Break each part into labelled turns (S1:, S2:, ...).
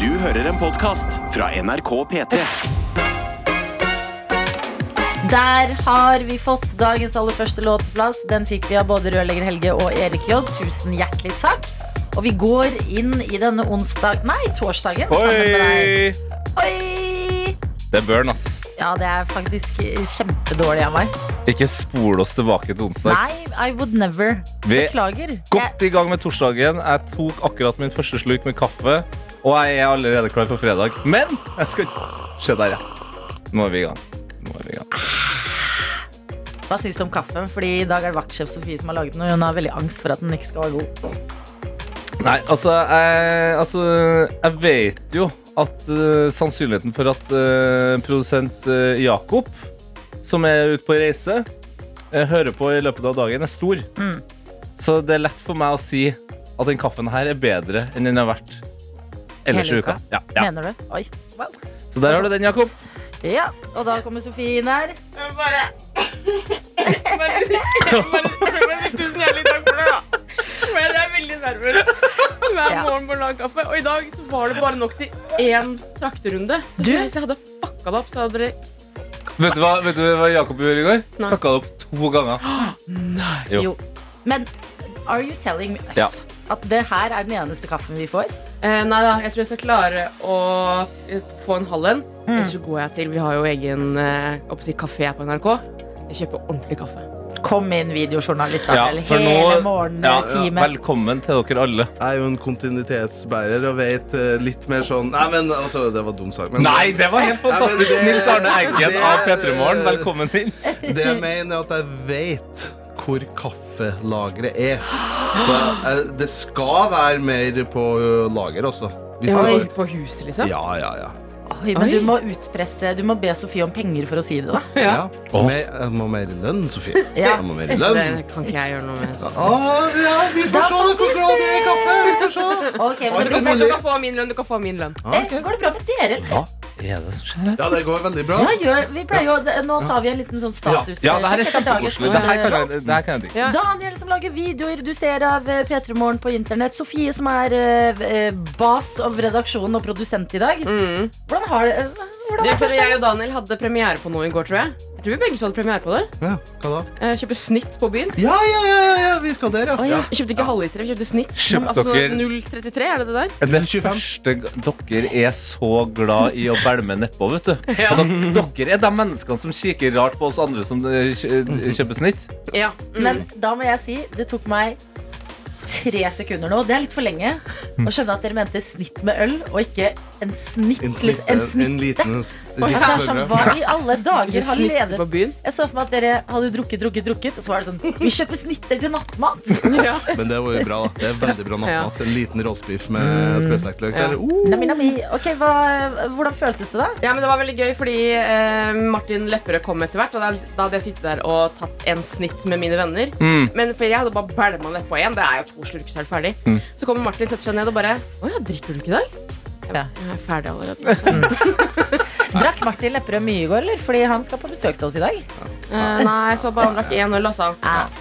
S1: Du hører en podkast fra NRK P3.
S2: Der har vi fått dagens aller første låt på plass. Den fikk vi av både rørlegger Helge og Erik J. Tusen hjertelig takk. Og vi går inn i denne onsdag Nei, torsdagen. sammen med deg.
S3: Oi!
S2: Oi!
S3: Det er burn, ass.
S2: Ja, det er faktisk kjempedårlig av meg.
S3: Ikke spol oss tilbake til onsdag.
S2: Nei, I would never.
S3: Vi er
S2: Beklager.
S3: godt
S2: Jeg,
S3: i gang med torsdagen. Jeg tok akkurat min første slurk med kaffe, og jeg er allerede klar for fredag. Men jeg skal Se der, ja. Nå er vi i gang. Nå er vi i gang.
S2: hva syns du om kaffen? Fordi i dag er det vaktsjef Sofie som har laget den, og hun har veldig angst for at den ikke skal være god.
S3: Nei, altså jeg, altså, jeg vet jo at eh, sannsynligheten for at eh, produsent eh, Jakob, som er ute på reise, eh, hører på i løpet av dagen, er stor.
S2: Mm.
S3: Så det er lett for meg å si at den kaffen her er bedre enn den har vært ellers i
S2: Hele
S3: uka.
S2: uka?
S3: Ja, ja.
S2: Mener du? Oi. Wow.
S3: Så der har du den, Jakob.
S2: Ja, og da kommer Sofie inn her.
S4: Bare Bare si tusen hjertelig takk for det, da. Men jeg er veldig nervøs hver
S2: Ja.
S4: morgen på å lage kaffe. Og i dag så var det bare nok til én trakterunde. Så
S2: Du?
S4: hvis jeg hadde fucka det opp, så hadde dere
S3: Vet du hva, vet du hva Jakob gjorde i går?
S4: Nei.
S3: Fucka det opp to ganger. Jo.
S2: Jo. Men are you telling us
S3: Ja.
S2: at det her er den eneste kaffen vi får?
S4: eh, Nei da, jeg tror jeg skal klare å eh, få en halv en. Ellers så går jeg til Vi har jo egen eh, oppå å si, kafé på NRK. Jeg kjøper ordentlig kaffe.
S2: Kom inn, videojournalist
S3: Ja,
S2: Daniel.
S3: for
S2: Hele
S3: nå- Ja, ja.
S2: morgentimen.
S3: Velkommen til dere alle.
S5: Jeg er jo en kontinuitetsbærer og vet eh, litt mer sånn Nei, men altså, det var dum sak. Men
S3: Nei, det var helt fantastisk!
S5: Nei, men det-
S3: Nils Arne Eggen
S5: det-
S3: av P3 Morgen, velkommen inn.
S5: det jeg mener, er at jeg vet hvor kaffelageret er. Så jeg, det skal være mer på ø, lager, altså. Hvis
S4: Oi,
S5: jeg-
S4: På huset, liksom.
S5: ja, ja, ja.
S2: Oi, men
S4: Oi.
S2: du må utpresse Du må be Sofie om penger for å si det, da.
S4: Ja.
S5: ja.
S3: Åh.
S5: Mer, jeg må mer i lønn, Sofie.
S2: Ja.
S5: Jeg må mer i
S4: Det
S5: lønn.
S4: kan ikke jeg gjøre noe med.
S5: Å, ja, vi
S2: Da
S5: får se
S2: får vi
S5: hvor glad det er i kaffe. Vi får se.
S2: Ok, men
S5: Oi,
S2: det blir
S4: Du kan,
S2: bra.
S4: få, du kan få min lønn. Du kan få min lønn.
S5: Ja,
S2: Eh,
S5: ok.
S2: Går det bra med dere?
S3: Hva er det som skjer her?
S5: ja, det går veldig bra.
S2: Ja, gjør, vi pleier jo, det- nå tar vi en liten sånn status.
S3: Ja, det her er
S2: sjekk etter dagens
S3: kjempekoselig. Det her kan jeg- det her kan jeg digge.
S4: Ja.
S2: Daniel som lager videoer du ser av eh, P3 Morgen på internett. Sofie som er eh, eh, bas av redaksjonen og produsent i dag.
S4: Mm.
S2: Hvordan har det eh,
S4: Du,
S2: hvordan er
S4: for
S2: det
S4: jeg og Daniel hadde premiere på noe i går, tror jeg. Jeg tror vi begge to hadde premiere på det.
S5: Ja, hva da?
S4: Eh, Kjøpe snitt på byen.
S5: Ja, ja, ja, ja, ja, vi skal der, ja. ja.
S4: Vi kjøpte ikke halvlitere, vi kjøpte snitt.
S3: Kjøpte
S4: altså
S3: dere-
S4: 0,33, er det det der?
S3: Det første g- dere er så glad i å bælme nedpå, vet du. Og dere, dere er de menneskene som kikker rart på oss andre som eh, kjø- kjøper snitt.
S4: Ja. Mm.
S2: Men da må jeg si, det tok meg tre sekunder nå, det er litt for lenge, å skjønne at dere mente snitt med øl, og ikke en snitt. liksom,
S5: En, snitt,
S2: en snitt.
S5: en liten, en
S2: Og jeg
S5: liten
S2: er sånn,
S5: smørbrød.
S2: hva i alle dager har
S4: Snitt
S2: ledet
S4: på byen.
S2: Jeg så for meg at dere hadde drukket, drukket, drukket, og så var det sånn Vi kjøper snitter til nattmat.
S4: Ja.
S5: Men det var jo bra. da. Det er veldig bra nattmat. En liten roastbiff med sprøsteikløk.
S4: Ja.
S5: der. Uh!
S2: Nami, nami. Ok, hva, Hvordan føltes det, da?
S4: ja, men det var veldig gøy, fordi eh, Martin Lepperød kom etter hvert, og da, da hadde jeg sittet der og tatt en snitt med mine venner.
S3: Mm.
S4: Men for jeg hadde bare bælma nedpå igjen. Det er jo to slurker, så er det ferdig.
S3: Mm.
S4: Så kommer Martin, setter seg ned og bare Å ja, drikker du ikke i dag? Jeg
S2: Ja.
S4: bare, Jeg er ferdig allerede.
S2: Drakk Martin Lepperød mye i går, eller? Fordi han skal på besøk til oss i dag.
S4: Eh, nei, så bare drakk én øl, altså.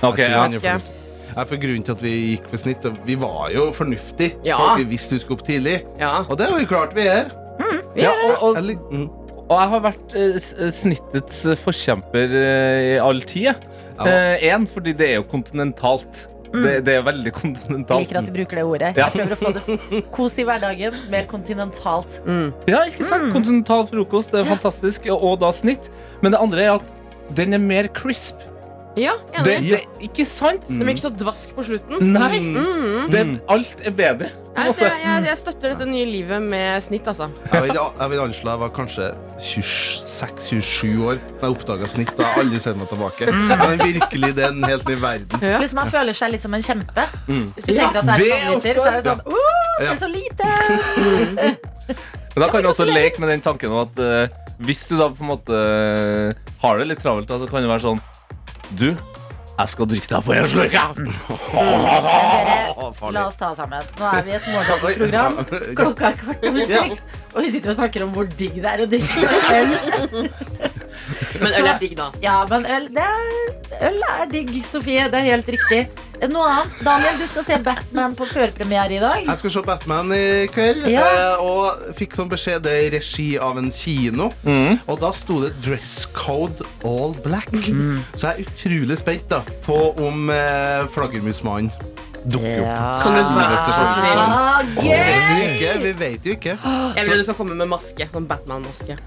S3: Ok,
S5: Jeg tror
S3: ja.
S5: han er fornuftig. Nei, for grunnen til at vi gikk for snitt og Vi var jo fornuftige.
S4: Ja.
S5: For Vi visste vi skulle opp tidlig.
S4: Ja.
S5: Og det har vi klart vi er.
S3: ja og, og,
S5: Eller, mm.
S3: og jeg har vært eh, s- snittets eh, forkjemper eh, i all tid. Én, fordi det er jo kontinentalt. Det, det er veldig
S2: Jeg liker
S3: kontinentalt.
S2: at du bruker det ordet.
S3: Ja.
S2: Jeg prøver å få det kos i hverdagen, mer kontinentalt.
S4: Mm.
S3: Ja, ikke sant? Kontinental frokost, det er fantastisk. Og da snitt. Men det andre er at den er mer crisp.
S4: ja enig.
S3: Det, det, ikke sant?
S4: De er ikke så dvask på slutten.
S3: Nei!
S4: Mm.
S3: Det, alt er bedre.
S4: Nei, det, jeg, jeg støtter dette nye livet med snitt, altså.
S5: Jeg vil, jeg vil anslå jeg var kanskje 26-27 år da jeg oppdaga snitt. Og jeg har aldri sett meg tilbake. Men virkelig, det er en helt ny verden.
S4: Ja.
S2: Pluss man føler seg litt som en kjempe. Hvis du
S4: Ja,
S2: tenker at det
S3: det
S2: er en liter,
S3: også.
S2: så er det sånn Åh, det er så lite!
S3: Men da kan du også leke med den tanken om at eh, hvis du da på en måte eh, har det litt travelt, da, så kan det være sånn Du, jeg skal drikke deg på en slurk, jeg!
S2: Dere,
S5: farlig.
S2: la oss ta oss sammen. Nå er vi i et morgenprogram. Klokka er kvart over
S5: Ja.
S2: seks, og vi sitter og snakker om hvor digg det er å drikke øl.
S4: Men øl er digg, da.
S2: Ja, men øl, det er, øl er digg, Sofie. Det er helt riktig. Eh, Noe annet? Daniel, du skal se Batman på førpremiere i dag.
S5: Jeg skal se Batman i kveld,
S2: Ja.
S5: eh, og fikk sånn beskjed det er i regi av en kino. Og da sto det 'dress code all black'. Så jeg er utrolig spent da på om eh, flaggermusmannen dukker
S2: Ja.
S5: opp.
S4: Kan du være
S5: Sylvester
S4: så snill?
S5: Stallone.
S2: Ah,
S5: Vi
S2: gøy!
S5: vet ikke, Vi vet jo ikke.
S4: Jeg vil at du skal komme med maske. Sånn Batman-maske.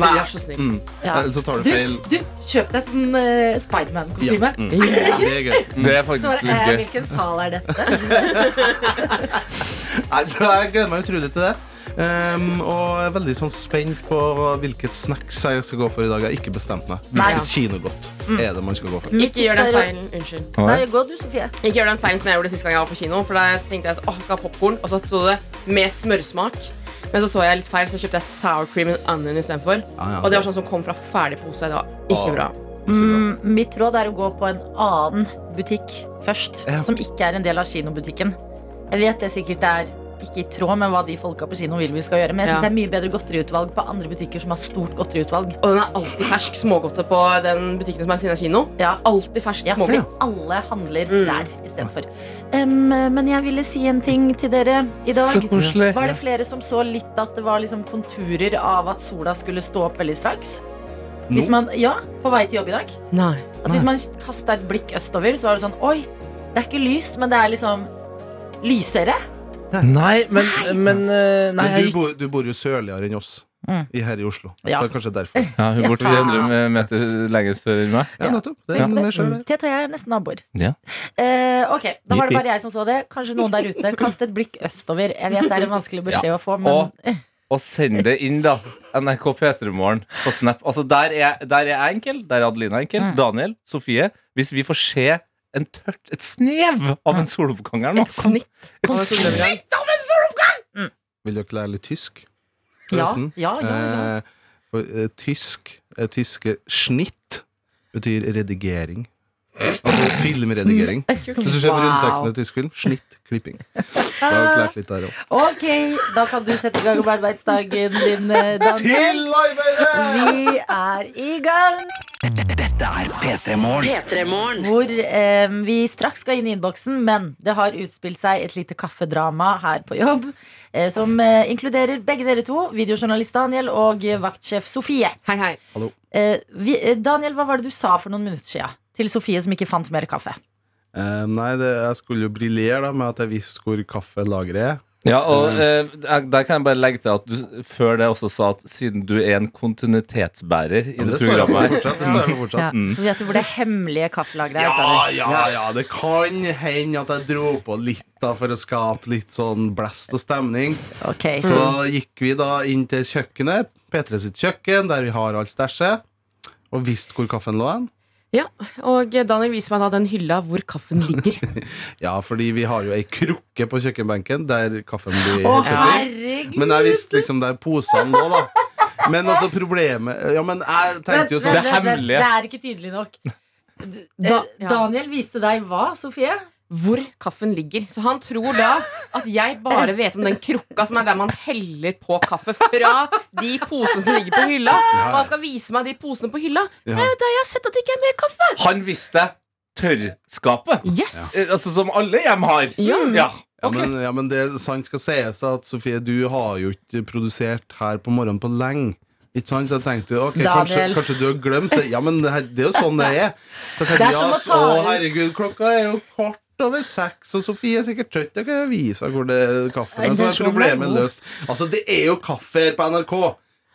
S4: Vær så snill.
S5: Mm.
S2: Ja.
S5: Eller så tar du
S2: Du,
S5: feil.
S2: du, kjøp deg sånn uh, Spiderman-kostyme.
S5: Ja. mm. Det er gøy.
S3: Mm. Det er
S2: Så
S3: faktisk
S2: er
S3: litt
S2: jeg,
S3: gøy.
S2: Hvilken sal er dette?
S5: Nei, så jeg gleder meg utrolig til det. Ehm, og er veldig sånn spent på hvilket snacks jeg skal gå for i dag. Jeg har ikke bestemt meg.
S2: Nei.
S5: Hvilket kinogodt er det man skal gå for?
S2: Mitt
S4: Ikke gjør
S2: tips er
S4: den
S2: å-
S4: feilen. Unnskyld.
S2: Nei, gå du, Sofie.
S4: Ikke gjør den feilen som jeg gjorde sist gang jeg var på kino. For da tenkte jeg at åh, jeg skal ha popcorn, og så sto det med smørsmak. Men så så jeg litt feil, så kjøpte jeg sour cream and onion istedenfor.
S5: Ah, ja.
S4: Og det var sånn som kom fra ferdig pose. Det var
S5: Ah.
S4: ikke bra.
S5: Ikke så bra.
S2: Mm, Mitt råd er å gå på en annen butikk først,
S5: Ja.
S2: som ikke er en del av kinobutikken. Jeg vet det sikkert er ikke i tråd med hva de folka på kino vil vi skal gjøre, men jeg synes
S4: Ja.
S2: det er mye bedre godteriutvalg på andre butikker som har stort godteriutvalg.
S4: Og den er alltid fersk smågodte på den butikken som er ved siden av kino.
S2: Ja,
S4: Alltid fersk
S2: Ja, fordi
S4: smågodt.
S2: alle handler
S4: Mm.
S2: der istedenfor. Um, men jeg ville si en ting til dere i dag.
S3: Så koselig.
S2: Var det flere som så litt at det var liksom konturer av at sola skulle stå opp veldig straks? Hvis man, ja, på vei til jobb i dag.
S4: Nei.
S2: At hvis man kasta et blikk østover, så var det sånn Oi, det er ikke lyst, men det er liksom lysere.
S3: Nei, men, men eh, Nei,
S5: Men
S3: jeg
S5: du,
S3: gikk
S5: bor, du bor jo sørligere enn oss
S2: Mm.
S5: i, her i Oslo.
S2: Ja.
S5: Så det er kanskje derfor.
S3: ja, Hun bor 300 meter lenger sør enn meg.
S5: Ja, nettopp. Det er
S2: Ja. Mm.
S5: noe mer sjøl der.
S2: Tete og jeg er nesten naboer.
S3: Ja.
S2: Eh, ok, Da var det
S3: Jippi.
S2: bare jeg som så det. Kanskje noen der ute. Kast et blikk østover. Jeg vet det er en vanskelig beskjed å få, men
S3: Og, og send det inn, da. NRK P3morgen på Snap. Altså, der er, der er jeg enkel. Der er Adelina enkel. Daniel, Sofie. Hvis vi får se en tørt, et snev av en soloppgang her nå
S2: Et snitt.
S3: Et snitt av en soloppgang!
S5: Vil dere lære litt tysk?
S2: Ja,
S5: forresten?
S2: ja, ja, ja.
S5: Eh, for, eh, tysk eh, Tyske snitt betyr redigering. Altså filmredigering. Hvis du ser på rundteksten av tysk film, snitt klipping. Da har dere lært litt der òg.
S2: Ok, da kan du sette i gang med arbeidsdagen din, eh, Daniel.
S5: Til arbeidet!
S2: Vi er i gang,
S1: Dette er P3 Morgen.
S2: hvor eh, vi straks skal inn i innboksen. Men det har utspilt seg et lite kaffedrama her på jobb. Eh, som eh, inkluderer begge dere to, videojournalist Daniel og eh, vaktsjef Sofie.
S4: Hei, hei.
S2: Eh, vi, eh, Daniel, hva var det du sa for noen minutter siden til Sofie som ikke fant mer kaffe?
S5: Eh, nei, det, jeg skulle jo briljere da med at jeg visste hvor kaffelageret er.
S3: Ja, og eh, der der kan jeg bare legge til at du før det også sa at siden du er en kontinuitetsbærer i
S5: Men
S3: det
S5: det står jeg for
S3: programmet her
S5: fortsatt. Det står jeg for
S2: Ja.
S5: fortsatt.
S2: Så vet du hvor det hemmelige kaffelageret er?
S5: Ja,
S2: sa du?
S5: ja, ja, det kan hende at jeg dro på litt da for å skape litt sånn blest og stemning.
S2: Ok,
S5: Så
S2: så
S5: gikk vi da inn til kjøkkenet, P3 sitt kjøkken, der vi har alt stæsjet, og visste hvor kaffen lå hen.
S4: Ja, og Daniel viser meg da den hylla hvor kaffen ligger.
S5: Ja, fordi vi har jo ei krukke på kjøkkenbenken der kaffen blir
S2: Å,
S5: hentet i.
S2: herregud!
S5: Men jeg visste liksom der posene lå, da. Men altså problemet Ja, men jeg tenkte jo sånn
S3: Det hemmelige.
S2: Det er ikke tydelig nok. D-
S4: Da-
S2: eh, Daniel viste deg hva, Sofie?
S4: Hvor kaffen ligger. Så han tror da at jeg bare vet om den krukka som er der man heller på kaffe fra de posene som ligger på hylla. Og han skal vise meg de posene på hylla. Det er jo der jeg har sett at det ikke er mer kaffe.
S3: Han visste tørrskapet.
S4: Yes.
S3: Eh, Altså som alle hjem har.
S4: Ja.
S5: Ja, men, ja, men det sant skal sies at Sofie, du har jo ikke produsert her på morgenen på lenge. Ikke sant? Så jeg tenkte ok, kanskje,
S2: Daniel.
S5: kanskje du har glemt det. Ja, men det, her, det er jo sånn det er. Så jeg
S2: Det
S5: tenkte,
S2: er som
S5: ja,
S2: å ta
S5: å,
S2: ut.
S5: herregud, klokka er jo kvart over seks, og Sofie er sikkert trøtt. Jeg kan jo vise henne hvor det kaffen
S2: Nei,
S5: er. Så
S2: det
S5: er
S2: er sånn det er
S5: problemet
S2: god.
S5: løst. Altså, det er jo kaffe her på NRK.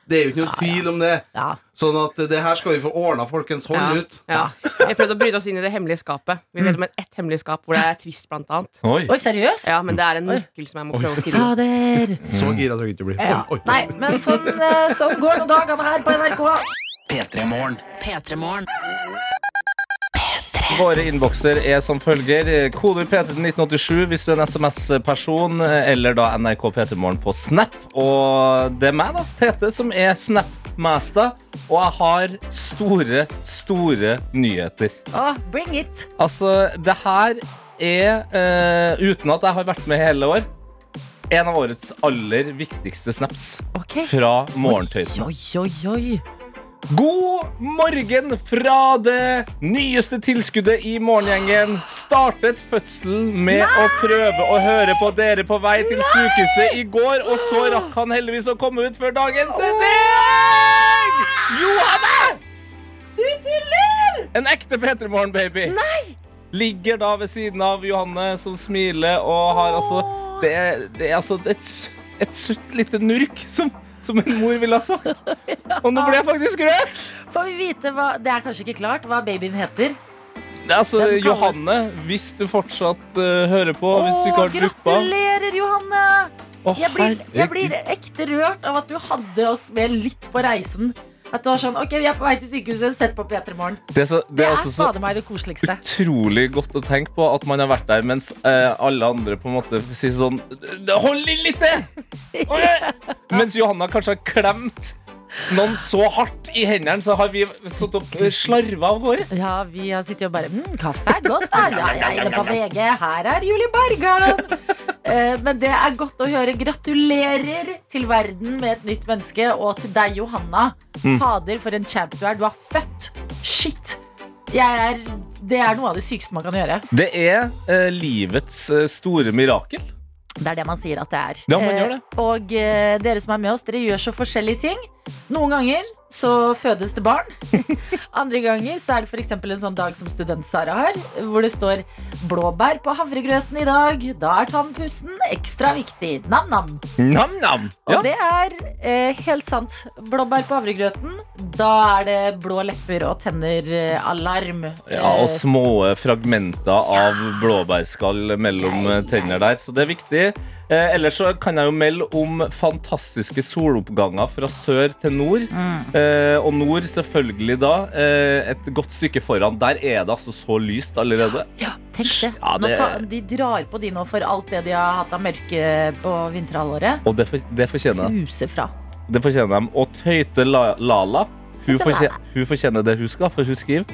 S5: Det er jo ikke noe tvil om det.
S2: Ja.
S5: Sånn at det her skal vi få ordna, folkens. Hold
S4: Ja,
S5: ut. Mm.
S4: ja. Jeg prøvde å bryte oss inn i det hemmelige skapet. Vi vet om en- ett hemmelig skap hvor det er Twist blant annet.
S3: Oi.
S2: Oi, seriøst?
S4: Ja, men det er en nøkkel som jeg må prøve å finne.
S2: Fader.
S5: Så gira trenger jeg ikke å bli.
S2: Ja.
S5: Oi, oi.
S2: Nei, men sånn, eh, sånn går nå dagene her på NRK.
S1: P3 Morgen.
S3: Våre innbokser er som følger. Koder P3 til 1987 hvis du er en SMS-person, eller da NRK P3morgen på Snap. Og det er meg, da. Tete, som er Snap-master. Og jeg har store, store nyheter.
S2: Å, bring it.
S3: Altså, det her er, eh, uten at jeg har vært med hele år, en av årets aller viktigste snaps
S2: Ok.
S3: fra
S2: Oi,
S3: morgentøyten.
S2: oi, oi.
S3: God morgen fra det nyeste tilskuddet i Morgengjengen. Startet fødselen med å prøve å høre på dere på vei til sykehuset i går, og så rakk han heldigvis å komme ut før dagens sending! Johanne!
S2: Du tuller!
S3: En ekte P3 Morgen-baby. Ligger da ved siden av Johanne, som smiler og har altså Det er, det er altså et, s- et søtt lite nurk, som, som en mor ville ha sagt. Og nå ble jeg faktisk rørt!
S2: Får vi vite hva Det er kanskje ikke klart hva babyen heter?
S3: Det er altså
S2: Den kalles-
S3: Johanne, hvis du fortsatt eh, hører på, hvis du ikke
S2: Åh,
S3: har duppa.
S2: gratulerer, Johanne!
S3: Å,
S2: Jeg blir, jeg
S3: herregud.
S2: blir ekte rørt av at du hadde oss med litt på reisen. At det var sånn OK, vi er på vei til sykehuset, sett på P3 Morgen.
S3: Det er, så,
S2: Det er
S3: altså så
S2: fader meg det koseligste.
S3: utrolig godt å tenke på at man har vært der mens eh, alle andre på en måte sier sånn Hold i litt til! Hold i!" Mens Johanna kanskje har klemt noen så hardt i hendene, så har vi sittet og slarva av gårde.
S2: Ja, vi har sittet og bare mm, Kaffe er godt, da. Ja, jeg er inne på VG. Her er Julie Bergan. Eh, Men det er godt å høre. Gratulerer til verden med et nytt menneske, og til deg, Johanna.
S3: Mm.
S2: Fader, for en champ du er. Du er født. Shit. Jeg er, det er noe av det sykeste man kan gjøre.
S3: Det er eh, livets eh, store mirakel.
S2: Det er det man sier at det er.
S3: Ja, man gjør det.
S2: Eh, Og eh, dere som er med oss, dere gjør så forskjellige ting. Noen ganger så fødes det barn. Andre ganger så er det f.eks. en sånn dag som Student-Sara har, hvor det står 'blåbær på havregrøten i dag'. Da er tannpusten ekstra viktig. Nam-nam.
S3: Nam-nam!
S2: Og
S3: Ja.
S2: det er eh, helt sant. Blåbær på havregrøten, da er det blå lepper og eh, tenner-alarm.
S3: Ja, og små fragmenter av blåbærskall mellom tenner der, så det er viktig. Eh, ellers så kan jeg jo melde om fantastiske soloppganger fra sør til nord. Eh, og nord selvfølgelig da eh, et godt stykke foran. Der er det altså så lyst allerede.
S2: Eh, Ja, tenk det.
S3: Ja,
S2: Nå
S3: det-
S2: ta, de drar på de nå for alt det de har hatt av mørke på vinterhalvåret.
S3: Og det, for, det fortjener de.
S2: Huset fra.
S3: Det fortjener de. Og Tøyte la, Lala, hun
S2: Tøyte
S3: fortjener, hun fortjener det hun skal, for hun skriver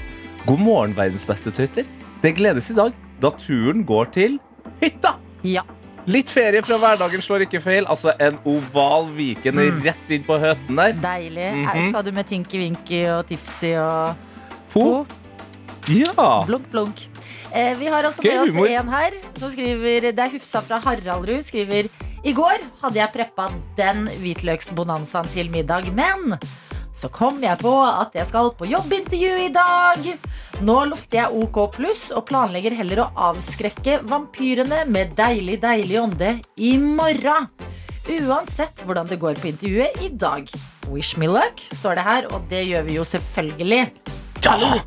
S3: God morgen, verdens beste tøyter. Det gledes i dag, da turen går til hytta.
S2: Ja.
S3: Litt ferie fra hverdagen slår ikke feil. Altså En oval Viken rett inn på høten der.
S2: Deilig.
S3: Mhm.
S2: Er- Skal du med Tinky Winky og Tipsy og
S3: Po. Ja.
S2: Blunk, blunk. Eh, vi har altså
S3: Gøy
S2: med oss
S3: humor.
S2: en her som skriver Det er Hufsa fra Haraldrud. Skriver I går hadde jeg preppa den hvitløksbonanzaen til middag, men så kom jeg på at jeg skal på jobbintervju i dag. Nå lukter jeg OK pluss og planlegger heller å avskrekke vampyrene med deilig, deilig ånde i morgen. Uansett hvordan det går på intervjuet i dag. Wish me luck, står det her, og det gjør vi jo selvfølgelig. Hallo.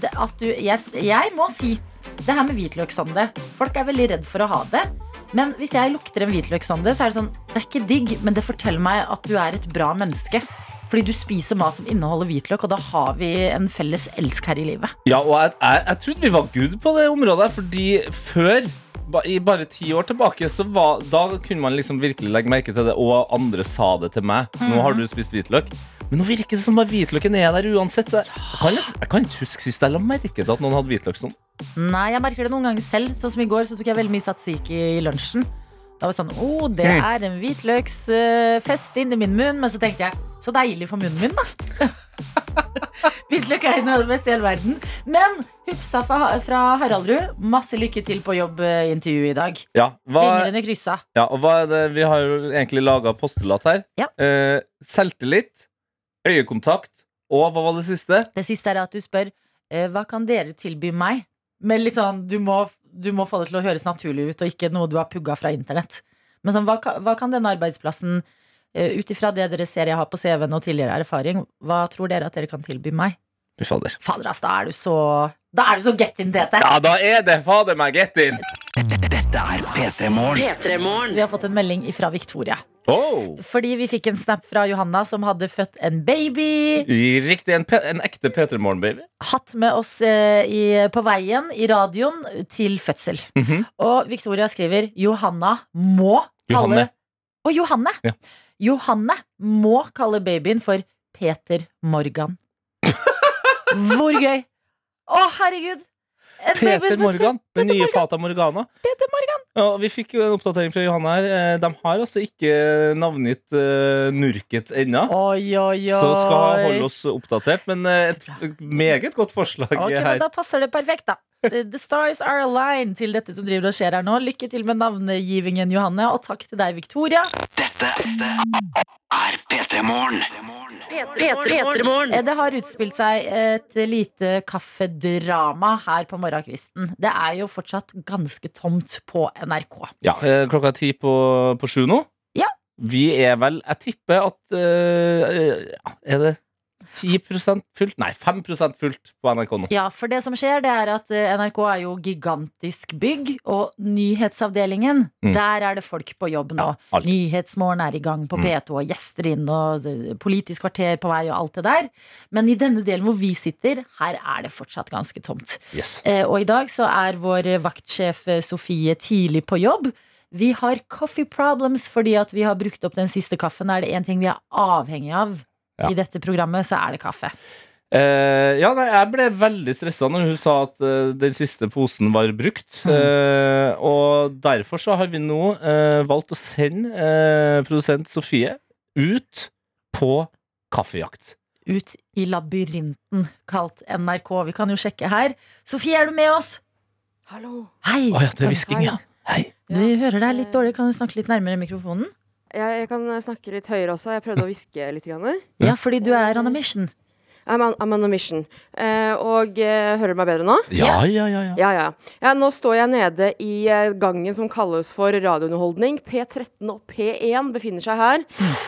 S2: Det, at du, jeg, jeg må si det her med hvitløksånde. Folk er veldig redd for å ha det. Men hvis jeg lukter en hvitløksånde, så er det sånn Det er ikke digg, men det forteller meg at du er et bra menneske. Fordi du spiser mat som inneholder hvitløk, og da har vi en felles elsk her i livet.
S3: ja, og jeg, jeg, jeg trodde vi var good på det området, fordi før ba- i bare ti år tilbake så var, Da kunne man liksom virkelig legge merke til det, og andre sa det til meg. Nå har du spist hvitløk. Men nå virker det som bare hvitløken er der uansett. Så jeg, jeg, kan, nes- jeg kan ikke huske sist jeg la merke til at noen hadde hvitløksånd.
S2: Nei, jeg merker det noen ganger selv. Sånn som i går, så tok jeg veldig mye satsiki i lunsjen. Da var det sånn Å, det er en hvitløksfest inni min munn. Men så tenkte jeg Så deilig for munnen min, da. Hvitløk er noe av det beste i hele verden. Men hufsa fra, fra Haraldrud, masse lykke til på jobbintervjuet i dag.
S3: Ja, hva,
S2: Fingrene kryssa.
S3: Ja, og hva er det? Vi har jo egentlig laga postulat her.
S2: Ja.
S3: Eh, selvtillit, øyekontakt og hva var det siste?
S2: Det siste er at du spør eh, Hva kan dere tilby meg? Men litt sånn, du må, du må få det til å høres naturlig ut Og ikke noe du har pugga fra internett Men sånn, hva, ka- hva kan denne arbeidsplassen uh, Ut ifra det dere ser jeg har på CV'en Og tidligere erfaring Hva tror dere at dere kan tilby meg?
S3: Fy fader.
S2: Fader ass, da er du så Da er du så get in dette
S3: Ja, da er det fader meg get in!
S1: Dette er P3 Morgen.
S2: Vi har fått en melding fra Victoria
S3: Oh.
S2: Fordi vi fikk en snap fra Johanna Som hadde født en baby
S3: Riktig. En, pe- en ekte P3 Morgen-baby.
S2: hatt med oss eh, i, på veien i radioen til fødsel.
S3: Mhm.
S2: Og Victoria skriver Johanna må kalle
S3: Johanne.
S2: Og Johanne!
S3: Ja.
S2: Johanne må kalle babyen for Peter Morgan. Hvor gøy! Å, herregud! En baby
S3: Peter
S2: som heter
S3: Morgan. Den nye Fata Morgana.
S2: Peter Morgan.
S3: Ja, vi fikk jo en oppdatering fra Johanne her. Eh, De har altså ikke navngitt eh, Nurket ennå.
S2: Oi, oi, oi.
S3: Så skal holde oss oppdatert. Men eh, et meget godt forslag
S2: Ok, men
S3: her.
S2: Da passer det perfekt, da. The the stars are aligned til dette som driver og skjer her nå. Lykke til med navngivingen, Johanne, og takk til deg, Victoria. Eh, Det har utspilt seg et lite kaffedrama her på morgenkvisten. Det er jo fortsatt ganske tomt på NRK.
S3: Ja, eh, klokka er ti på, på sju nå.
S2: Ja.
S3: Vi er vel Jeg tipper at eh, ja, Er det 10 fullt? Nei, 5 fullt på NRK nå.
S2: Ja, for det som skjer, det er at eh, NRK er jo gigantisk bygg, og nyhetsavdelingen,
S3: Mm.
S2: der er det folk på jobb nå.
S3: alltid.
S2: Nyhetsmorgen er i gang på
S3: Mm.
S2: P2, og gjester inn, og eh, Politisk kvarter på vei, og alt det der. Men i denne delen hvor vi sitter, her er det fortsatt ganske tomt.
S3: Yes.
S2: Eh, Og i dag så er vår vaktsjef eh, Sofie tidlig på jobb. Vi har coffee problems fordi at vi har brukt opp den siste kaffen. Er det én ting vi er avhengig av
S3: Ja.
S2: i dette programmet, så er det kaffe.
S3: Eh, ja, nei, jeg ble veldig stressa når hun sa at eh, den siste posen var brukt. Eh, og derfor så har vi nå eh, valgt å sende eh, produsent Sofie ut på kaffejakt.
S2: Ut i labyrinten kalt NRK. Vi kan jo sjekke her. Sofie, er du med oss?
S4: Hallo.
S2: Hei!
S3: Å ja, det er hvisking, ja. Hei.
S2: Du hører deg litt dårlig. Kan du snakke litt nærmere mikrofonen?
S4: Jeg, jeg kan snakke litt høyere også. Jeg prøvde å hviske litt. Grann.
S2: Ja, fordi du er on a mission.
S4: I'm on, I'm on a mission. Eh, og eh, hører du meg bedre nå?
S3: Ja, ja, ja. ja.
S4: Ja, ja. ja nå står jeg nede i eh, gangen som kalles for radiounderholdning. P13 og P1 befinner seg her.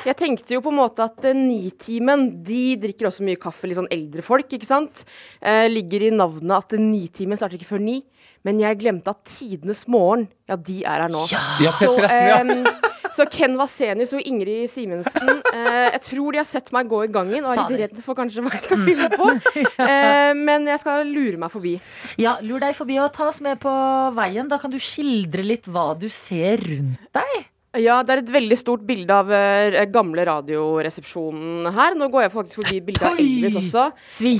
S4: Jeg tenkte jo på en måte at eh, Nitimen, de drikker også mye kaffe, litt sånn eldre folk, ikke sant? Eh, ligger i navnet at eh, Nitimen starter ikke før ni. Men jeg glemte at Tidenes morgen, ja, de er her nå.
S3: Ja,
S4: Så,
S3: P13, ja.
S4: em, så Ken Vasenius og Ingrid Simensen eh, Jeg tror de har sett meg gå i gangen og er litt
S2: Fader.
S4: redd for kanskje hva jeg skal finne på. Eh, men jeg skal lure meg forbi.
S2: Ja, Lur deg forbi og ta oss med på veien. Da kan du skildre litt hva du ser rundt deg.
S4: Ja, det er et veldig stort bilde av eh, gamle Radioresepsjonen her. Nå går jeg faktisk forbi bildet av
S2: Oi!
S4: Elvis også.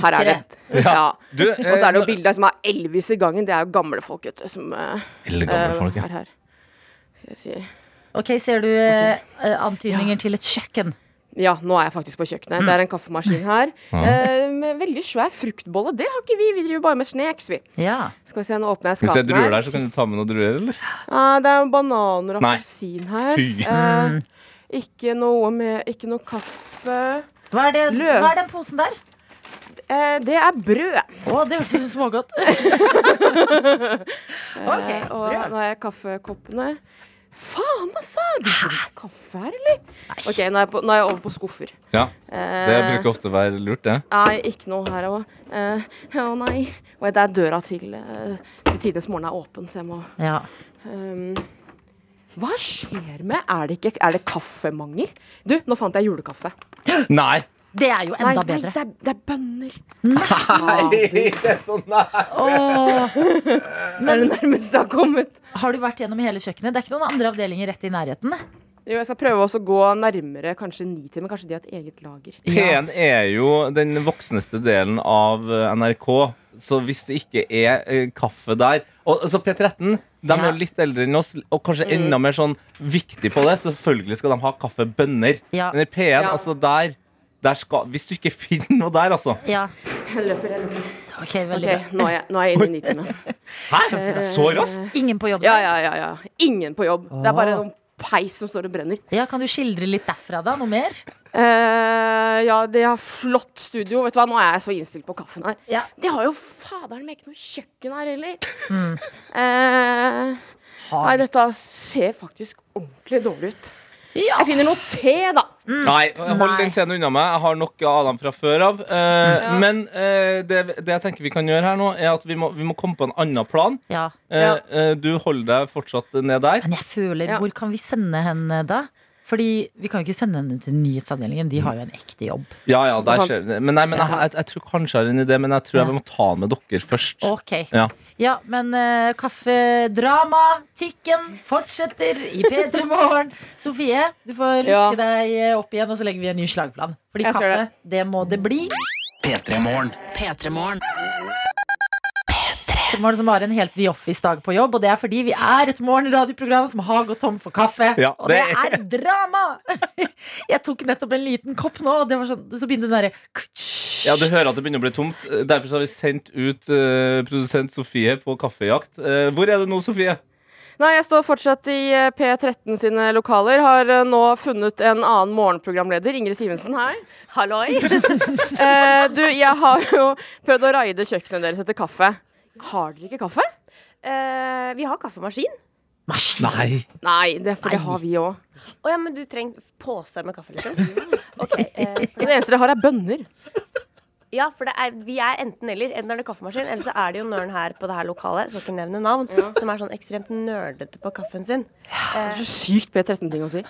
S4: Her er det.
S2: Svikere.
S4: Ja.
S3: Du, eh,
S4: Og så er det jo bilde av som har Elvis i gangen. Det er jo gamle folk, vet du, som eh,
S3: Eldre gamle folk, ja.
S4: er her. Skal jeg si
S2: Ok, ser du eh, eh, antydninger til et kjøkken?
S4: Ja, nå er jeg faktisk på kjøkkenet. Det er en kaffemaskin her. Eh, med veldig svær fruktbolle. Det har ikke vi. Vi driver bare med snacks, vi.
S2: Ja.
S4: Skal vi se, nå åpner jeg
S3: Hvis jeg
S4: skapet
S3: druer
S4: her.
S3: der, så kan du ta med noen druer, eller?
S4: Ah, det er jo bananer og
S3: Nei.
S4: appelsin her.
S3: Fy.
S4: Eh, ikke noe med Ikke noe kaffe.
S2: Hva er, det,
S4: Løv.
S2: hva er den posen der?
S4: Eh, det er brød.
S2: Å, det hørtes ut som smågodt. ok,
S4: Eh, og
S2: brød.
S4: nå har jeg kaffekoppene. Faen, altså! Du får ikke kaffe her, eller? Ok, nå er jeg, på, nå er jeg over på skuffer.
S3: Ja, Det
S4: Eh,
S3: bruker ofte å være lurt, det.
S4: Nei, ikke noe her òg. Å nei. Og det er døra til, eh, til Tidenes morgen er åpen, så jeg må
S2: Ja.
S4: ehm, Hva skjer med Er det, ikke, er det kaffemangel? Du, nå fant jeg julekaffe.
S2: Ah.
S3: Nei!
S2: Det er jo enda
S4: nei, nei,
S2: bedre.
S4: det er, det er bønner.
S2: Åh,
S4: Det er det nærmeste det har kommet.
S2: har du vært gjennom hele kjøkkenet? Det er ikke noen andre avdelinger rett i nærheten?
S4: Jo, jeg skal prøve også å gå nærmere kanskje ni timer. Kanskje de har et eget lager.
S2: Ja.
S3: P1 er jo den voksneste delen av eh, NRK, så hvis det ikke er eh, kaffe der og, altså P13 de er
S2: Ja. Mm.
S3: jo litt eldre enn oss, og kanskje enda mer sånn viktig på det. Selvfølgelig skal de ha kaffebønner.
S2: Ja.
S3: Men i P1,
S4: Ja.
S3: altså der, der skal, Hvis du ikke finner noe der, altså
S2: Ja.
S4: Jeg løper, jeg løper.
S2: Ok, veldig
S4: Ok, nå er jeg, nå er jeg inne i nitimen.
S3: Hæ? Så raskt?
S2: bra. Ingen på jobb?
S4: Ja, ja, ja, ja. Ingen på jobb. Det er bare
S2: Åh.
S4: noen peis som står og brenner.
S2: Ja, Kan du skildre litt derfra, da? Noe mer?
S4: Eh, ja, de har flott studio. Vet du hva, Nå er jeg så innstilt på kaffen her.
S2: Ja.
S4: De har jo faderen meg ikke noe kjøkken her heller.
S2: Mm.
S4: Eh, nei, dette ser faktisk ordentlig dårlig ut.
S2: Ja.
S4: Jeg finner noe te, da.
S3: Nei,
S2: Mm.
S3: hold
S2: Nei.
S3: den teen unna meg. Jeg har nok av dem fra før av. Eh, Men eh, det, det jeg tenker vi kan gjøre her nå, er at vi må, vi må komme på en annen plan.
S2: ja.
S3: Eh,
S4: Ja.
S3: eh, du holder deg fortsatt ned der.
S2: Men jeg føler,
S4: Ja.
S2: hvor kan vi sende henne da? Fordi vi kan jo ikke sende henne til nyhetsavdelingen. De har jo en ekte jobb.
S3: Ja, ja, der skjer det. Men, nei, men jeg, jeg, jeg tror kanskje jeg har en idé, men jeg tror jeg
S2: Ja.
S3: må ta den med dere først.
S2: Ok.
S3: Ja.
S2: Ja, men eh, kaffedrama, tikken, fortsetter i P3 Morgen. Sofie, du får luske
S4: Ja.
S2: deg eh, opp igjen, og så legger vi en ny slagplan. Fordi
S4: Jeg skal
S2: kaffe,
S4: gjøre det.
S2: det. må det bli.
S6: P3 Morgen.
S2: Petermorgen som har en helt The Office-dag på jobb. Og det er fordi vi er et morgenradioprogram som har gått tom for kaffe.
S3: Ja,
S2: og det er
S3: det-
S2: drama! Jeg tok nettopp en liten kopp nå, og det var sånn, så begynte den derre
S3: Ja, Du hører at det begynner å bli tomt. Eh, Derfor så har vi sendt ut eh, produsent Sofie på kaffejakt. Eh, hvor er det nå, Sofie?
S7: Nei, jeg står fortsatt i eh, P13 sine lokaler. Har eh, nå funnet en annen morgenprogramleder. Ingrid Simensen, hei.
S8: Halloi!
S7: Eh, du, jeg har jo prøvd å raide kjøkkenet deres etter kaffe. Har dere ikke kaffe?
S8: Eh, vi har kaffemaskin.
S3: Nei.
S7: Nei, det, for det har vi òg.
S8: Å ja, men du trenger poser med kaffe, liksom? Ok, eh,
S7: Det eneste dere har, er bønner.
S8: ja, for det er, vi er enten eller. Enten er det kaffemaskin, eller så er det jo nøren her på det her lokalet, jeg skal ikke nevne navn, som er sånn ekstremt nerdete på kaffen sin.
S7: Det er så sykt P13-ting å si.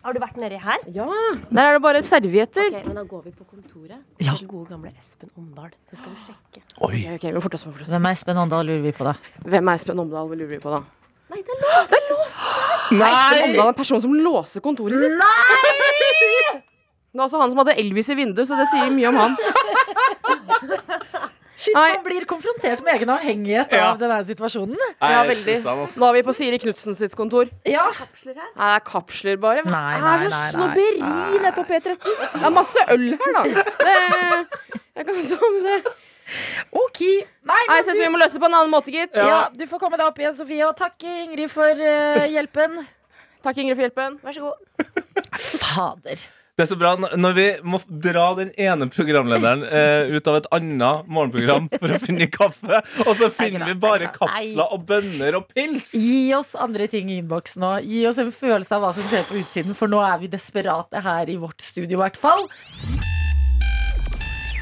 S8: Har du vært nedi her?
S7: Ja. Der er det bare servietter.
S8: Ok, men da går vi på kontoret til gode gamle Espen Omdal. Så skal vi sjekke.
S7: Ok, ok, men fortast meg, fortast.
S2: Hvem er Espen Åndal, lurer vi på da.
S7: Hvem er Espen Omdal? Lurer vi på da?
S8: Nei, det er lov!
S7: Espen Omdal er en person som låser kontoret sitt. Nei! Det er også han som hadde Elvis i vinduet, så det sier mye om han.
S2: Shit,
S7: Nei.
S2: Man blir konfrontert med egen avhengighet
S3: Ja.
S2: av denne situasjonen.
S7: Ja,
S3: jeg
S7: veldig.
S3: synes han, ass.
S7: Nå er vi på Siri Knutsen sitt kontor.
S2: Ja,
S7: Nei, det er kapsler, bare. Hva
S2: Nei,
S7: er
S2: nei,
S7: det
S2: nei, nei.
S7: snobberi nede på P13? Det er masse øl her, da. Det, jeg kan ikke om det.
S2: ok. Nei,
S7: Nei,
S2: men
S7: jeg synes vi må løse det på en annen måte, gitt.
S2: Ja. du får komme deg opp igjen, Sofie, og takke Ingrid for eh, hjelpen.
S7: Takk, Ingrid, for hjelpen.
S8: Vær så god.
S2: Fader.
S3: Det er så bra n- når vi må f- dra den ene programlederen eh, ut av et annet morgenprogram for å finne kaffe, og så finner vi bare kapsler og bønner og pils!
S2: Gi oss andre ting i innboksen nå. Gi oss en følelse av hva som skjer på utsiden, for nå er vi desperate her i vårt studio, i hvert fall.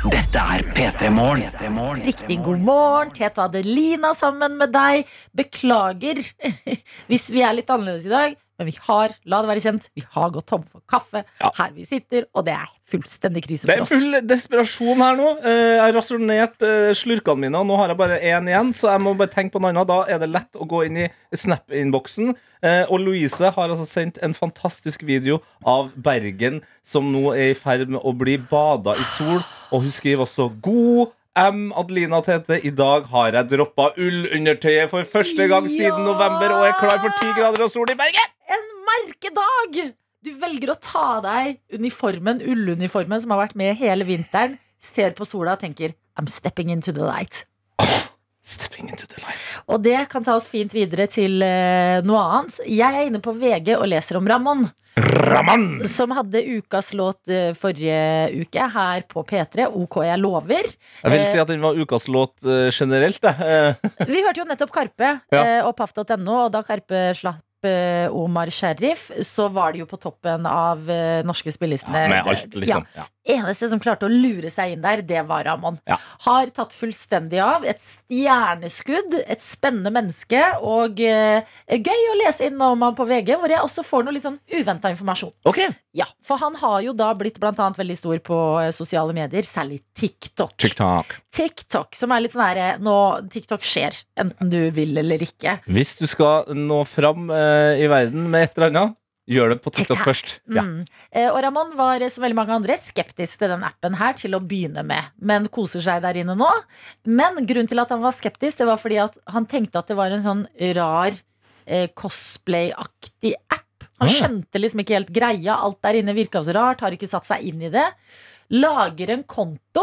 S1: Dette er P3 Morgen.
S2: Riktig god morgen. Tete og Adelina sammen med deg. Beklager hvis vi er litt annerledes i dag, men vi har, la det være kjent, vi har gått tom for kaffe
S3: Ja.
S2: her vi sitter, og det er fullstendig krise
S3: Det
S2: for
S3: er
S2: oss.
S3: full desperasjon her nå. Eh, Jeg har rasjonert eh, slurkene mine, og nå har jeg bare én igjen. Så jeg må bare tenke på noe annet. Da er det lett å gå inn i Snap-innboksen. Eh, Og Louise har altså sendt en fantastisk video av Bergen, som nå er i ferd med å bli bada i sol. Og hun skriver også 'God M. Adelina og Tete, i dag har jeg droppa ullundertøyet for første gang siden
S2: Ja!
S3: november og er klar for ti grader og sol i Bergen'.
S2: en merkedag! Du velger å ta av deg uniformen, ulluniformen som har vært med hele vinteren, ser på sola og tenker I'm stepping into the light.
S3: Stepping into the light.
S2: Og det kan ta oss fint videre til eh, noe annet. Jeg er inne på VG og leser om Ramón,
S3: Raman!
S2: som hadde ukas låt eh, forrige uke her på P3. OK, jeg lover.
S3: Jeg vil si at den var ukas låt eh, generelt, det. Eh,
S2: Vi hørte jo nettopp Karpe
S3: Ja.
S2: eh, og paff.no, og da Karpe slapp eh, Omar Sheriff, så var det jo på toppen av eh, norske spillelistene.
S3: med alt, liksom. Ja.
S2: eneste som klarte å lure seg inn der, det var Ramón.
S3: Ja.
S2: Har tatt fullstendig av. Et stjerneskudd, et spennende menneske, og eh, gøy å lese innom ham på VG, hvor jeg også får noe litt sånn uventa informasjon. Ja, For han har jo da blitt blant annet veldig stor på eh, sosiale medier, særlig TikTok.
S3: TikTok.
S2: TikTok, som er litt sånn herre Nå, TikTok skjer, enten du vil eller ikke.
S3: Hvis du skal nå fram eh, i verden med et eller annet, gjør det på TikTok,
S2: TikTok.
S3: først. Ja.
S2: Mm. Eh, Og Ramón var eh, som veldig mange andre skeptisk til den appen her til å begynne med, men koser seg der inne nå. Men grunnen til at han var skeptisk, det var fordi at han tenkte at det var en sånn rar eh, cosplay-aktig app. Han
S3: Ah, ja.
S2: skjønte liksom ikke helt greia. Alt der inne virka så rart. Har ikke satt seg inn i det. Lager en konto.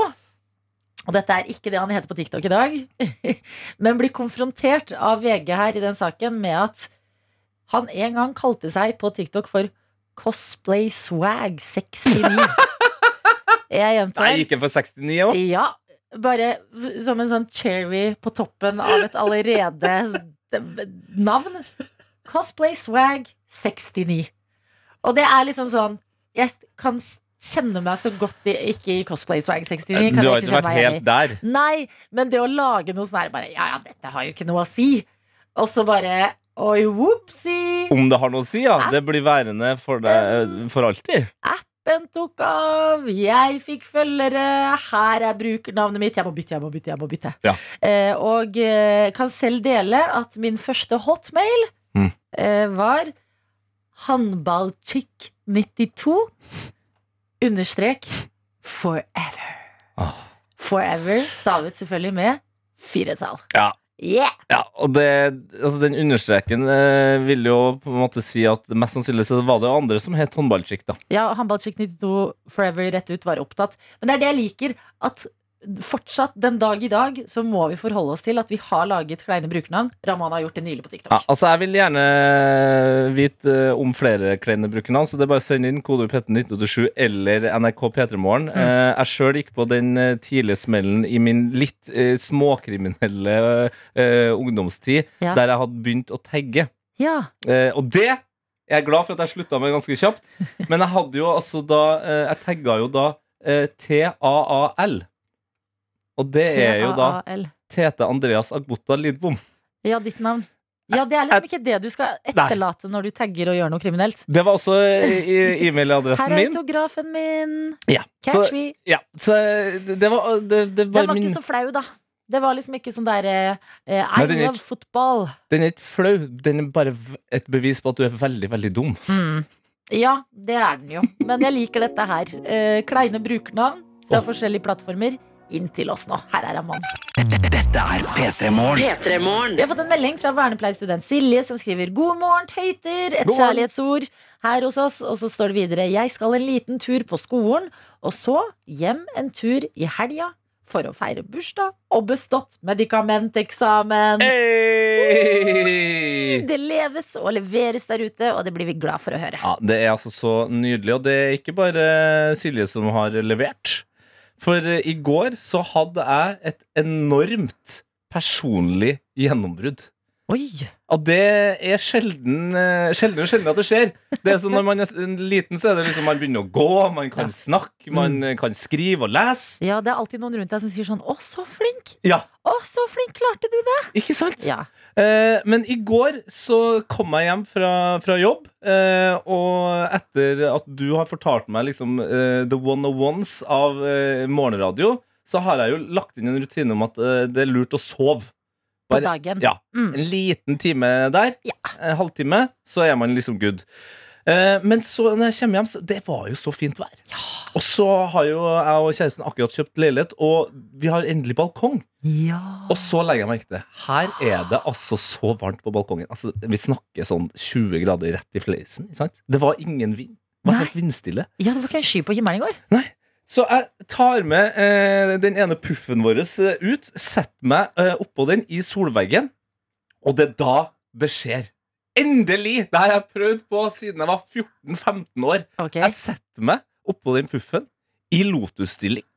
S2: Og dette er ikke det han heter på TikTok i dag. men blir konfrontert av VG her i den saken med at han en gang kalte seg på TikTok for Cosplay Swag 69. Jeg
S3: Nei,
S2: gjentar.
S3: ikke for 69 òg.
S2: Ja, bare v- som en sånn cherry på toppen av et allerede s- d- navn. Cosplay swag 69. Og det er liksom sånn Jeg kan kjenne meg så godt i, ikke i Cosplay swag 69. Kan
S3: Du har
S2: jeg
S3: ikke
S2: kjenne
S3: vært
S2: meg igjen i.
S3: helt der.
S2: Nei, men det å lage noe sånn her bare Ja, ja, dette har jo ikke noe å si. Og så bare Oi, whoopsie.
S3: Om det har noe å si, ja. Det blir værende for deg eh, for alltid.
S2: Appen tok av, jeg fikk følgere, her er brukernavnet mitt. Jeg må bytte, jeg må bytte. jeg må bytte
S3: Ja.
S2: eh, Og eh, kan selv dele at min første hotmail
S3: Mm.
S2: eh, var handballchick92 understrek forever.
S3: Ah.
S2: Forever stavet selvfølgelig med firetall.
S3: Ja.
S2: Yeah!
S3: Ja, og det, altså Den understreken eh, vil jo på en måte si at mest sannsynlig så var det jo andre som het håndballchick, da.
S2: Ja, Håndballchick 92 Forever rett ut var opptatt. Men det er det jeg liker. At fortsatt, den dag i dag, så må vi forholde oss til at vi har laget kleine brukernavn. Ramona har gjort det nylig på TikTok.
S3: Ja, altså Jeg vil gjerne vite eh, om flere kleine brukernavn, så det er bare å sende inn kodeord P1987 eller NRK P3morgen. Eh, jeg sjøl gikk på den eh, tidlige smellen i min litt eh, småkriminelle eh, ungdomstid,
S2: Ja.
S3: der jeg hadde begynt å tagge.
S2: Ja.
S3: Eh, og det jeg er glad for at jeg slutta med ganske kjapt. Men jeg hadde jo altså da eh, Jeg tagga jo da eh, TAAL. Og det er jo da
S2: TAAL.
S3: Tete Andreas Agbota Lidbom.
S2: Ja, ditt navn. Ja, det er liksom ikke det du skal etterlate når du tagger og gjør noe kriminelt.
S3: Det var også eh, i-
S2: Her
S3: e-mailadressen
S2: er
S3: min.
S2: autografen min.
S3: Ja,
S2: Catch
S3: så,
S2: me.
S3: ja, så det, det var det, det
S2: Den
S3: var
S2: var
S3: min
S2: ikke så flau, da. Det var liksom ikke sånn der eh, eh, I
S3: Nei, den er
S2: love
S3: ikke-
S2: football.
S3: Den er ikke flau. Den er bare v- et bevis på at du er veldig, veldig dum.
S2: Mm. Ja, det er den jo. Men jeg liker dette her. Eh, kleine brukernavn fra forskjellige plattformer inn til oss nå. Her er Amand.
S1: Dette er P3 Morgen.
S2: Vi har fått en melding fra vernepleierstudent Silje som skriver 'God morgen, tøyter'. Et
S3: God morgen.
S2: kjærlighetsord her hos oss. Og så står det videre 'Jeg skal en liten tur på skolen, og så hjem en tur i helga'. For å feire bursdag og bestått medikamenteksamen.
S3: Hey!
S2: Det leves og leveres der ute, og det blir vi glad for å høre.
S3: Ja, Det er altså så nydelig, og det er ikke bare Silje som har levert. For eh, i går så hadde jeg et enormt personlig gjennombrudd.
S2: Oi!
S3: Ja, det er sjelden eh, Sjelden og sjelden at det skjer. Det er sånn Når man er en liten, så er det liksom man begynner å gå, man kan snakke, man eh, kan skrive og lese.
S2: Ja, det er alltid noen rundt deg som sier sånn 'Å, så flink!
S3: Ja,
S2: Å, så flink! Klarte du det?'
S3: ikke sant?
S2: Ja.
S3: Eh, men i går så kom jeg hjem fra, fra jobb, eh, og etter at du har fortalt meg liksom eh, the one-of-ones av eh, morgenradio, så har jeg jo lagt inn en rutine om at eh, det er lurt å sove.
S2: På
S3: Bare-
S2: dagen.
S3: Ja,
S2: Mm.
S3: En liten time der,
S2: Ja.
S3: en halvtime, så er man liksom good. Eh, men så når jeg kommer hjem, så det var jo så fint vær. Og så har jo jeg og kjæresten akkurat kjøpt leilighet, og vi har endelig balkong.
S2: Ja.
S3: Og så legger jeg merke til Her er det altså så varmt på balkongen. Altså, vi snakker sånn 20 grader rett i fleisen. ikke Sant? Det var ingen vind. Det var
S2: Nei.
S3: helt vindstille.
S2: ja, det var ikke en sky på himmelen i går.
S3: Så jeg tar med eh, den ene puffen vår eh, ut, setter meg eh, oppå den i solveggen, og det er da det skjer. Endelig! Det her har jeg prøvd på siden jeg var 14-15 år.
S2: Ok.
S3: Jeg setter meg oppå den puffen i lotusstilling,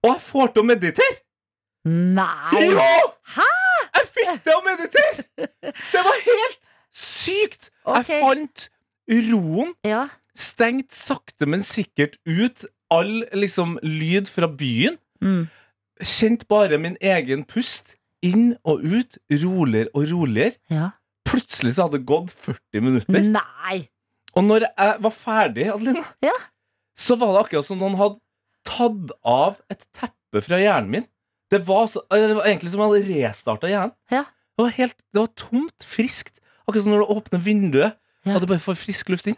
S3: og jeg får til å meditere!
S2: Nei!
S3: Ja!
S2: Hæ?
S3: Jeg fikk det å meditere! Det var helt sykt!
S2: Ok.
S3: Jeg fant roen,
S2: Ja.
S3: stengt sakte, men sikkert ut all liksom lyd fra byen.
S2: Mm.
S3: Kjent bare min egen pust. Inn og ut, roligere og roligere.
S2: ja.
S3: Plutselig så hadde det gått 40 minutter.
S2: Nei!
S3: Og når jeg var ferdig, Adelina,
S2: Ja.
S3: så var det akkurat som noen hadde tatt av et teppe fra hjernen min. Det var, så, eller det var egentlig som om jeg hadde restarta hjernen.
S2: Ja.
S3: Det, var helt, det var tomt, friskt. Akkurat som når du åpner vinduet,
S2: Ja.
S3: og du bare får frisk luft inn.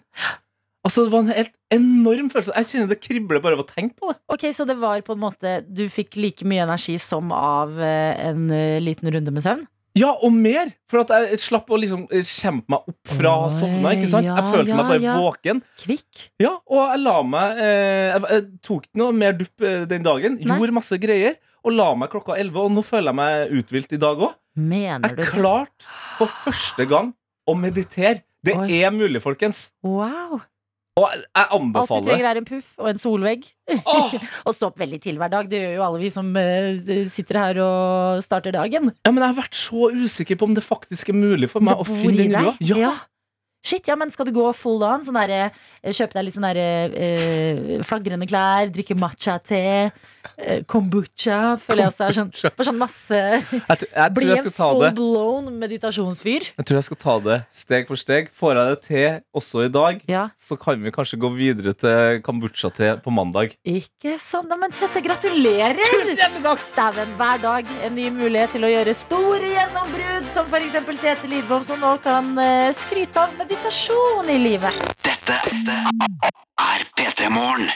S3: Altså, Det var en helt enorm følelse. Jeg kjenner det kribler bare av å tenke på det.
S2: Ok, Så det var på en måte Du fikk like mye energi som av eh, en eh, liten runde med søvn?
S3: Ja, og mer! For at jeg slapp å liksom eh, kjempe meg opp fra å ha sovna. ikke sant? Jeg
S2: Oi,
S3: følte
S2: ja,
S3: meg bare
S2: ja.
S3: våken.
S2: Kvikk?
S3: Ja, og jeg la meg eh, jeg, jeg tok ikke noe mer dupp eh, den dagen.
S2: Nei.
S3: Gjorde masse greier. Og la meg klokka elleve. Og nå føler jeg meg uthvilt i dag òg.
S2: Mener du
S3: Jeg
S2: det?
S3: klarte for første gang å meditere. Det
S2: Oi.
S3: er mulig, folkens.
S2: Wow!
S3: Og jeg, jeg
S2: Alt du
S3: anbefaler det.
S2: trenger, er en puff og en solvegg.
S3: Åh!
S2: Og stå opp veldig tidlig hver dag. Det gjør jo alle vi som eh, sitter her og starter dagen.
S3: Ja, men jeg har vært så usikker på om det faktisk er mulig for meg å
S2: Det bor i
S3: finne den
S2: deg.
S3: roa. Ja.
S2: Ja. Shit, ja, men skal du gå full on? Sånn der, eh, kjøpe deg litt sånn der, eh, flagrende klær, drikke matcha-te, eh, kombucha Føler jeg også er sånn, bare sånn masse
S3: Jeg, tr- jeg, tror
S2: Bli
S3: jeg,
S2: en
S3: skal ta det,
S2: full-blown meditasjonsfyr.
S3: jeg tror jeg skal ta det steg for steg. Får jeg det til også i dag,
S2: Ja,
S3: så kan vi kanskje gå videre til kombucha-te på mandag.
S2: ikke sant? Nei, Men Tete, gratulerer! Dæven, hver dag en ny mulighet til å gjøre store gjennombrudd, som f.eks. Tete Lidbom, som nå kan eh, skryte av meditasjon i livet.
S9: Dette er P3 Morgen.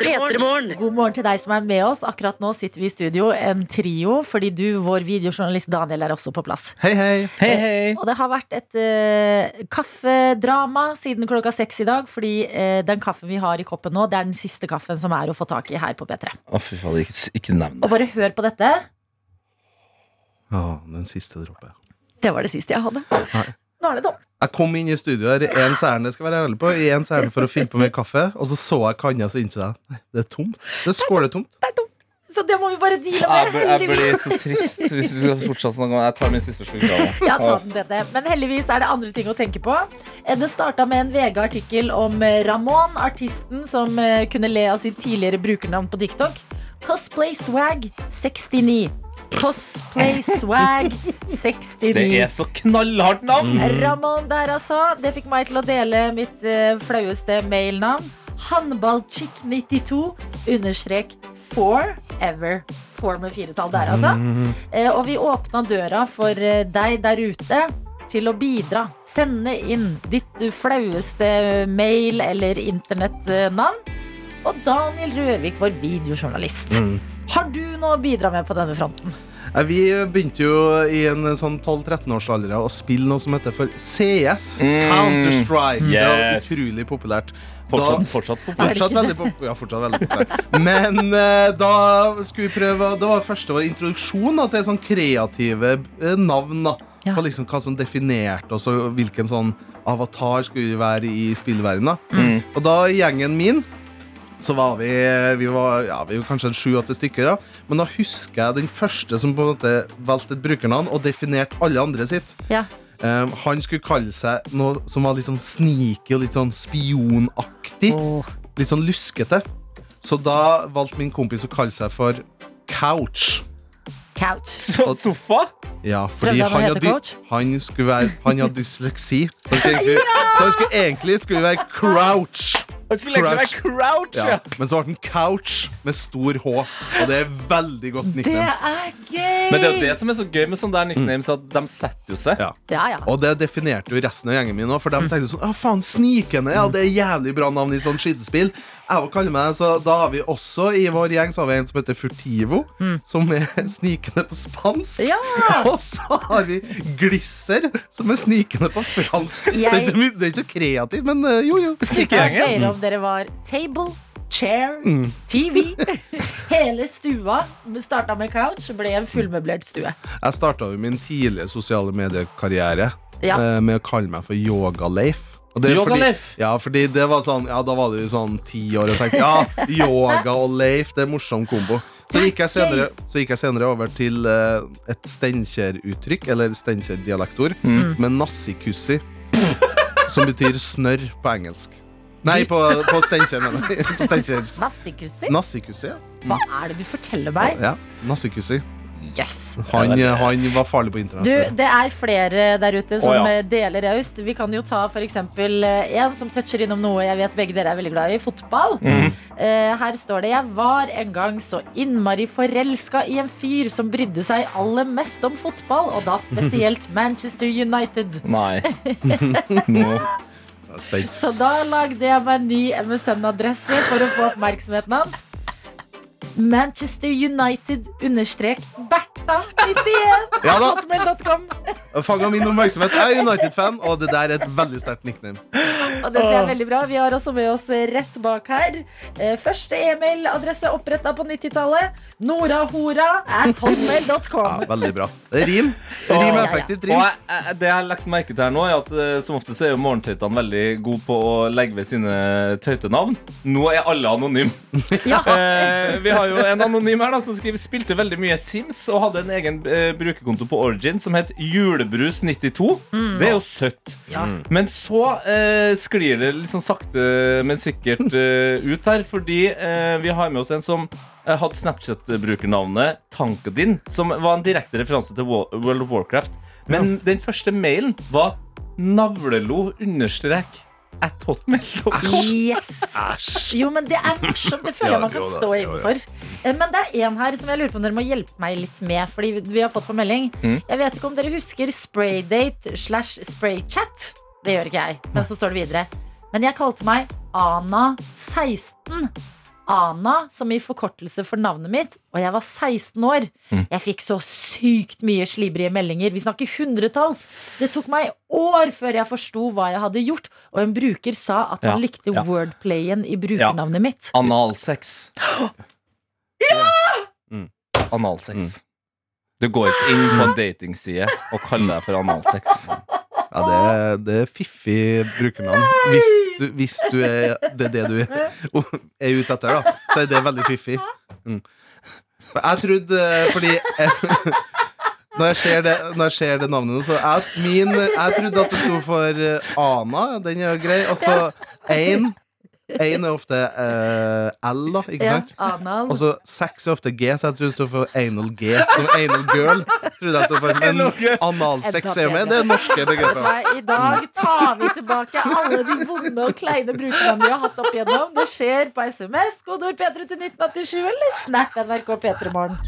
S2: God morgen til deg som er med oss. Akkurat nå sitter vi i studio, en trio, fordi du, vår videojournalist Daniel, er også på plass.
S5: Hei, hei.
S3: Hei, hei.
S2: Og det har vært et eh, kaffedrama siden klokka seks i dag, fordi eh, den kaffen vi har i koppen nå, det er den siste kaffen som er å få tak i her på P3.
S3: Å, fy fader, ikke, ikke nevn det.
S2: Og bare hør på dette.
S5: Å, den siste dråpen.
S2: Det var det siste jeg hadde. Nå er det tomt.
S5: Jeg kom inn i studio her i ens ærend skal jeg være ærlig på, i ens ærend for å fylle på mer kaffe, og så så jeg kanna, så innså jeg nei, det er tomt. Det er skåletomt.
S2: Så det må vi bare deale
S3: Jeg
S2: med.
S3: bør- jeg blir
S2: heldigvis.
S3: så trist hvis vi skal fortsette sånn. Jeg tar min siste slurk av det.
S2: Ja, ta den dette. Men heldigvis er det andre ting å tenke på. Eh, Det starta med en VG-artikkel om eh, Ramón, artisten som eh, kunne le av sitt tidligere brukernavn på TikTok. Cosplay Swag 69. Cosplay Swag 69.
S3: Det er så knallhardt navn!
S2: Ramón der, altså. Det fikk meg til å dele mitt eh, flaueste mailnavn. Handballchick92 understrek forever. Four med firetall der, altså.
S3: Mhm.
S2: Eh, og vi åpna døra for eh, deg der ute til å bidra. Sende inn ditt flaueste mail- eller internettnavn. Og Daniel Røvik, vår videojournalist.
S3: Mm.
S2: Har du noe å bidra med på denne fronten?
S5: Nei, Eh, Vi begynte jo i en sånn 12-13-årsalder å spille noe som heter for CS.
S3: Mm.
S5: Counter-Strike. Det var
S3: Yes.
S5: utrolig populært. Da-
S3: Fortsatt, fortsatt på
S5: Fortsatt veldig pop- ja, fortsatt veldig populær. Men eh, da skulle vi prøve Det var første vår introduksjon da, til sånn kreative eh, navn. da
S2: Ja.
S5: På liksom hva som definerte oss, og hvilken sånn avatar skulle vi være i spillverdenen. da.
S3: Mm.
S5: Og da i gjengen min så var vi Vi var, ja, vi var kanskje en sju-åtte stykker. da Men da husker jeg den første som på en måte valgte et brukernavn og definerte alle andre sitt.
S2: Ja.
S5: Eh, han skulle kalle seg noe som var litt sånn sneaky og litt sånn spionaktig litt sånn luskete. Så da valgte min kompis å kalle seg for Couch.
S2: Couch.
S3: So sofa?
S5: Ja,
S2: Prøvde
S5: fordi
S2: han å
S5: han,
S2: hete
S5: hadde,
S2: Coach?
S5: han, skulle være, han hadde dysleksi. Så han skulle egentlig, så han skulle, egentlig skulle være Crouch.
S3: Han skulle egentlig være crouch,
S5: Ja.
S3: ja.
S5: Men så ble han Couch med stor H. Og det er veldig godt
S2: Det
S5: nickname.
S2: er gøy!
S3: Men det er jo det som er så gøy med sånne der nicknames, at de setter jo seg.
S5: Ja.
S2: Ja, ja.
S5: Og det definerte jo resten av gjengen min òg, for de tenkte sånn Å, faen, Snikende, ja, det er jævlig bra navn i sånn skytespill. Jeg vil kalle meg Så da har vi også i vår gjeng så har vi en som heter Furtivo, som er snikende på spansk.
S2: ja.
S5: Og så har vi Glisser, som er snikende på fransk.
S2: Jeg-
S5: Så det er ikke my- det er ikke så kreativt, men eh, jo, jo.
S2: Ja,
S3: Snikegjengen.
S2: dere om dere var table, chair, TV. Hele stua starta med couch, ble en fullmøblert stue.
S5: Jeg starta jo min tidlige sosiale mediekarriere
S2: Ja.
S5: eh, med å kalle meg for Yogaleif. Og det er
S3: Yoga
S5: fordi-
S3: Leif?
S5: Ja, fordi det var sånn, ja, da var det jo sånn ti år og tenkte ja, yoga og Leif, det er morsom kombo. Så gikk jeg senere, så gikk jeg senere over til eh, et Steinkjer-uttrykk, eller Steinkjer-dialektord,
S2: Mm.
S5: som er nassikussi, som betyr snørr på engelsk. Nei, på, på Steinkjer, mener jeg. På Steinkjer.
S2: Nassikusser?
S5: Nassikussi, ja.
S2: Hva er det du forteller meg?
S5: ja. Nassikussi.
S2: Yes.
S5: Han, han var farlig på internett.
S2: Du, det er flere der ute som
S3: Å,
S2: eh,
S3: ja.
S2: deler raust. Vi kan jo ta f.eks. en som toucher innom noe jeg vet begge dere er veldig glad i, fotball.
S3: Mm.
S2: Eh, Her står det Jeg var en gang så innmari forelska i en fyr som brydde seg aller mest om fotball, og da spesielt Manchester United.
S3: Nei. No.
S5: Spent.
S2: Så da lagde jeg meg en ny MSN-adresse for å få oppmerksomheten hans. Manchester United understrek Bertha 91
S5: Ja da.
S2: hotmail.com.
S5: Fanga min oppmerksomhet. Jeg er United-fan, og det der er et veldig sterkt nickname.
S2: Og det ser jeg veldig bra. Vi har også med oss rett bak her. Eh, Første e-mailadresse oppretta på 90-tallet. Norahora at
S5: Ja,
S2: hotmail.com.
S5: veldig bra. Det er rim. Rim er effektivt.
S3: Og
S5: Rim.
S3: jeg, jeg, det jeg har lagt merke til her nå, er at eh, som ofte så er jo morgentøytene veldig gode på å legge ved sine tøytenavn. Nå er alle anonyme.
S2: Ja.
S3: Eh, vi har jo en anonym her da, som skriver spilte veldig mye Sims og hadde en egen eh, brukerkonto på Origin som het Julebrus92. Det er jo søtt. Men så eh, sklir det litt sånn sakte, men sikkert eh, ut her, fordi eh, vi har med oss en som eh, hadde Snapchat-brukernavnet Tankadin, som var en direkte referanse til Wa- World of Warcraft. Men den første mailen var navlelo understrek at hotmail.com.
S2: Yes! Jo, men det er morsomt. Det føler jeg man kan stå innenfor. Eh, Men det er en her som jeg lurer på om dere må hjelpe meg litt med. Fordi vi- vi har fått på melding. Jeg vet ikke om dere husker spraydate slash spraychat. Det gjør ikke jeg. Men så står det videre. Men jeg kalte meg Ana16. Ana, som i forkortelse for navnet mitt, og jeg var 16 år.
S5: Mm.
S2: Jeg fikk så sykt mye slibrige meldinger. Vi snakker hundretalls. Det tok meg år før jeg forsto hva jeg hadde gjort, og en bruker sa at han
S3: Ja,
S2: likte
S3: ja.
S2: wordplayen i brukernavnet mitt.
S3: Analsex.
S5: Mm.
S3: Analsex. Du går ikke inn på en datingside og kaller deg for analsex.
S5: Ja, det er, det er fiffig brukernavn. Hvis du, hvis du er Det er det du er ute etter, da. Så er det veldig fiffig. Mm. Men Jeg trodde eh, Fordi eh, når jeg, ser det, når jeg ser det navnet nå, så jeg, min, jeg trodde at det sto for eh, Ana. Den er jo grei. Og så Ein. Ein er ofte eh, L, da. Ikke
S2: Ja,
S5: sant?
S2: anal.
S5: Og så sex er ofte G, så jeg tror det står for anal G. Som anal girl. Trodde jeg det stod for, men analsex er jo med. Det er norske
S2: Vet
S5: begrepet.
S2: du hva, I dag tar vi tilbake alle de vonde og kleine brukerne vi har hatt opp igjennom. Det skjer på SMS, kodeord P3 til 1987 eller Snap NRK P3morgen.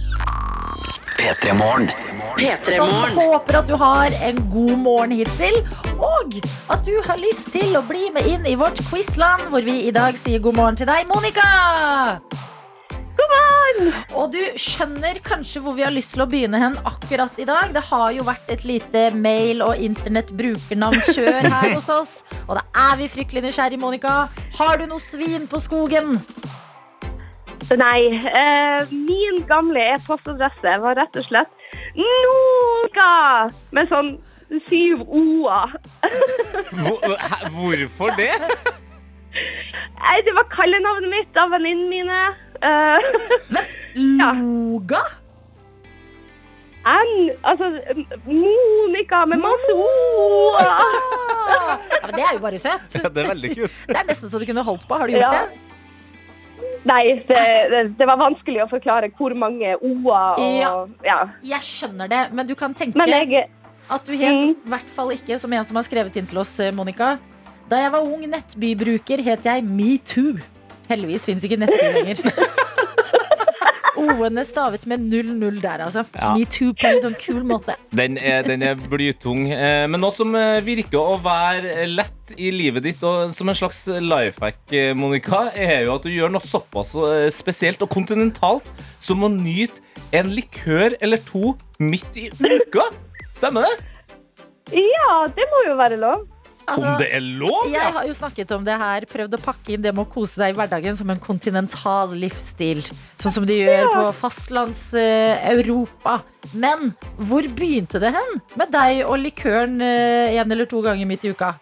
S2: Så håper at du har en god morgen hittil, og at du har lyst til å bli med inn i vårt quizland, hvor vi i dag sier god morgen til deg, Monica. Og du skjønner kanskje hvor vi har lyst til å begynne hen akkurat i dag. Det har jo vært et lite mail- og internettbrukernavnkjør her hos oss. Og da er vi fryktelig nysgjerrig, Monica. Har du noe svin på skogen?
S9: Nei. Eh, min gamle e-postadresse var rett og slett Noga! Med sånn syv o-er.
S3: Hvorfor det?
S9: Nei, det var kallenavnet mitt av venninnene mine. Eh,
S2: Loga?
S9: N, altså Monica med masse o-er.
S2: Ja, men det er jo bare søtt.
S3: Ja, det er veldig kult.
S2: Det er nesten så du kunne holdt på. Har du gjort
S9: Ja.
S2: det?
S9: Nei, det, det, det var vanskelig å forklare hvor mange o-er og ja.
S2: Jeg skjønner det, men du kan tenke
S9: Men jeg
S2: at du helt, i hvert fall ikke, som en som har skrevet inn til oss, eh, Monica. Da jeg var ung nettbybruker, het jeg Metoo. Heldigvis fins ikke nettby lenger. O-ene stavet med 00 der, altså.
S3: Ja.
S2: Metoo på en litt sånn kul måte.
S3: Den er, den er blytung. Eh, Men noe som eh, virker å være lett i livet ditt, og som en slags life hack, eh, Monica, er jo at du gjør noe såpass eh, spesielt og kontinentalt som å nyte en likør eller to midt i uka. Stemmer det?
S9: Ja, det må jo være lov.
S2: Altså,
S3: Om det er lov?
S2: jeg har jo snakket om det her, prøvd å pakke inn det med å kose seg i hverdagen som en kontinental livsstil. Sånn som de gjør på fastlands-Europa. Men hvor begynte det hen? Med deg og likøren én eller to ganger midt i uka?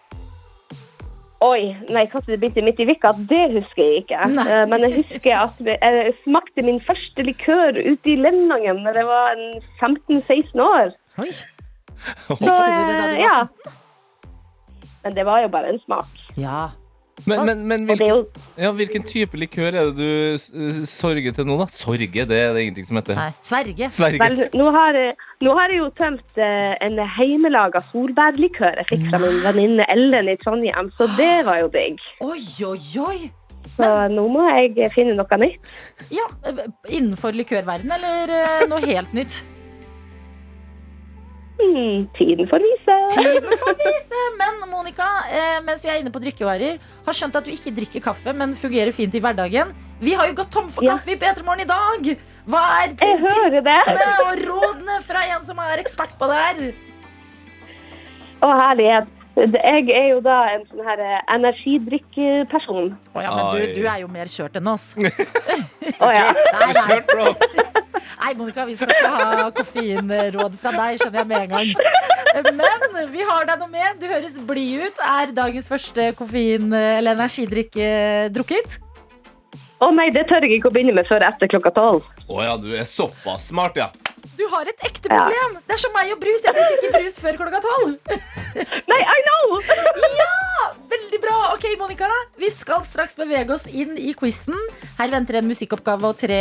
S9: Oi, nei, kanskje det begynte midt i vika, det husker jeg ikke.
S2: Nei.
S9: Eh, Men jeg husker at eh, jeg smakte min første likør ute i Lemnangen da jeg var en 15-16 år.
S2: Oi.
S9: Så,
S2: Likte du det da du var
S9: eh, ja. Men det var jo bare en smak.
S2: Ja.
S3: Men, men, men
S9: Og det
S3: hvilken,
S9: er jo
S3: ja, hvilken type likør er det du eh, sorger til nå, da? Sorge, det, er det ingenting som heter.
S2: Nei, Sverige.
S3: Sverge.
S9: Vel, nå har, jeg- nå har jeg jo tømt eh, en heimelaga solbærlikør jeg fikk fra min venninne Ellen i Trondheim, så det var jo digg.
S2: Oi, oi, oi!
S9: Så nå må jeg finne noe nytt.
S2: Ja, eh, Innenfor likørverden, eller eh, noe helt nytt?
S9: Hmm, tiden får vise.
S2: Tiden får vise! Men Monica, eh, mens vi er inne på drikkevarer, har skjønt at du ikke drikker kaffe, men fungerer fint i hverdagen. Vi har jo gått tom for
S9: Ja.
S2: kaffe i P3morgen i dag! Hva er
S9: Jeg hører det.
S2: tipsene og rådene fra en som er ekspert på det her?
S9: Å, herlighet. Det- Jeg er jo da en sånn her eh, energidrikkperson.
S2: Å ja, men
S3: Oi.
S2: du, du er jo mer kjørt enn oss.
S9: Å ja.
S2: Nei, nei,
S3: Kjørt, bro.
S2: nei Monica, vi skal ikke ha koffeinråd fra deg, skjønner jeg med en gang. Men vi har deg noe med. Du høres blid ut. Er dagens første koffein- eller energidrikk eh, drukket?
S9: Å nei, det tør jeg ikke å begynne med før etter klokka tolv.
S3: Å ja, du er såpass smart, ja.
S2: Du har et ekte
S9: Ja.
S2: problem. Det er som meg og brus. Jeg drikker ikke brus før klokka tolv.
S9: Nei, I know!
S2: Veldig bra. Ok, Monica. Vi skal straks bevege oss inn i quizen. Her venter en musikkoppgave og tre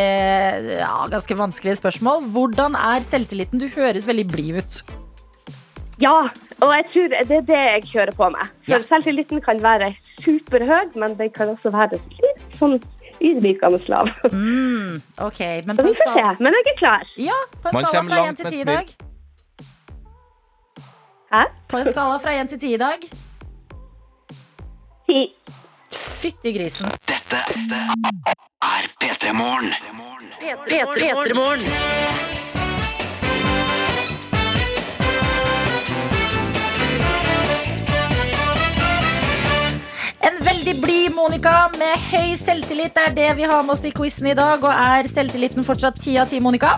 S2: ja, ganske vanskelige spørsmål. Hvordan er selvtilliten? Du høres veldig blid ut.
S9: Ja, og jeg tror det er det jeg kjører på med. For
S2: Ja.
S9: selvtilliten kan være superhøy, men den kan også være litt sånn ydmykende lav.
S2: Mm, ok, men
S9: Så
S2: på
S9: vi
S2: en
S9: får se.
S2: skala,
S9: Men jeg er klar.
S2: ja, på en
S3: Man
S2: skala
S3: kommer
S2: fra
S3: langt
S2: 1 til
S3: med et
S2: 10 i
S3: smil.
S2: dag
S9: Hæ?
S2: På en skala fra 1 til 10 i dag
S9: Ti.
S2: Fytti grisen.
S10: er P3 Morgen.
S11: P3morgen.
S2: En veldig blid Monica med høy selvtillit Det er det vi har med oss i quizen i dag. Og er selvtilliten fortsatt ti av ti, Monica?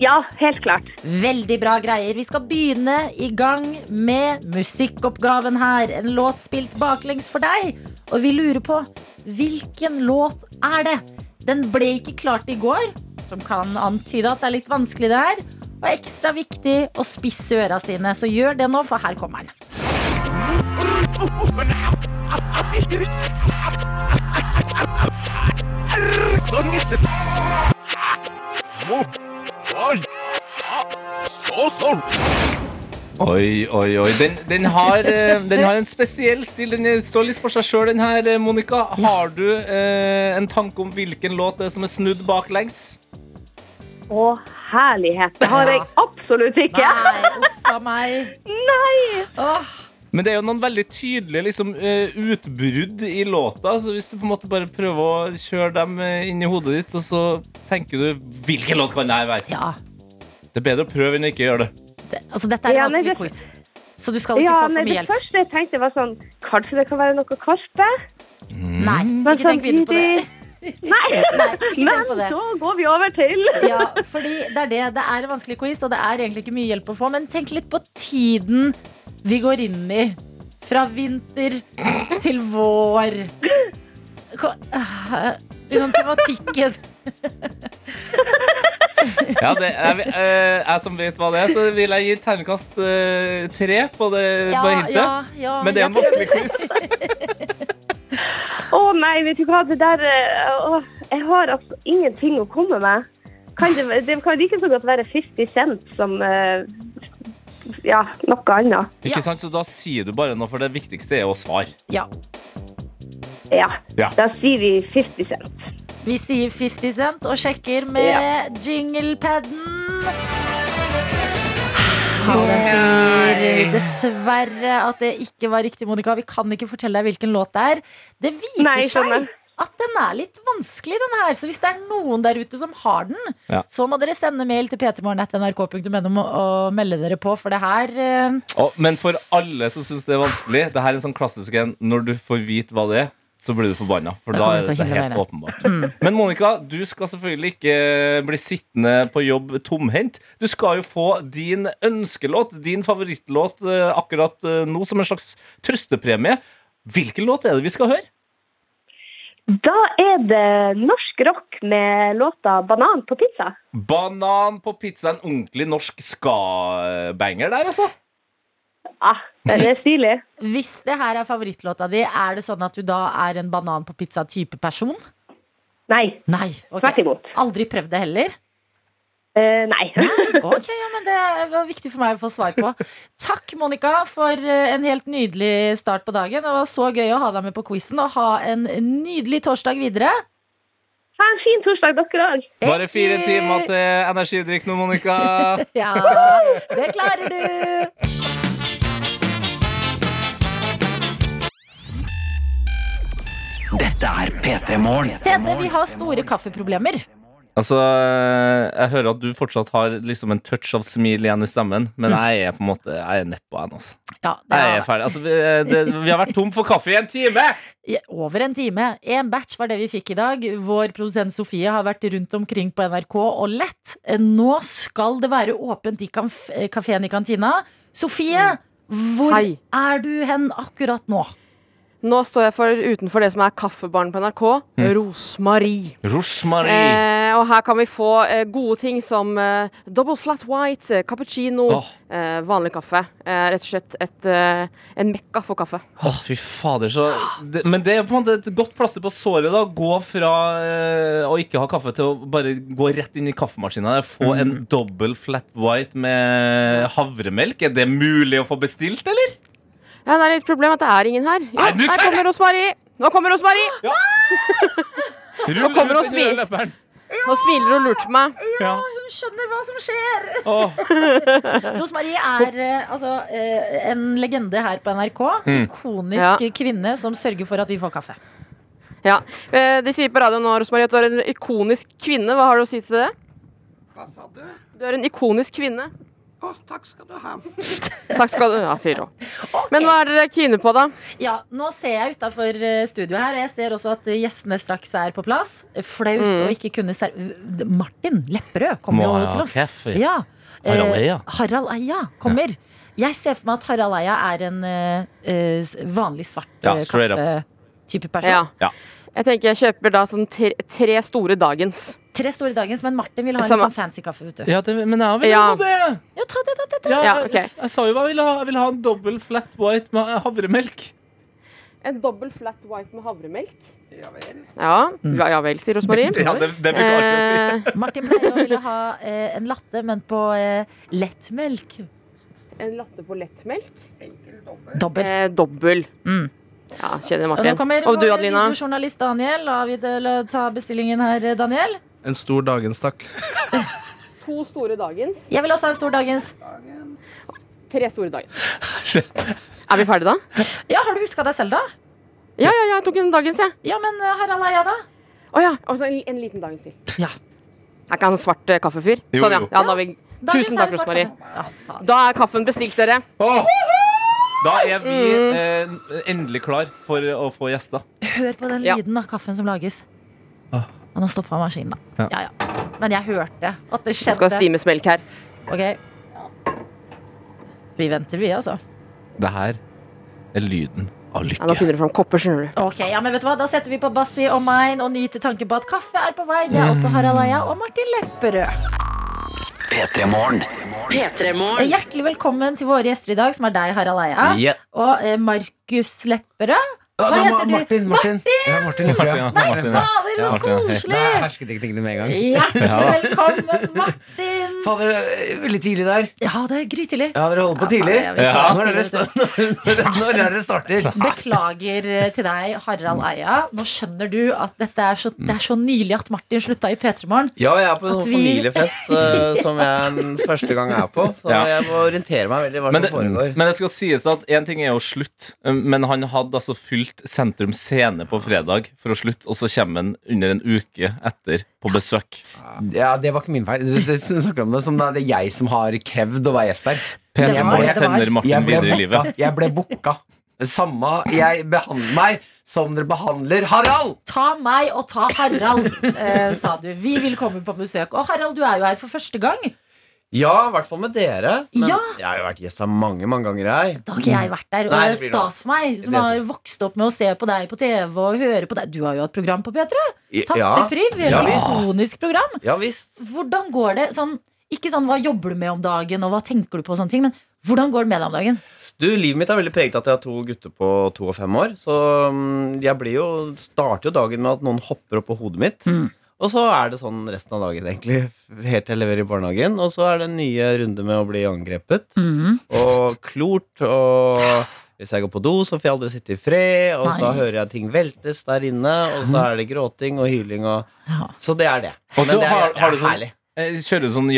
S9: Ja, helt klart.
S2: Veldig bra greier. Vi skal begynne i gang med musikkoppgaven her. En låt spilt baklengs for deg. Og vi lurer på hvilken låt er det? Den ble ikke klart i går, som kan antyde at det er litt vanskelig det her. Og ekstra viktig å spisse øra sine, så gjør det nå, for her kommer den.
S3: Oi, oi, oi. Den, den, har, eh, den har en spesiell stil. Den står litt for seg sjøl, den her, eh, Monica. Har du eh, en tanke om hvilken låt det er som er snudd baklengs?
S9: Å, herlighet. Det har jeg absolutt ikke.
S2: Nei, uff a meg.
S9: Nei!
S2: Åh.
S3: Men det er jo noen veldig tydelige liksom, eh, utbrudd i låta, så hvis du på en måte bare prøver å kjøre dem eh, inn i hodet ditt, og så tenker du Hvilken låt kan det her være?
S2: Ja,
S3: Det er bedre å prøve enn å ikke gjøre det.
S2: det, altså dette er en
S9: Ja, nei,
S2: vanskelig
S9: det-
S2: quiz. Så du skal ikke
S9: Ja,
S2: få
S9: nei,
S2: for mye
S9: det
S2: hjelp.
S9: første jeg tenkte, var sånn Kanskje det kan være noe Karpe?
S2: Nei,
S9: Men
S2: ikke tenk videre på det.
S9: Nei!
S2: Nei, ikke
S9: Men
S2: tenk på det.
S9: så går vi over til
S2: Ja, fordi det er det. Det er en vanskelig quiz, og det er egentlig ikke mye hjelp å få. Men tenk litt på tiden vi går inn i. Fra vinter til vår. Ko- øh, Liksom tematikken.
S3: Ja, det er, vi- eh, jeg som vet hva det er, så vil jeg gi ternekast eh, tre på det
S2: Ja,
S3: på hintet.
S2: ja, ja.
S3: Men det er en
S2: jeg-
S3: vanskelig quiz.
S9: Å nei, vet du hva, det der eh, åh, Jeg har altså ingenting å komme med. Kan det, det kan like så godt være 50 Cent som eh, ja, noe annet.
S3: Ikke
S2: Ja.
S3: sant, Så da sier du bare noe, for det viktigste er å svare.
S2: Ja,
S9: Ja.
S3: Ja.
S9: Da sier vi 50 Cent.
S2: vi sier 50 Cent og sjekker med jinglepaden. Og den sier dessverre at det ikke var riktig, Monica. Vi kan ikke fortelle deg hvilken låt det er. Det viser
S9: Nei, skjønner.
S2: seg at den er litt vanskelig, den her. Så hvis det er noen der ute som har den,
S3: Ja.
S2: så må dere sende mail til ptmorgen.nrk.no og melde dere på, for det her eh,
S3: Å, men for alle som syns det er vanskelig, det her er en sånn klassisk en når du får vite hva det er. Så blir du forbanna, for
S2: Da
S3: da
S2: kommer
S3: er
S2: du til å
S3: det
S2: kjenne
S3: helt
S2: deg Mm.
S3: åpenbart. Men Monica, du skal selvfølgelig ikke bli sittende på jobb tomhendt. Du skal jo få din ønskelåt, din favorittlåt, eh, akkurat eh, nå som en slags trøstepremie. Hvilken låt er det vi skal høre?
S9: Da er det norsk rock med låta 'Banan på pizza'.
S3: Banan på pizza, en ordentlig norsk ska-banger der, altså.
S9: Ah, den er stilig.
S2: Hvis det her er favorittlåta di, er det sånn at du da er en banan på pizza-type person?
S9: Nei,
S2: Nei. ok.
S9: tvert imot.
S2: Aldri prøvd det heller?
S9: Eh, nei.
S2: Ok, ja, men Det var viktig for meg å få svar på. Takk, Monica, for eh, en helt nydelig start på dagen. Det var så gøy å ha deg med på quizen, og ha en nydelig torsdag videre.
S9: Ha en fin torsdag, dere òg.
S3: Bare fire timer til energidrikk nå, Monica.
S2: Ja, det klarer du!
S1: Dette er P3 Morgen.
S2: Tete, vi har store kaffeproblemer.
S3: Altså, Jeg hører at du fortsatt har liksom en touch av smil igjen i stemmen, men jeg er på en måte, jeg er nedpå ennå. altså.
S2: Ja, det
S3: Jeg er ferdig. Altså, vi, det, vi har vært tom for kaffe i en time!
S2: er over en time. Én batch var det vi fikk i dag. Vår produsent Sofie har vært rundt omkring på NRK og lett. Eh, Nå skal det være åpent i kafeen i kantina. Sofie, hvor
S7: Hei.
S2: er du hen akkurat nå?
S7: Nå står jeg for, utenfor det som er kaffebaren på NRK,
S3: Mm.
S7: Rosmarie.
S3: Rosmarie.
S7: Eh, og her kan vi få eh, gode ting som eh, double flat white, eh, cappuccino,
S3: Åh.
S7: eh, vanlig kaffe. Eh, rett og slett et, eh, en mekka for kaffe.
S3: Å, fy fader, så det, Men det er på en måte et godt plaster på såret, da. Gå fra eh, å ikke ha kaffe til å bare gå rett inn i kaffemaskina. der. Få en dobbel flat white med havremelk. Er det mulig å få bestilt, eller?
S7: Ja, det er et problem at det er ingen her. Jo,
S3: Nei, du
S7: her
S3: klarer
S7: kommer Rosmarie! Nå kommer Rosmarie! kommer
S3: Rull ut
S7: og
S3: den røde
S7: spis.
S3: løperen.
S7: Nå smiler hun lurt på meg.
S3: Ja.
S2: Hun skjønner hva som skjer!
S3: Åh.
S2: Rosmarie er eh, altså, eh,
S3: Mm.
S2: en legende her på NRK. Ikonisk
S7: Ja.
S2: kvinne som sørger for at vi får kaffe.
S7: Ja. Eh, De sier på radioen nå, Rosmarie, at du er en ikonisk kvinne. Hva har du å si til det?
S10: Hva sa du?
S7: Du er en ikonisk kvinne.
S10: Å, takk skal du ha.
S7: Takk skal du Ja, sier hun. Men hva er dere kine på, da?
S2: Ja, Nå ser jeg utafor studioet her. Jeg ser også at eh, gjestene straks er på plass. Flaut
S7: Mm.
S2: å ikke kunne ser... Martin Lepperød kommer
S3: Må
S2: jo
S3: jeg ha
S2: til oss.
S3: kaffe?
S2: Ja. Eh,
S3: Harald Eia.
S2: Harald Eia kommer. Jeg ser for meg at Harald Eia er en eh, eh, s- vanlig svart
S3: Ja,
S2: eh,
S3: straight up.
S2: kaffetype person.
S7: Ja.
S3: Ja.
S7: Jeg tenker jeg kjøper da sånn tre, tre store dagens.
S2: Tre store dagens, men Martin vil ha en
S7: Som-
S2: litt sånn fancy kaffe. vet du
S3: Ja, det, men jeg vil
S7: Ja.
S3: ha det!
S2: Ja, ta det, ta det, ta det.
S3: Ja,
S7: Ja, ok.
S3: jeg, jeg sa jo hva jeg ville ha. Jeg ville ha en dobbel flat white med havremelk.
S7: En dobbel flat white med havremelk.
S10: Ja vel.
S7: Ja, ja, ja vel, sier Rosmarie.
S3: Ja, det, det blir ikke artig å si.
S7: Eh,
S2: Martin pleier å ville ha eh, en latte, men på eh, lettmelk.
S7: en latte på lettmelk.
S10: Enkel dobbel.
S2: Dobbel.
S7: Eh, dobbel.
S2: Mm.
S7: Ja, kjenner
S2: Og nå
S7: Martin.
S2: kommer
S7: Og du,
S2: vår
S7: Adelina?
S2: videojournalist Daniel. La vi det- ta bestillingen her, eh, Daniel.
S5: En stor dagens takk.
S7: To store dagens.
S2: Jeg vil også ha en stor dagens.
S7: Tre store dagens. Er vi ferdige da?
S2: Ja, Har du huska deg selv, da?
S7: Ja, ja, ja, jeg tok en dagens, jeg.
S2: Ja, men eh, Harald Eia, da?
S7: Å ja. Og så en, en liten dagens til.
S2: Ja.
S7: Er ikke han en svart eh, kaffefyr?
S3: Jo,
S7: Sånn, ja.
S3: jo.
S7: ja da har vi,
S2: Dagens
S7: tusen
S2: er
S7: takk,
S2: det svart
S7: Rosmarie.
S2: kaffe. Ja, faen.
S7: Da er kaffen bestilt, dere.
S3: Åh! Da er vi
S7: Mm.
S3: eh, endelig klar for å få gjester.
S2: Hør på den
S7: Ja. Ah.
S2: lyden av kaffen som lages. Han har stoppa maskinen, da.
S3: Ja.
S2: Ja, ja. Men jeg hørte at det
S7: Det skal
S2: skjedde.
S7: stimes melk her.
S2: Ok. Vi venter, vi, altså.
S3: Det her er lyden
S7: Ja, nå
S3: av lykke.
S7: finner du fram kopper, skjønner du.
S2: Ok, ja, men vet du hva? Da setter vi på Bassi og mine og nyter tanken på at kaffe er på vei. Det er også Harald Eia og Martin Lepperød. Eh,
S11: P3morgen.
S2: Hjertelig velkommen til våre gjester i dag, som er deg, Harald Eia, og eh, Markus Lepperød. Hva heter du?
S12: Martin, Martin. Ja, Martin, Martin,
S3: Martin, ja. Martin, ja.
S2: Fader,
S3: Ja,
S2: så
S3: Martin, ja.
S12: Da
S2: koselig!
S12: hersket ikke tingene med en gang.
S2: Hjertelig velkommen, Martin.
S12: Fader, eh, veldig tidlig der.
S2: Ja, det er grytidlig.
S12: Ja, dere holder på tidlig.
S2: Ja, vi starter
S12: Når er dere
S2: tidlig,
S12: sta- når er dere starter?
S2: Beklager eh, til deg, Harald Eia. Nå skjønner du at dette er så, det er så nylig at Martin slutta i P3 Morgen.
S12: Ja, jeg er på en
S2: At
S12: sånn
S2: vi-
S12: familiefest eh, som jeg den første gang er på. Så
S3: Ja.
S12: jeg må orientere meg veldig hva
S3: Men
S12: som
S3: det,
S12: foregår.
S3: men det skal sies at én ting er jo slutt, eh, men han hadde altså fylt Sentrum Scene på fredag for å slutte, og så kommer han under en uke etter på besøk.
S12: Ja, Det var ikke min feil. Du, du snakker om det som det er jeg som har krevd å være gjest der.
S2: Det var-
S3: Jeg må
S2: det var-
S3: sender Martin videre i
S12: booka.
S3: livet.
S12: Jeg ble booka. Samme jeg behandler meg som dere behandler Harald!
S2: Ta meg og ta Harald, eh, sa du. Vi vil komme på besøk. Og Harald, du er jo her for første gang.
S12: Ja, i hvert fall med dere. Men
S2: Ja.
S12: jeg har jo vært gjest her mange, mange ganger, jeg.
S2: Da har ikke jeg vært der. Og
S12: Nei,
S2: det
S12: det
S2: er
S12: blir
S2: stas for meg, som
S12: Det er
S2: har vokst opp med å se på deg på TV og høre på deg. Du har jo hatt program på P3.
S12: I-
S2: Tastefriv. Et
S12: Ja.
S2: ikonisk program.
S12: Ja, ja visst.
S2: Hvordan går det sånn Ikke sånn hva jobber du med om dagen, og hva tenker du på og sånne ting, men hvordan går det med deg om dagen?
S12: Du, livet mitt er veldig preget av at jeg har to gutter på to og fem år. Så mm, jeg blir jo, starter jo dagen med at noen hopper opp på hodet mitt.
S2: Mm.
S12: Og så er det sånn resten av dagen, egentlig. Helt til jeg leverer i barnehagen. Og så er det nye runde med å bli angrepet. Mhm. Og klort. Og hvis jeg går på do, så får jeg aldri sitte i fred. Og så
S2: Nei. Mm.
S12: hører jeg ting veltes der inne. Og så er det gråting og hyling og
S2: Ja.
S12: Så det er det.
S3: Og du
S12: det er,
S3: har-
S12: det
S3: har
S12: er
S3: du sånn-
S12: herlig.
S3: Eh, Kjører du sånn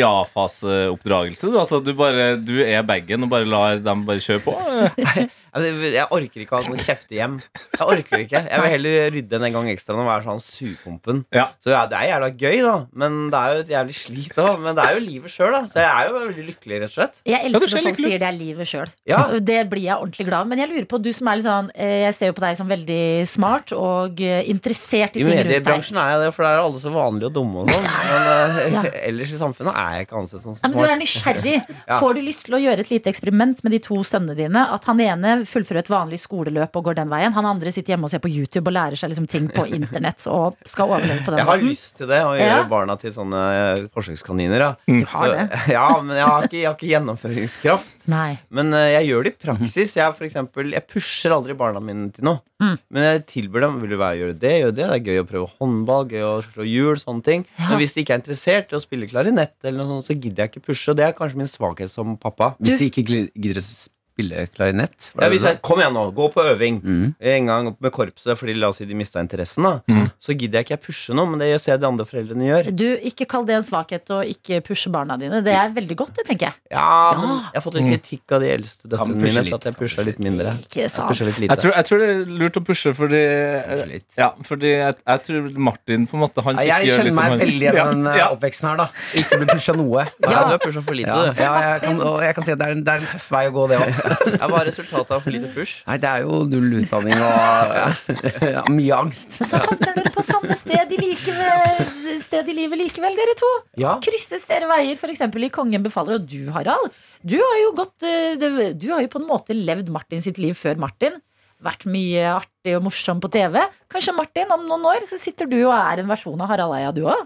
S3: ja-faseoppdragelse? Du, altså, du, bare- du er bagen og bare lar dem bare kjøre på? eh?
S12: Ja, det- Altså, Jeg orker ikke å ha sånn kjeftehjem. Jeg orker det ikke Jeg vil heller rydde en gang ekstra enn å være sånn surpompen.
S3: Ja.
S12: Så ja, det er jævla gøy, da. Men det er jo et jævlig slit òg. Men det er jo livet sjøl, da. Så jeg er jo veldig lykkelig, rett og slett.
S2: Jeg
S3: Ja, det
S2: elsker
S3: ser
S2: når folk
S3: litt ut.
S2: sier det er livet sjøl.
S12: Ja.
S2: Det blir jeg ordentlig glad av. Men jeg lurer på, du som er litt sånn eh, Jeg ser jo på deg som veldig smart og eh, interessert i
S12: I
S2: ting rundt deg.
S12: mediebransjen er jeg det, for der er alle så vanlige og dumme og sånn. Men eh,
S2: Ja.
S12: ellers i samfunnet er jeg ikke ansett som
S2: Ja, men du er
S12: smart.
S2: nysgjerrig.
S12: Ja.
S2: Får du lyst til å gjøre et lite eksperiment med de to sønnene dine? At han ene fullfører et vanlig skoleløp og går den veien. Han andre sitter hjemme og ser på YouTube og lærer seg liksom ting på internett og skal overleve på den
S12: Jeg har
S2: måten.
S12: lyst til det, å
S2: Ja.
S12: gjøre barna til sånne eh, forsøkskaniner. Da.
S2: Du har
S12: Så-
S2: det.
S12: Ja, men jeg har ikke, jeg har ikke gjennomføringskraft.
S2: Nei.
S12: Men eh, jeg gjør det i praksis. Jeg, er for eksempel, jeg pusher aldri barna mine til noe.
S2: Mm.
S12: Men jeg tilbyr dem vil du være, gjøre det, gjøre det. Det er gøy å prøve håndball, gøy å slå hjul, sånne ting. Men hvis de ikke er interessert i å spille klarinett, eller noe sånt, så gidder jeg ikke pushe. Og det er kanskje min svakhet som pappa.
S2: Hvis de
S10: ikke gidder å
S13: spille klarinett.
S12: Ja, hvis jeg, kom igjen nå, gå på øving. En gang opp med korpset, fordi la oss si de mista interessen. da Så gidder jeg ikke jeg pushe nå, men det ser jeg de andre foreldrene gjør.
S2: Du, Ikke kall det en svakhet å ikke pushe barna dine. Det er veldig godt, det, tenker jeg.
S12: Ja, men Jeg har fått litt kritikk av de eldste døtrene
S3: pushe
S12: mine
S3: litt,
S12: for at jeg pusha litt mindre.
S2: Ikke sant.
S12: Jeg pusha litt
S3: Jeg
S12: lite.
S3: tror, jeg tror det er lurt å pushe, fordi, ja, fordi jeg, jeg tror Martin på en måte han
S13: Ja, jeg
S3: fikk gjøre litt
S13: kjenner
S3: som
S13: meg
S3: han-
S13: veldig igjen i den eh,
S3: liksom Ja.
S13: oppveksten her, da. Ikke bli pusha noe.
S12: Ja, du er pusha for lite,
S13: Ja,
S12: du.
S13: ja jeg kan, og jeg kan si at det er en, det er en tøff vei å gå, det òg.
S12: Ja, Hva er resultatet av for lite push?
S13: Nei, det er jo null utdanning og ja, mye angst.
S2: Men så havner dere på samme sted i, like, sted i livet likevel, dere to.
S13: Ja.
S2: Krysses dere veier, f.eks. i Kongen befaler. Og du, Harald, du har jo gått eh, det- Du har jo på en måte levd Martin sitt liv før Martin. Vært mye artig og morsom på TV. Kanskje Martin, om noen år så sitter du og er en versjon av Harald Eia, du òg.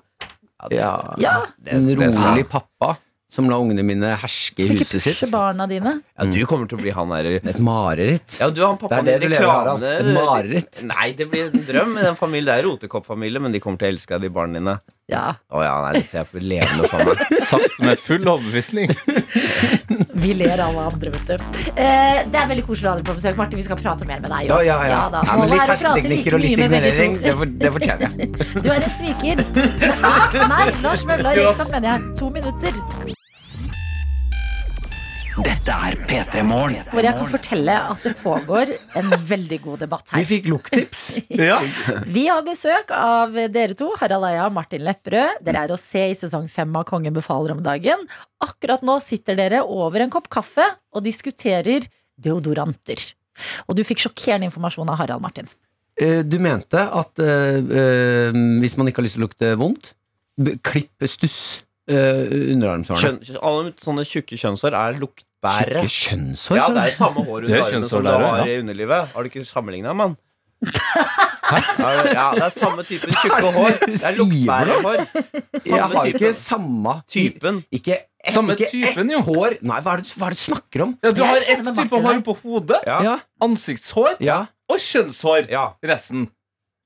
S13: Ja.
S2: Ja.
S13: En
S12: det skal-
S13: rolig pappa som lar ungene mine herske i
S2: Ikke
S13: huset
S2: pushe
S13: sitt.
S2: barna dine.
S12: Ja, du kommer til å bli han der
S13: Et mareritt.
S12: Ja, du er han pappaen
S13: Det er det
S12: din,
S13: du lever, Harald.
S12: reklame-
S13: Et mareritt.
S12: Nei, det blir en drøm. Den familien, det er rotekoppfamilie, men de kommer til å elske deg, de barna dine.
S2: Ja.
S12: Å ja, nei, det ser jeg for levende for meg.
S3: Sagt med full overbevisning.
S2: Vi ler alle andre, vet du. Eh, det er veldig koselig å ha deg på besøk, Martin. Vi skal prate mer med deg.
S13: Ja,
S2: også.
S13: ja, ja.
S2: da.
S13: ja men
S2: Målet
S13: litt
S2: er å prate like
S13: hersketeknikker og litt
S2: mye med begge to.
S13: ignorering, det, for, det fortjener jeg.
S2: Du er en sviker. Nei, nei Lars Vaular. Ikke sant, mener jeg. To minutter.
S1: Dette er P3 Morgen.
S2: Hvor jeg kan fortelle at det pågår en veldig god debatt her.
S13: Vi fikk lukttips.
S2: Vi har besøk av dere to, Harald Eia og Martin Lepperød. Dere er å se i sesong fem av Kongen befaler om dagen. Akkurat nå sitter dere over en kopp kaffe og diskuterer deodoranter. Og du fikk sjokkerende informasjon av Harald Martin.
S13: Eh, Du mente at eh, eh, hvis man ikke har lyst til å lukte vondt, b- klipp stuss eh, underarmshårene.
S12: Kjønn, alle sånne tjukke kjønnshår er luktbærere.
S13: Tjukke kjønnshår?
S12: Ja, det er samme hår
S3: Det er
S12: under armene
S3: kjønnshår
S12: som du
S3: der,
S12: har
S3: ja.
S12: i underlivet. Har du ikke sammenligna, mann? Er det- Ja, det er samme type tjukke hår. Det er
S13: Sier du?
S12: luktbærerhår.
S13: Jeg
S12: Samme
S13: har ikke
S12: type.
S13: samme
S12: Typen.
S13: Ikke ett,
S3: Samme
S13: ikke
S3: typen,
S13: ett
S3: jo.
S13: hår. Nei, hva er, det, du- hva er det du snakker om?
S3: Ja, du har
S2: Jeg er
S3: ett
S2: enig med
S3: type
S2: Martin
S3: hår
S2: her.
S3: på hodet,
S12: Ja.
S13: Ja.
S3: ansiktshår
S13: ja.
S3: og kjønnshår.
S12: Ja.
S3: Resten.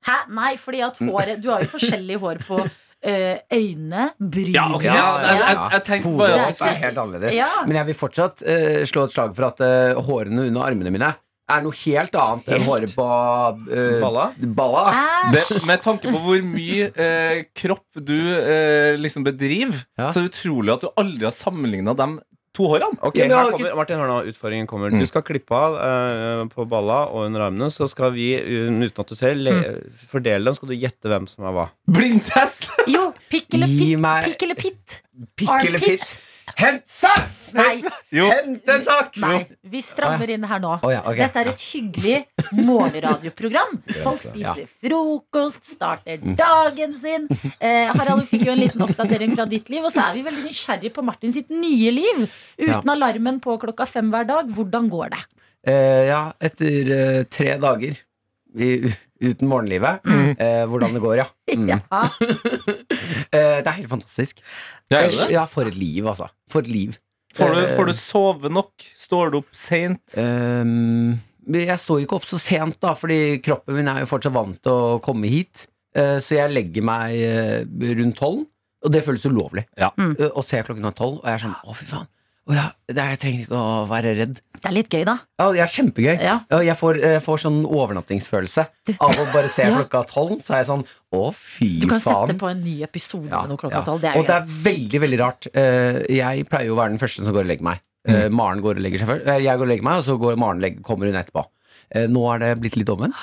S2: Hæ? Nei, fordi
S13: Mm.
S2: at håret Du har jo forskjellig hår på eh, øyne, bryn
S3: Ja, ok,
S13: ja,
S3: jeg, jeg,
S13: ja.
S3: jeg tenkte
S13: Hodet
S3: bare
S2: Det
S3: at
S13: også er helt annerledes.
S2: Ja.
S13: Men jeg vil fortsatt eh, slå et slag for at eh, hårene under armene mine er noe helt annet enn håret på eh,
S12: Balla?
S13: balla.
S2: Æsj!
S3: det, Med tanke på hvor mye eh, kropp du eh, liksom bedriver,
S13: Ja.
S3: så er det utrolig at du aldri har sammenligna de to hårene.
S12: Ok,
S13: Ja, men
S12: her
S13: har
S12: kommer, Martin, hør nå, utfordringen kommer.
S3: Mm.
S12: Du skal klippe av eh, på balla og under armene. Så skal vi, eh, uten at du ser, le
S13: Mm.
S12: fordele dem. Skal du gjette hvem som er hva?
S3: Blindtest!
S2: Jo, pikk eller
S13: Gi
S2: pitt.
S13: meg-
S2: Pikk eller pitt.
S13: Pikk eller
S2: Armpit?
S13: pitt? Hent saks!
S2: Nei,
S3: Jo.
S13: Hent en saks!
S2: nei, vi strammer inn her nå.
S13: Å ja, ok.
S2: Dette er et hyggelig morgenradioprogram. Folk spiser frokost, starter
S13: Mm.
S2: dagen sin. Eh, Harald, du fikk jo en liten oppdatering fra ditt liv, og så er vi veldig nysgjerrig på Martin sitt nye liv. Uten alarmen på klokka fem hver dag. Hvordan går det?
S13: Eh, ja, etter eh, tre dager i, uten morgenlivet. eh, hvordan det går, ja. Mm.
S2: Ja.
S13: Eh, det er helt fantastisk.
S3: Ja, er det det?
S13: Ja, for et liv, altså. For et liv.
S3: Får du,
S13: Eh,
S3: får du sove nok? Står du opp seint?
S13: Ehm, men jeg står jo ikke opp så sent, da, fordi kroppen min er jo fortsatt vant til å komme hit. Eh, så jeg legger meg eh, rundt tolv, og det føles ulovlig.
S3: Ja.
S2: Mm.
S13: Eh, og ser klokken er tolv, og jeg er sånn å, fy faen. Å ja, det er, jeg trenger ikke å være redd.
S2: Det er litt gøy, da.
S13: Ja, det er kjempegøy.
S2: Ja.
S13: Ja, Jeg får, eh, får sånn overnattingsfølelse av å bare se
S2: Ja.
S13: klokka tolv. Så er jeg sånn å, fy
S2: Du kan sette
S13: faen.
S2: på en ny episode
S13: Ja,
S2: med noe klokka
S13: ja.
S2: tolv. Det er jo
S13: Og det er
S2: helt
S13: veldig, veldig rart. Eh, jeg pleier jo å være den første som går og legger meg. Eh,
S3: Mm.
S13: Maren går og legger seg først. Eh, jeg går og legger meg, og så går Maren og legger, kommer hun etterpå. Eh, nå er det blitt litt omvendt.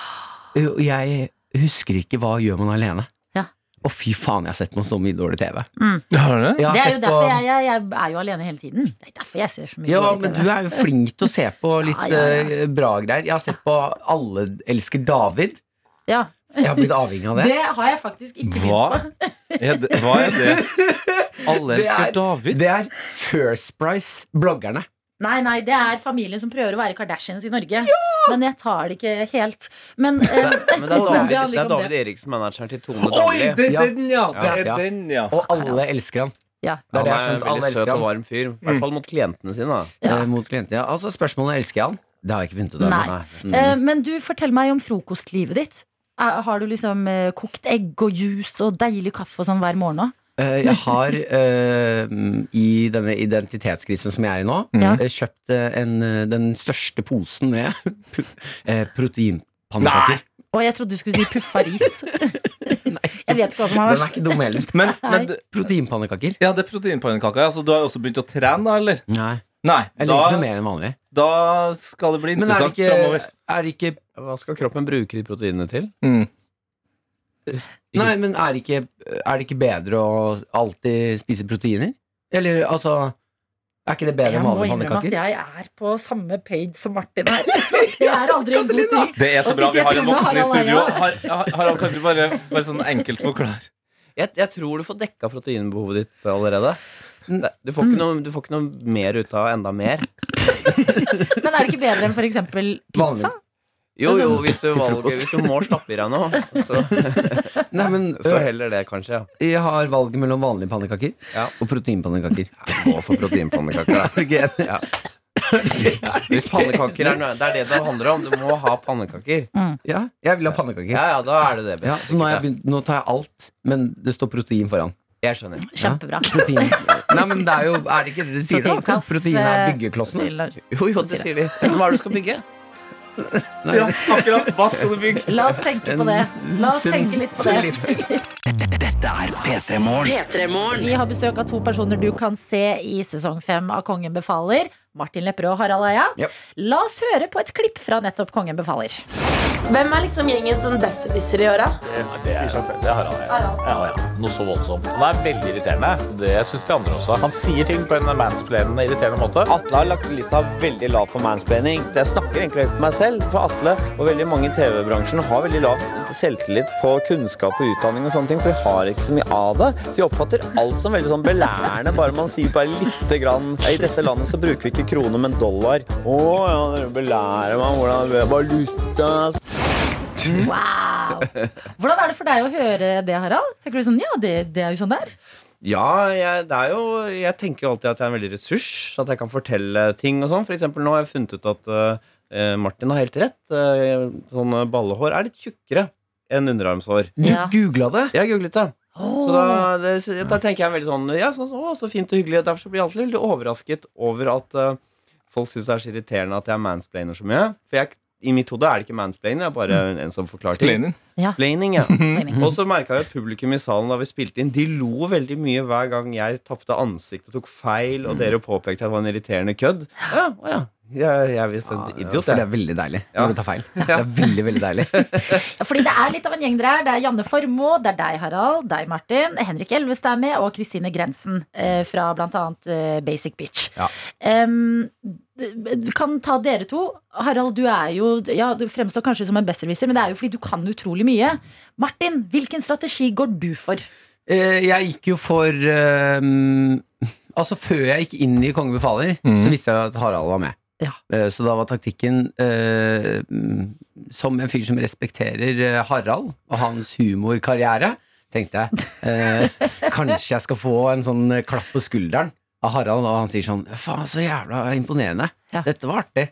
S13: Eh, Og jeg husker ikke hva gjør man alene.
S2: Ja.
S13: Og fy faen, jeg har sett på så mye dårlig TV.
S3: Har du det?
S13: Jeg har
S2: Mm. Det er jo
S13: sett på-
S2: derfor jeg, jeg, jeg er jo alene hele tiden. Det er derfor jeg ser så mye
S13: Ja,
S2: dårlig
S13: men
S2: TV.
S13: du er jo flink til å se på litt
S2: Ja, ja, ja.
S13: eh, bra greier. Jeg har sett på Alle elsker David.
S2: ja.
S13: Jeg har blitt avhengig av det.
S2: Det har jeg faktisk ikke
S3: Hva?
S2: begynt på.
S3: Er det, hva er det? Alle
S13: Det
S3: elsker
S13: er-
S3: David.
S13: Det er First Price, bloggerne.
S2: Nei, nei, det er familien som prøver å være Kardashians i Norge. Men jeg tar det ikke helt. Men, eh,
S12: Men det er
S2: handler
S12: David, det
S2: ikke
S12: er
S2: om
S12: David Eriksen, manageren til Tone
S3: Oi,
S12: Damli.
S3: det er
S13: Ja.
S3: den, ja! Det
S13: Ja.
S3: er den, ja.
S13: Og alle elsker han.
S2: Ja.
S13: Det er det
S12: Han
S13: jeg
S12: er
S13: har
S12: en
S13: skjønt. Alle
S12: veldig
S13: elsker
S12: søt og
S13: han.
S12: varm fyr. I hvert fall mot klientene sine. da
S2: Ja.
S13: Eh, mot klienten, ja. Altså, spørsmålet elsker jeg han. Det har jeg ikke funnet ut
S2: Nei.
S13: ennå.
S2: Eh, men du, fortell meg om eh, frokostlivet ditt. Er- Har du liksom eh, kokt egg og juice og deilig kaffe og sånn hver morgen òg?
S13: Eh, jeg har eh, i denne identitetskrisen som jeg er i nå,
S3: Ja.
S13: eh, kjøpt eh, en, eh, den største posen med eh,
S3: Nei!
S13: proteinpannekaker.
S2: Og jeg trodde du skulle si puffaris. jeg vet ikke hva som
S13: Den er
S2: er verst.
S13: ikke dum heller.
S3: Men, men,
S13: proteinpannekaker?
S3: Ja, det er proteinpannekaker. Altså, du har jo også begynt å trene, da, eller?
S13: Nei.
S3: Nei
S13: Eller
S3: da,
S13: ikke noe mer enn vanlig.
S3: da skal det bli
S13: Men er det
S3: interessant
S13: ikke-
S3: framover.
S13: Er det ikke Mm.
S12: Hva skal kroppen bruke de proteinene til?
S13: Nei, men er det ikke, er det ikke bedre å alltid spise proteiner? Eller altså Er ikke det bedre
S2: Jeg
S13: enn
S2: må
S13: vanlige
S2: innrømme at
S13: pannekaker?
S2: jeg er på samme page som Martin her. Det er aldri en god ting.
S3: Det er så
S2: Å
S3: bra
S2: sitte
S3: vi har en
S2: hjemme med
S3: voksen i
S2: Harald
S3: studio.
S2: Eia.
S3: Har, har- Harald, kan du bare, bare sånn enkelt forklare?
S12: Jeg, jeg tror du får dekka proteinbehovet ditt allerede. Det- Du
S2: Mm.
S12: får, ikke noe, du får ikke noe mer ut av enda mer.
S2: Men er det ikke bedre enn for eksempel pizza?
S12: Jo, jo,
S2: sånn-
S13: Altså,
S12: hvis du,
S13: til
S12: valger,
S13: frokost.
S12: hvis du må stappe i deg noe, så,
S13: Nei, men
S12: så
S13: øh,
S12: heller det, kanskje. Ja.
S13: jeg har valget mellom vanlige pannekaker
S12: Ja.
S13: og proteinpannekaker.
S12: Gå for proteinpannekaker, da. Ja. Hvis pannekaker er nø- Det er det det handler om. Du må ha pannekaker.
S13: Ja, jeg vil ha pannekaker.
S12: Ja, ja, da er det det
S13: Ja,
S12: beste.
S13: så nå, har jeg
S12: sikkert,
S13: begynt, nå tar jeg alt, men det står protein foran.
S12: ja. Jeg skjønner.
S2: Kjempebra.
S13: Protein. Nei, men det er jo Er det ikke det de sier? da?
S2: Proteinkaff,
S13: Protein er
S2: eh,
S13: byggeklossen.
S2: til-
S12: Jo, jo, det sier de. Hva er det du skal bygge?
S3: Ja, akkurat. Hva skal du bygge?
S2: La oss tenke på det. La oss
S13: En
S2: tenke litt på
S13: sunn
S2: det.
S1: Dette er P3 Morgen.
S2: Vi har besøk av to personer du kan se i sesong fem av Kongen befaler. Martin Lepperød og Harald Eia.
S13: Yep.
S2: La oss høre på et klipp fra nettopp Kongen befaler.
S14: Hvem er liksom gjengen som besserwisser i åra?
S15: Det er, det har han. Ja. Ja, ja. Noe så voldsomt. Han er veldig irriterende. Det syns de andre også. Han sier ting på en mansplainende, irriterende måte.
S16: Atle har lagt lista veldig lav for mansplaining. Jeg snakker egentlig høyt på meg selv, for Atle og veldig mange i TV-bransjen har veldig lav selvtillit på kunnskap og utdanning og sånne ting, for de har ikke så mye av det. Så de oppfatter alt som veldig sånn belærende, bare man sier bare lite grann I dette landet så bruker vi ikke kroner, men dollar. Å ja, dere belærer meg om hvordan valuta
S13: Mm.
S2: Wow! Hvordan er det for deg å høre det, Harald? Tenker du sånn, ja, det, det er jo sånn det er?
S12: Ja, jeg, det er jo, jeg tenker jo alltid at jeg er en veldig ressurs. At jeg kan fortelle ting og sånn. For eksempel nå har jeg funnet ut at eh, Martin har helt rett. Eh, sånne ballehår er litt tjukkere enn underarmshår.
S13: Du googla det?
S12: Jeg googlet det. Så da, det, så da tenker jeg veldig sånn Ja, sånn, å, så fint og hyggelig. Derfor så blir jeg alltid veldig overrasket over at eh, folk syns det er så irriterende at jeg mansplainer så mye. For jeg, i mitt hode er det ikke mansplaining, jeg er bare en som forklarer
S3: Splaining.
S12: ting.
S2: Ja.
S12: Splaining, ja.
S13: Mhm.
S2: Splaining.
S12: Og så merka jeg at publikum i salen da vi spilte inn, de lo veldig mye hver gang jeg tapte ansiktet og tok feil,
S13: Mhm.
S12: og dere påpekte at det var en irriterende kødd. Ja, å ja. Jeg, jeg er visst en idiot,
S13: For det
S12: jeg.
S13: er veldig deilig
S12: Ja.
S13: når du tar feil. Det er veldig, veldig deilig
S2: Ja, fordi det er litt av en gjeng dere er. Det er Janne Formoe, det er deg, Harald, deg, Martin, Henrik Elvestad er med, og Kristine Grensen eh, fra blant annet eh, Basic Bitch.
S13: Ja.
S2: Em, d- du kan ta dere to. Harald, du er jo ja, Du fremstår kanskje som en besserwisser, men det er jo fordi du kan utrolig mye. Martin, hvilken strategi går du for?
S13: Eh, Jeg gikk jo for eh, Altså Før jeg gikk inn i Konge befaler,
S15: Mm.
S13: så visste jeg at Harald var med.
S2: Ja.
S13: Eh, Så da var taktikken eh, mm, Som en fyr som respekterer eh, Harald og hans humorkarriere, tenkte jeg eh, kanskje jeg skal få en sånn eh, klapp på skulderen av Harald, og han sier sånn Faen, så jævla imponerende.
S2: Ja.
S13: Dette var artig.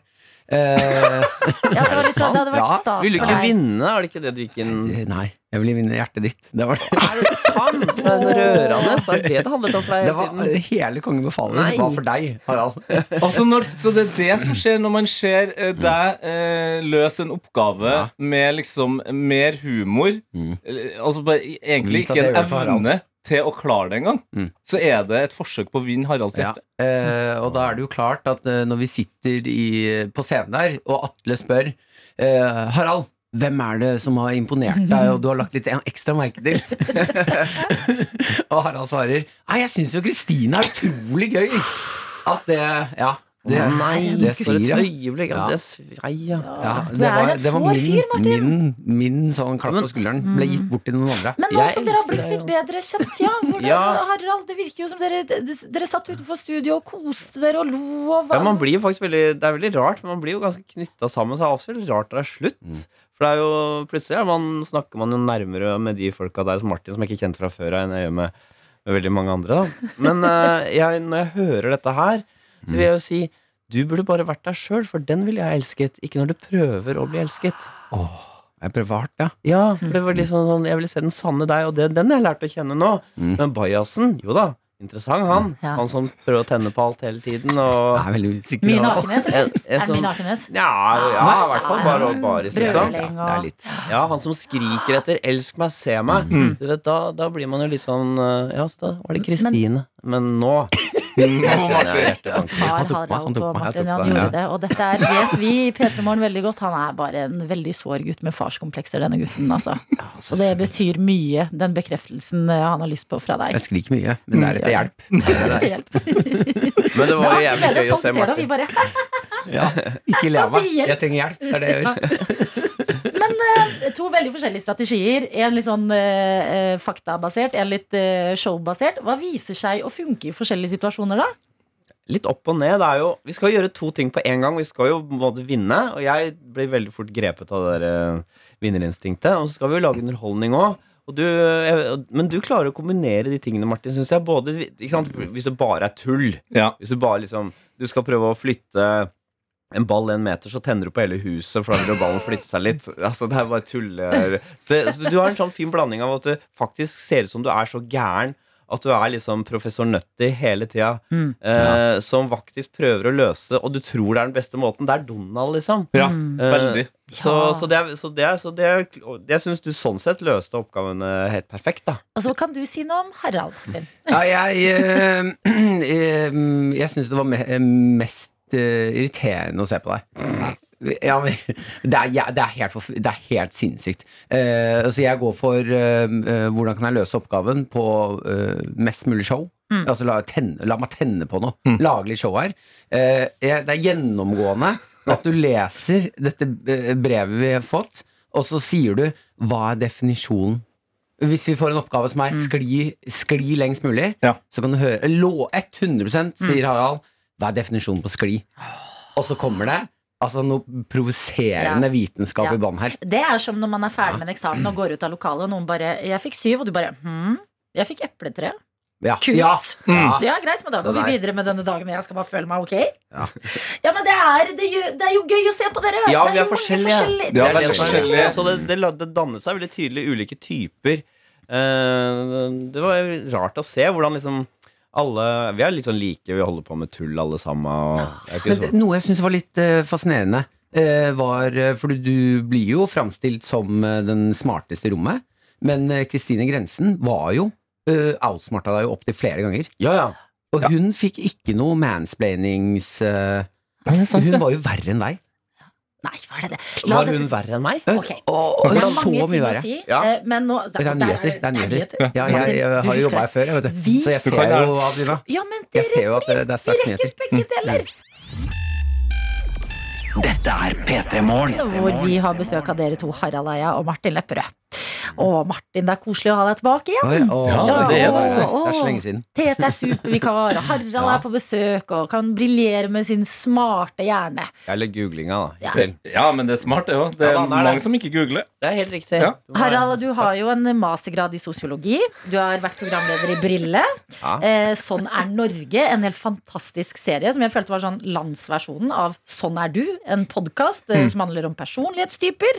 S13: Eh,
S2: Ja, det, var litt, sånn- det hadde vært
S13: Ja,
S2: stas
S12: Vil du
S2: for
S12: ikke
S2: deg.
S12: vinne? Er det ikke det du gikk inn
S13: nei, jeg ville vinne hjertet ditt. Det var det.
S12: Er det sant? Det er rørende. Så er det det handlet om for deg
S13: Det
S12: hele
S13: var
S12: tiden.
S13: Hele Kongen befaler
S12: Nei.
S13: var for deg, Harald.
S3: Altså når, så det er det som skjer når man ser eh,
S13: Mm.
S3: deg eh, løse en oppgave med liksom mer humor eh, Altså bare, i- egentlig
S13: Mm. Vit at
S3: ikke en
S13: jeg gjør det for Harald.
S3: evne til å klare det engang.
S13: Mm.
S3: Så er det et forsøk på å vinne Haralds hjerte.
S13: Eh, og da er det jo klart at eh, når vi sitter i, på scenen der, og Atle spør eh, Harald, hvem er det som har imponert deg, og du har lagt litt ekstra merke til? og Harald svarer Nei, jeg syns jo Kristine er utrolig gøy. At det Ja. Det,
S12: Å nei,
S13: det
S12: for et
S13: sier jeg.
S12: øyeblikk.
S13: Ja.
S12: Ja. Det svir, ai, ja.
S13: Ja,
S2: Du er en svår fyr, Martin.
S13: min, min sånn klapp på skulderen ble gitt bort til noen andre.
S2: Mm. Men nå
S12: Jeg
S2: som dere har
S12: elsker
S2: blitt
S12: deg,
S2: litt bedre kjent, ja, hvordan,
S12: Ja.
S2: Harald, det virker jo som dere, dere satt utenfor studio og koste dere og lo og
S12: Ja, man blir jo faktisk veldig, det er veldig rart, men man blir jo ganske knytta sammen. Så er det også veldig rart når det er slutt. For det er jo plutselig er man, snakker man jo nærmere med de folka der som Martin, som jeg ikke kjente fra før av, enn jeg gjør med, med veldig mange andre. Da. Men eh, jeg, når jeg hører dette her, så vil jeg jo si du burde bare vært deg sjøl, for den ville jeg elsket. Ikke når du prøver å bli elsket.
S13: Er privat, ja.
S12: Ja,
S2: Mm.
S12: for det var litt sånn, sånn, jeg ville se den sanne deg, og det, den har jeg lært å kjenne nå. Men bajasen, jo da. Interessant, han.
S2: Mm. Ja.
S12: Han som prøver å tenne på alt hele tiden. Og...
S13: Er veldig usikker.
S2: Mye nakenhet?
S12: En-
S2: eller?
S12: en sånn-
S2: Er det
S12: som-
S2: mye nakenhet?
S12: Ja, ja, i hvert fall. Bare og baris, liksom.
S2: Brøling og- Det er litt.
S12: Ja, han som skriker etter 'elsk meg, se meg'.
S2: Mm.
S12: Du vet, da, da blir man jo litt sånn eh, Ja, så da var det Kristine. Men, nå Nå,
S2: Har Harald og Martin, ja, han gjorde det. Og dette er, vet vi i P3 Morgen veldig godt. Han er bare en veldig sår gutt med farskomplekser, denne gutten, altså. Så det betyr mye, den bekreftelsen eh, han har lyst på fra deg.
S13: Jeg skriker mye, men det er etter hjelp.
S12: Men det var jo
S2: Det
S12: jævlig
S2: er det
S12: gøy å
S2: folk
S12: se
S2: ser da,
S12: Martin.
S2: vi bare
S13: Ja, ikke le av
S2: Hva
S13: meg.
S2: sier-
S13: Jeg trenger hjelp. Det er det jeg gjør.
S2: Men eh, to veldig forskjellige strategier. En litt sånn eh, eh, faktabasert, en litt eh, showbasert. Hva viser seg å funke i forskjellige situasjoner, da?
S12: litt opp og ned. Det er jo, vi skal jo gjøre to ting på en gang. Vi skal jo både vinne, og jeg blir veldig fort grepet av det der eh, vinnerinstinktet. Og så skal vi jo lage underholdning òg. Og du, jeg, men du klarer å kombinere de tingene, Martin. Synes jeg både, ikke sant? Hvis det bare er tull. Hvis du bare liksom Du skal prøve å flytte en ball en meter, så tenner du på hele huset, for da vil jo ballen flytte seg litt. Altså, det er bare tuller. Så det, så du har en sånn fin blanding av at du faktisk ser ut som du er så gæren at du er liksom professor Nøtti hele tida,
S2: Mm.
S12: eh, som faktisk prøver å løse, og du tror det er den beste måten. Det er Donald, liksom.
S3: Ja,
S12: Eh,
S3: veldig.
S12: Så, så det, er- så det, er- så det, er- og jeg syns du sånn sett løste oppgavene helt perfekt, da.
S2: Og så kan du si noe om Harald. Martin.
S13: Ja, jeg eh, eh, Jeg syns det var me eh, mest eh, irriterende å se på deg. Ja, men, det, er, ja, det, er helt forf- det er helt sinnssykt. Eh, altså jeg går for eh, eh, hvordan kan jeg løse oppgaven på eh, mest mulig show. Altså la, tenne, la meg tenne på noe. Lage litt show her. Eh, jeg, det er gjennomgående at du leser dette eh, brevet vi har fått, og så sier du hva er definisjonen hvis vi får en oppgave som er skli, skli lengst mulig, så kan du høre eh, lå, 100 sier Harald. Hva er definisjonen på skli? Og så kommer det altså noe provoserende
S2: Ja.
S13: vitenskap
S2: Ja.
S13: i bånn her.
S2: Det er som når man er ferdig med en eksamen og går ut av lokalet, og noen bare 'Jeg fikk syv', og du bare 'Hm, jeg fikk epletre'.
S13: Ja.
S2: Kult.
S13: Ja.
S3: Mm.
S2: Ja. greit, men da
S13: Så
S2: går vi
S13: der.
S2: videre med denne dagen. Jeg skal bare føle meg ok.
S13: Ja.
S2: Ja, men det er, det, gjør, det er jo gøy å se på dere.
S12: Ja,
S2: Det
S12: vi er
S2: jo mange
S12: forskjellige.
S2: Det er
S12: veldig
S2: det som er-
S12: forskjellige. Så Altså, det, det, la- det dannet seg veldig tydelig ulike typer. Eh, det var rart å se hvordan liksom alle Vi er litt sånn like, vi holder på med tull alle sammen. Og det er ikke
S13: Men det,
S12: så,
S13: noe jeg syns var litt eh, fascinerende, eh, var eh, For du blir jo framstilt som eh, den smarteste i rommet, men eh, Kristine Grensen var jo uh, outsmarta deg jo opptil flere ganger. Og hun fikk ikke noe mansplainings eh, Hun var jo verre enn deg.
S2: Nei, hva er det det?
S13: Var
S2: dette-
S13: hun verre
S12: enn meg?
S2: Ok.
S13: og
S2: Det er
S13: hvordan-
S2: mange
S13: så mye
S2: ting å
S13: verre.
S2: si,
S13: Ja.
S2: eh, Men nå,
S13: Det er nyheter. Det er nyheter. Ja, jeg, jeg har jo jobba her før, jeg, vet du.
S2: Vi-
S13: Så jeg
S2: Du
S13: ser
S2: kan gjøre
S13: jo,
S2: det.
S13: Adelina,
S2: Ja, men
S13: jeg ser jo at det, det er straks
S2: vi rekker
S13: nyheter. Mm.
S2: begge deler.
S1: Dette er P3 Morgen.
S2: Hvor vi har besøk av dere to, Harald Eia og Martin Lepperød. Å, Martin, det er koselig å ha deg tilbake igjen.
S13: Å,
S2: Ja,
S13: ja, det er det, altså.
S2: å, å.
S13: Det er så lenge siden.
S2: Tete er supervikar, og Harald er på besøk og kan briljere med sin smarte hjerne.
S12: Eller googlinga, da.
S3: Ja, men det er smart, det òg. Det er
S12: Ja, da, det er
S3: mange
S12: det.
S3: som ikke googler.
S12: Det er helt riktig.
S3: Ja.
S2: Harald, du har jo en mastergrad i sosiologi. Du har vært programleder i Brille.
S12: Ja.
S2: Eh, sånn er Norge, en helt fantastisk serie som jeg følte var sånn landsversjonen av Sånn er du, en podkast eh,
S13: Mm.
S2: som handler om personlighetstyper.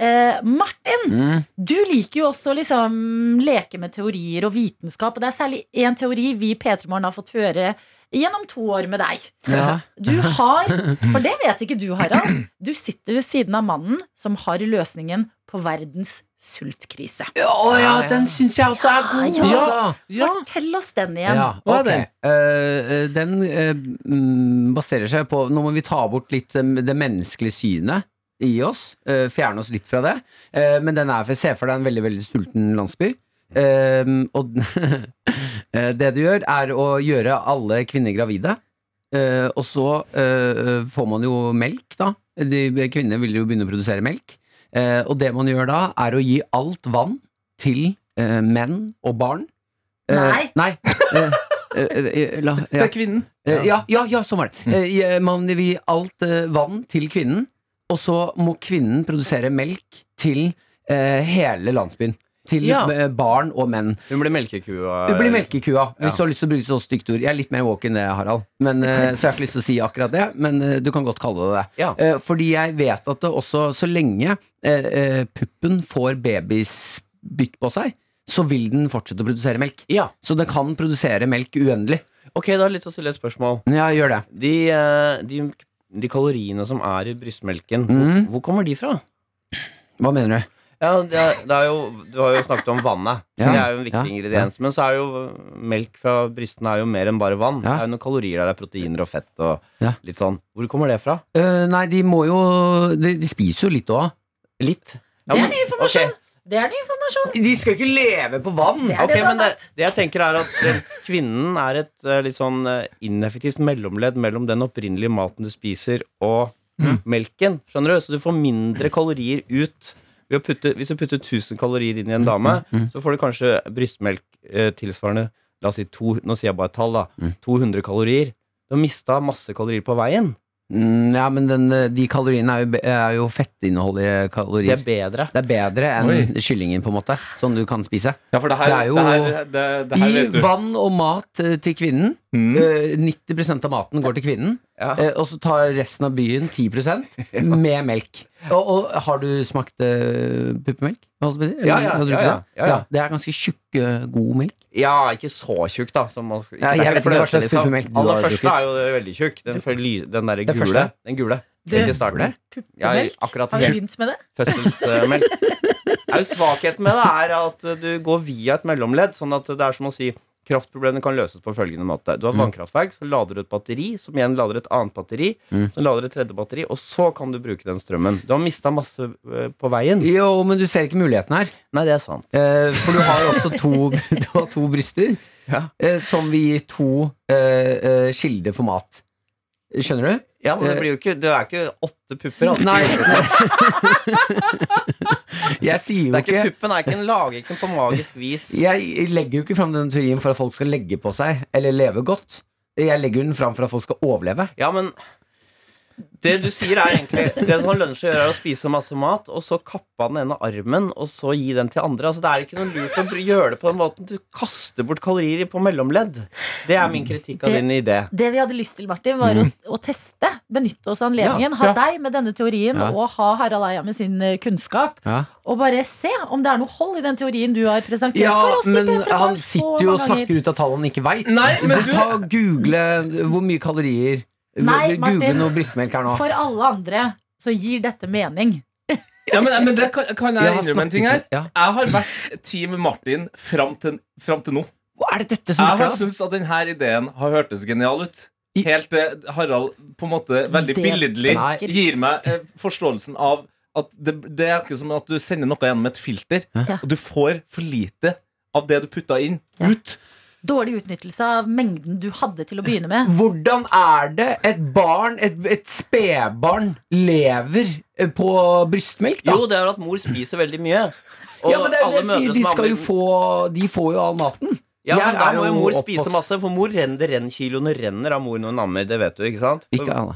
S2: Eh, Martin, du liker jo også å liksom leke med teorier og vitenskap, og det er særlig én teori vi i P3 Morgen har fått høre gjennom to år med deg.
S13: Ja.
S2: Du har, for det vet ikke du, Harald, du sitter ved siden av mannen som har løsningen på verdens sultkrise.
S13: Å ja, den syns jeg også er god!
S2: Ja,
S13: altså.
S2: Fortell oss den igjen.
S13: Ja,
S2: Hva er
S13: ok.
S2: den?
S13: Eh, eh, den eh, mm, baserer seg på Nå må vi ta bort litt eh, det menneskelige synet i oss. eh, fjerne oss litt fra det. Eh, men den er for, se for deg en veldig veldig sulten landsby. Eh, og den- eh, det du gjør, er å gjøre alle kvinner gravide. Eh, og så eh, får man jo melk, da. De, kvinner vil jo begynne å produsere melk. Eh, og det man gjør da, er å gi alt vann til eh, menn og barn. Eh,
S2: Nei.
S13: nei. Eh, eh, eh, la, ja.
S3: Det er kvinnen.
S13: Eh, ja, ja, ja, sånn var det.
S12: Mm.
S13: Eh, jeg- man vil gi alt eh, vann til kvinnen, og så må kvinnen produsere melk til eh, hele landsbyen.
S3: til
S12: Ja.
S3: eh, barn og menn.
S12: Hun blir melkekua.
S3: Du blir melkekua, hvis
S12: Ja.
S3: du har lyst til å bruke så stygt ord. Jeg er litt mer woke enn det, Harald. Men, eh, så jeg har ikke lyst til å si akkurat det, men eh, du kan godt kalle det det. Eh, fordi jeg vet at det også, så lenge eh, eh, puppen får babyspytt på seg, så vil den fortsette å produsere melk. Så den kan produsere melk uendelig.
S12: Ok, da har jeg lyst til å stille et spørsmål.
S3: Ja, gjør det.
S12: De, eh, de, de kaloriene som er i brystmelken,
S3: Mm.
S12: hvor, hvor kommer de fra?
S3: Hva mener du?
S12: Ja, det er, det er jo, Du har jo snakket om vannet.
S3: Ja.
S12: Det er jo en viktig
S3: Ja.
S12: ingrediens. Men så er jo melk fra brystene er jo mer enn bare vann. Det er jo noen kalorier der, det er proteiner og fett og
S3: Ja.
S12: litt sånn. Hvor kommer det fra?
S3: Eh, nei, de må jo De, de spiser jo litt òg.
S12: Litt?
S2: Det er ny informasjon! Det er ny informasjon.
S3: De skal ikke leve på vann!
S2: Det er det du har
S12: men det,
S2: sagt.
S12: det jeg tenker er at eh, kvinnen er et eh, litt sånn eh, ineffektivt mellomledd mellom den opprinnelige maten du spiser, og
S3: Mm.
S12: melken. Skjønner du? Så du får mindre kalorier ut. Ved å putte, hvis du putter 1000 kalorier inn i
S3: Mm,
S12: en dame, så får du kanskje brystmelk eh, tilsvarende La oss si to, Nå sier jeg bare et tall, da. 200 kalorier. Du har mista masse kalorier på veien.
S3: Mm, ja, men den, eh, de kaloriene er jo, be- er jo fettinnholdige kalorier.
S12: Det er bedre.
S3: Det er bedre enn kyllingen, på en måte, som du kan spise.
S17: Ja, for det her,
S3: Det er jo-
S17: det her, det, det her vet du.
S3: I vann og mat eh, til kvinnen. Eh, 90 av maten går til kvinnen. Eh, og så tar resten av byen 10 med melk. Og, og har du smakt eh, puppemelk? holdt jeg på å si? Eller
S12: Ja, ja,
S3: har du
S12: ja,
S3: ikke
S12: ja,
S3: det?
S12: ja, ja.
S3: Det er ganske tjukk, eh, god melk.
S12: Ja, ikke så tjukk, da. Som man, skal-
S3: Ja,
S12: det er
S3: jeg vet ikke hva
S12: fløte,
S3: slags
S12: liksom.
S3: puppemelk du har
S12: Aller første
S3: drukket.
S12: er jo veldig tjukk. Den, før ly- den derre
S3: Det
S12: gule.
S3: første?
S12: Den gule.
S2: Det-
S12: Helt i starten. Ja, i- akkurat
S2: Har du
S12: helt
S2: begynt med det?
S12: fødselsmelk. Det er jo Svakheten med det er at du går via et mellomledd. Sånn at det er som å si Kraftproblemene kan løses på følgende måte. Du har et vannkraftverk, så lader du et batteri, som igjen lader et annet batteri,
S3: Mm.
S12: som lader et tredje batteri, og så kan du bruke den strømmen. Du har mista masse eh, på veien.
S3: Jo, men du ser ikke muligheten her.
S12: Nei, det er sant.
S3: Eh, for du har også to, du har to bryster eh, som vil gi to eh, eh, kilder for mat. Skjønner du?
S12: Ja, men det
S3: Eh,
S12: blir jo ikke Det er ikke åtte pupper. da.
S3: Nei. Jeg sier jo
S12: Det er ikke
S3: ikke
S12: puppen, er ikke en lageken på magisk vis.
S3: Jeg legger jo ikke fram den teorien for at folk skal legge på seg eller leve godt. Jeg legger den fram for at folk skal overleve.
S12: Ja, men det du sier er egentlig Det som lønner seg å gjøre, er å spise masse mat, og så kappe av den ene armen, og så gi den til andre. Altså, det er ikke noe lurt å gjøre det på den måten. Du kaster bort kalorier på mellomledd. Det er min kritikk av
S2: Det-
S12: din idé.
S2: Det vi hadde lyst til, Martin, var å, å teste. Benytte oss av anledningen.
S12: Ja, ja.
S2: Ha deg med denne teorien,
S12: Ja.
S2: og ha Harald Eia med sin eh, kunnskap.
S3: Ja.
S2: Og bare se om det er noe hold i den teorien du har presentert for oss. i
S3: men
S2: P3
S3: han
S2: Morgen så
S3: sitter jo og
S2: mange ganger.
S3: snakker ut av tall han ikke veit.
S2: du-
S3: Ta og Google eh, hvor mye kalorier
S2: Nei,
S3: Google
S2: Martin.
S3: noe brystmelk her nå.
S2: For alle andre så gir dette mening.
S17: Ja, men, men det kan, kan
S3: Jeg
S17: jeg
S3: har
S17: innrømme en
S3: snakket
S17: ting her?
S3: med- ja.
S17: Jeg har vært Team Martin fram til, fram til nå.
S3: er det dette
S17: Jeg har
S3: skjer, da?
S17: syntes at denne ideen har hørtes genial ut. Helt til Harald på en måte veldig
S3: Det-
S17: billedlig
S3: Nei.
S17: gir meg eh, forståelsen av at det, det er ikke som at du sender noe gjennom et filter, og du får for lite av det du putta inn, ut.
S2: Dårlig utnyttelse av mengden du hadde til å begynne med.
S3: Hvordan er det et barn, et, et spedbarn, lever eh, på brystmelk, da?
S12: Jo, det er at mor spiser veldig mye. Og
S3: ja, men det er jo
S12: alle
S3: det jeg
S12: mødre
S3: sier. De,
S12: som
S3: skal jo
S12: ammer-
S3: få, de får jo all maten.
S12: Ja,
S3: Jeg
S12: men da
S3: er
S12: må jo mor spise
S3: oppvokst-
S12: masse, for mor renner, det renner kiloene renner av mor når hun ammer. Det vet du, ikke sant?
S3: Ikke alle.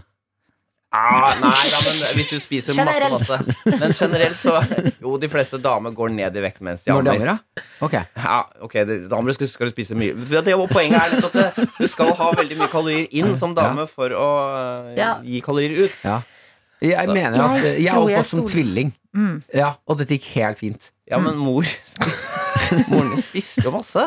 S12: Ah, nei, da, men hvis du spiser
S3: Generelt.
S12: masse, masse Men generelt så Jo, de fleste damer går ned i vekt mens de
S3: Når de ammer,
S12: ammer.
S3: ja? Ok.
S12: Ja, ok, det- damer skal, skal du spise mye Det det- og Poenget er litt at det, du skal ha veldig mye kalorier inn som dame for å eh,
S3: Ja.
S12: gi kalorier ut.
S3: Ja. Jeg
S12: Så-
S3: mener at
S12: Jeg
S3: eh, jeg er
S12: tror jeg
S3: oppvokst som
S12: stoler-
S3: tvilling.
S12: Mm.
S3: Ja, og dette gikk helt fint.
S12: Ja, men mor Moren din spiste jo masse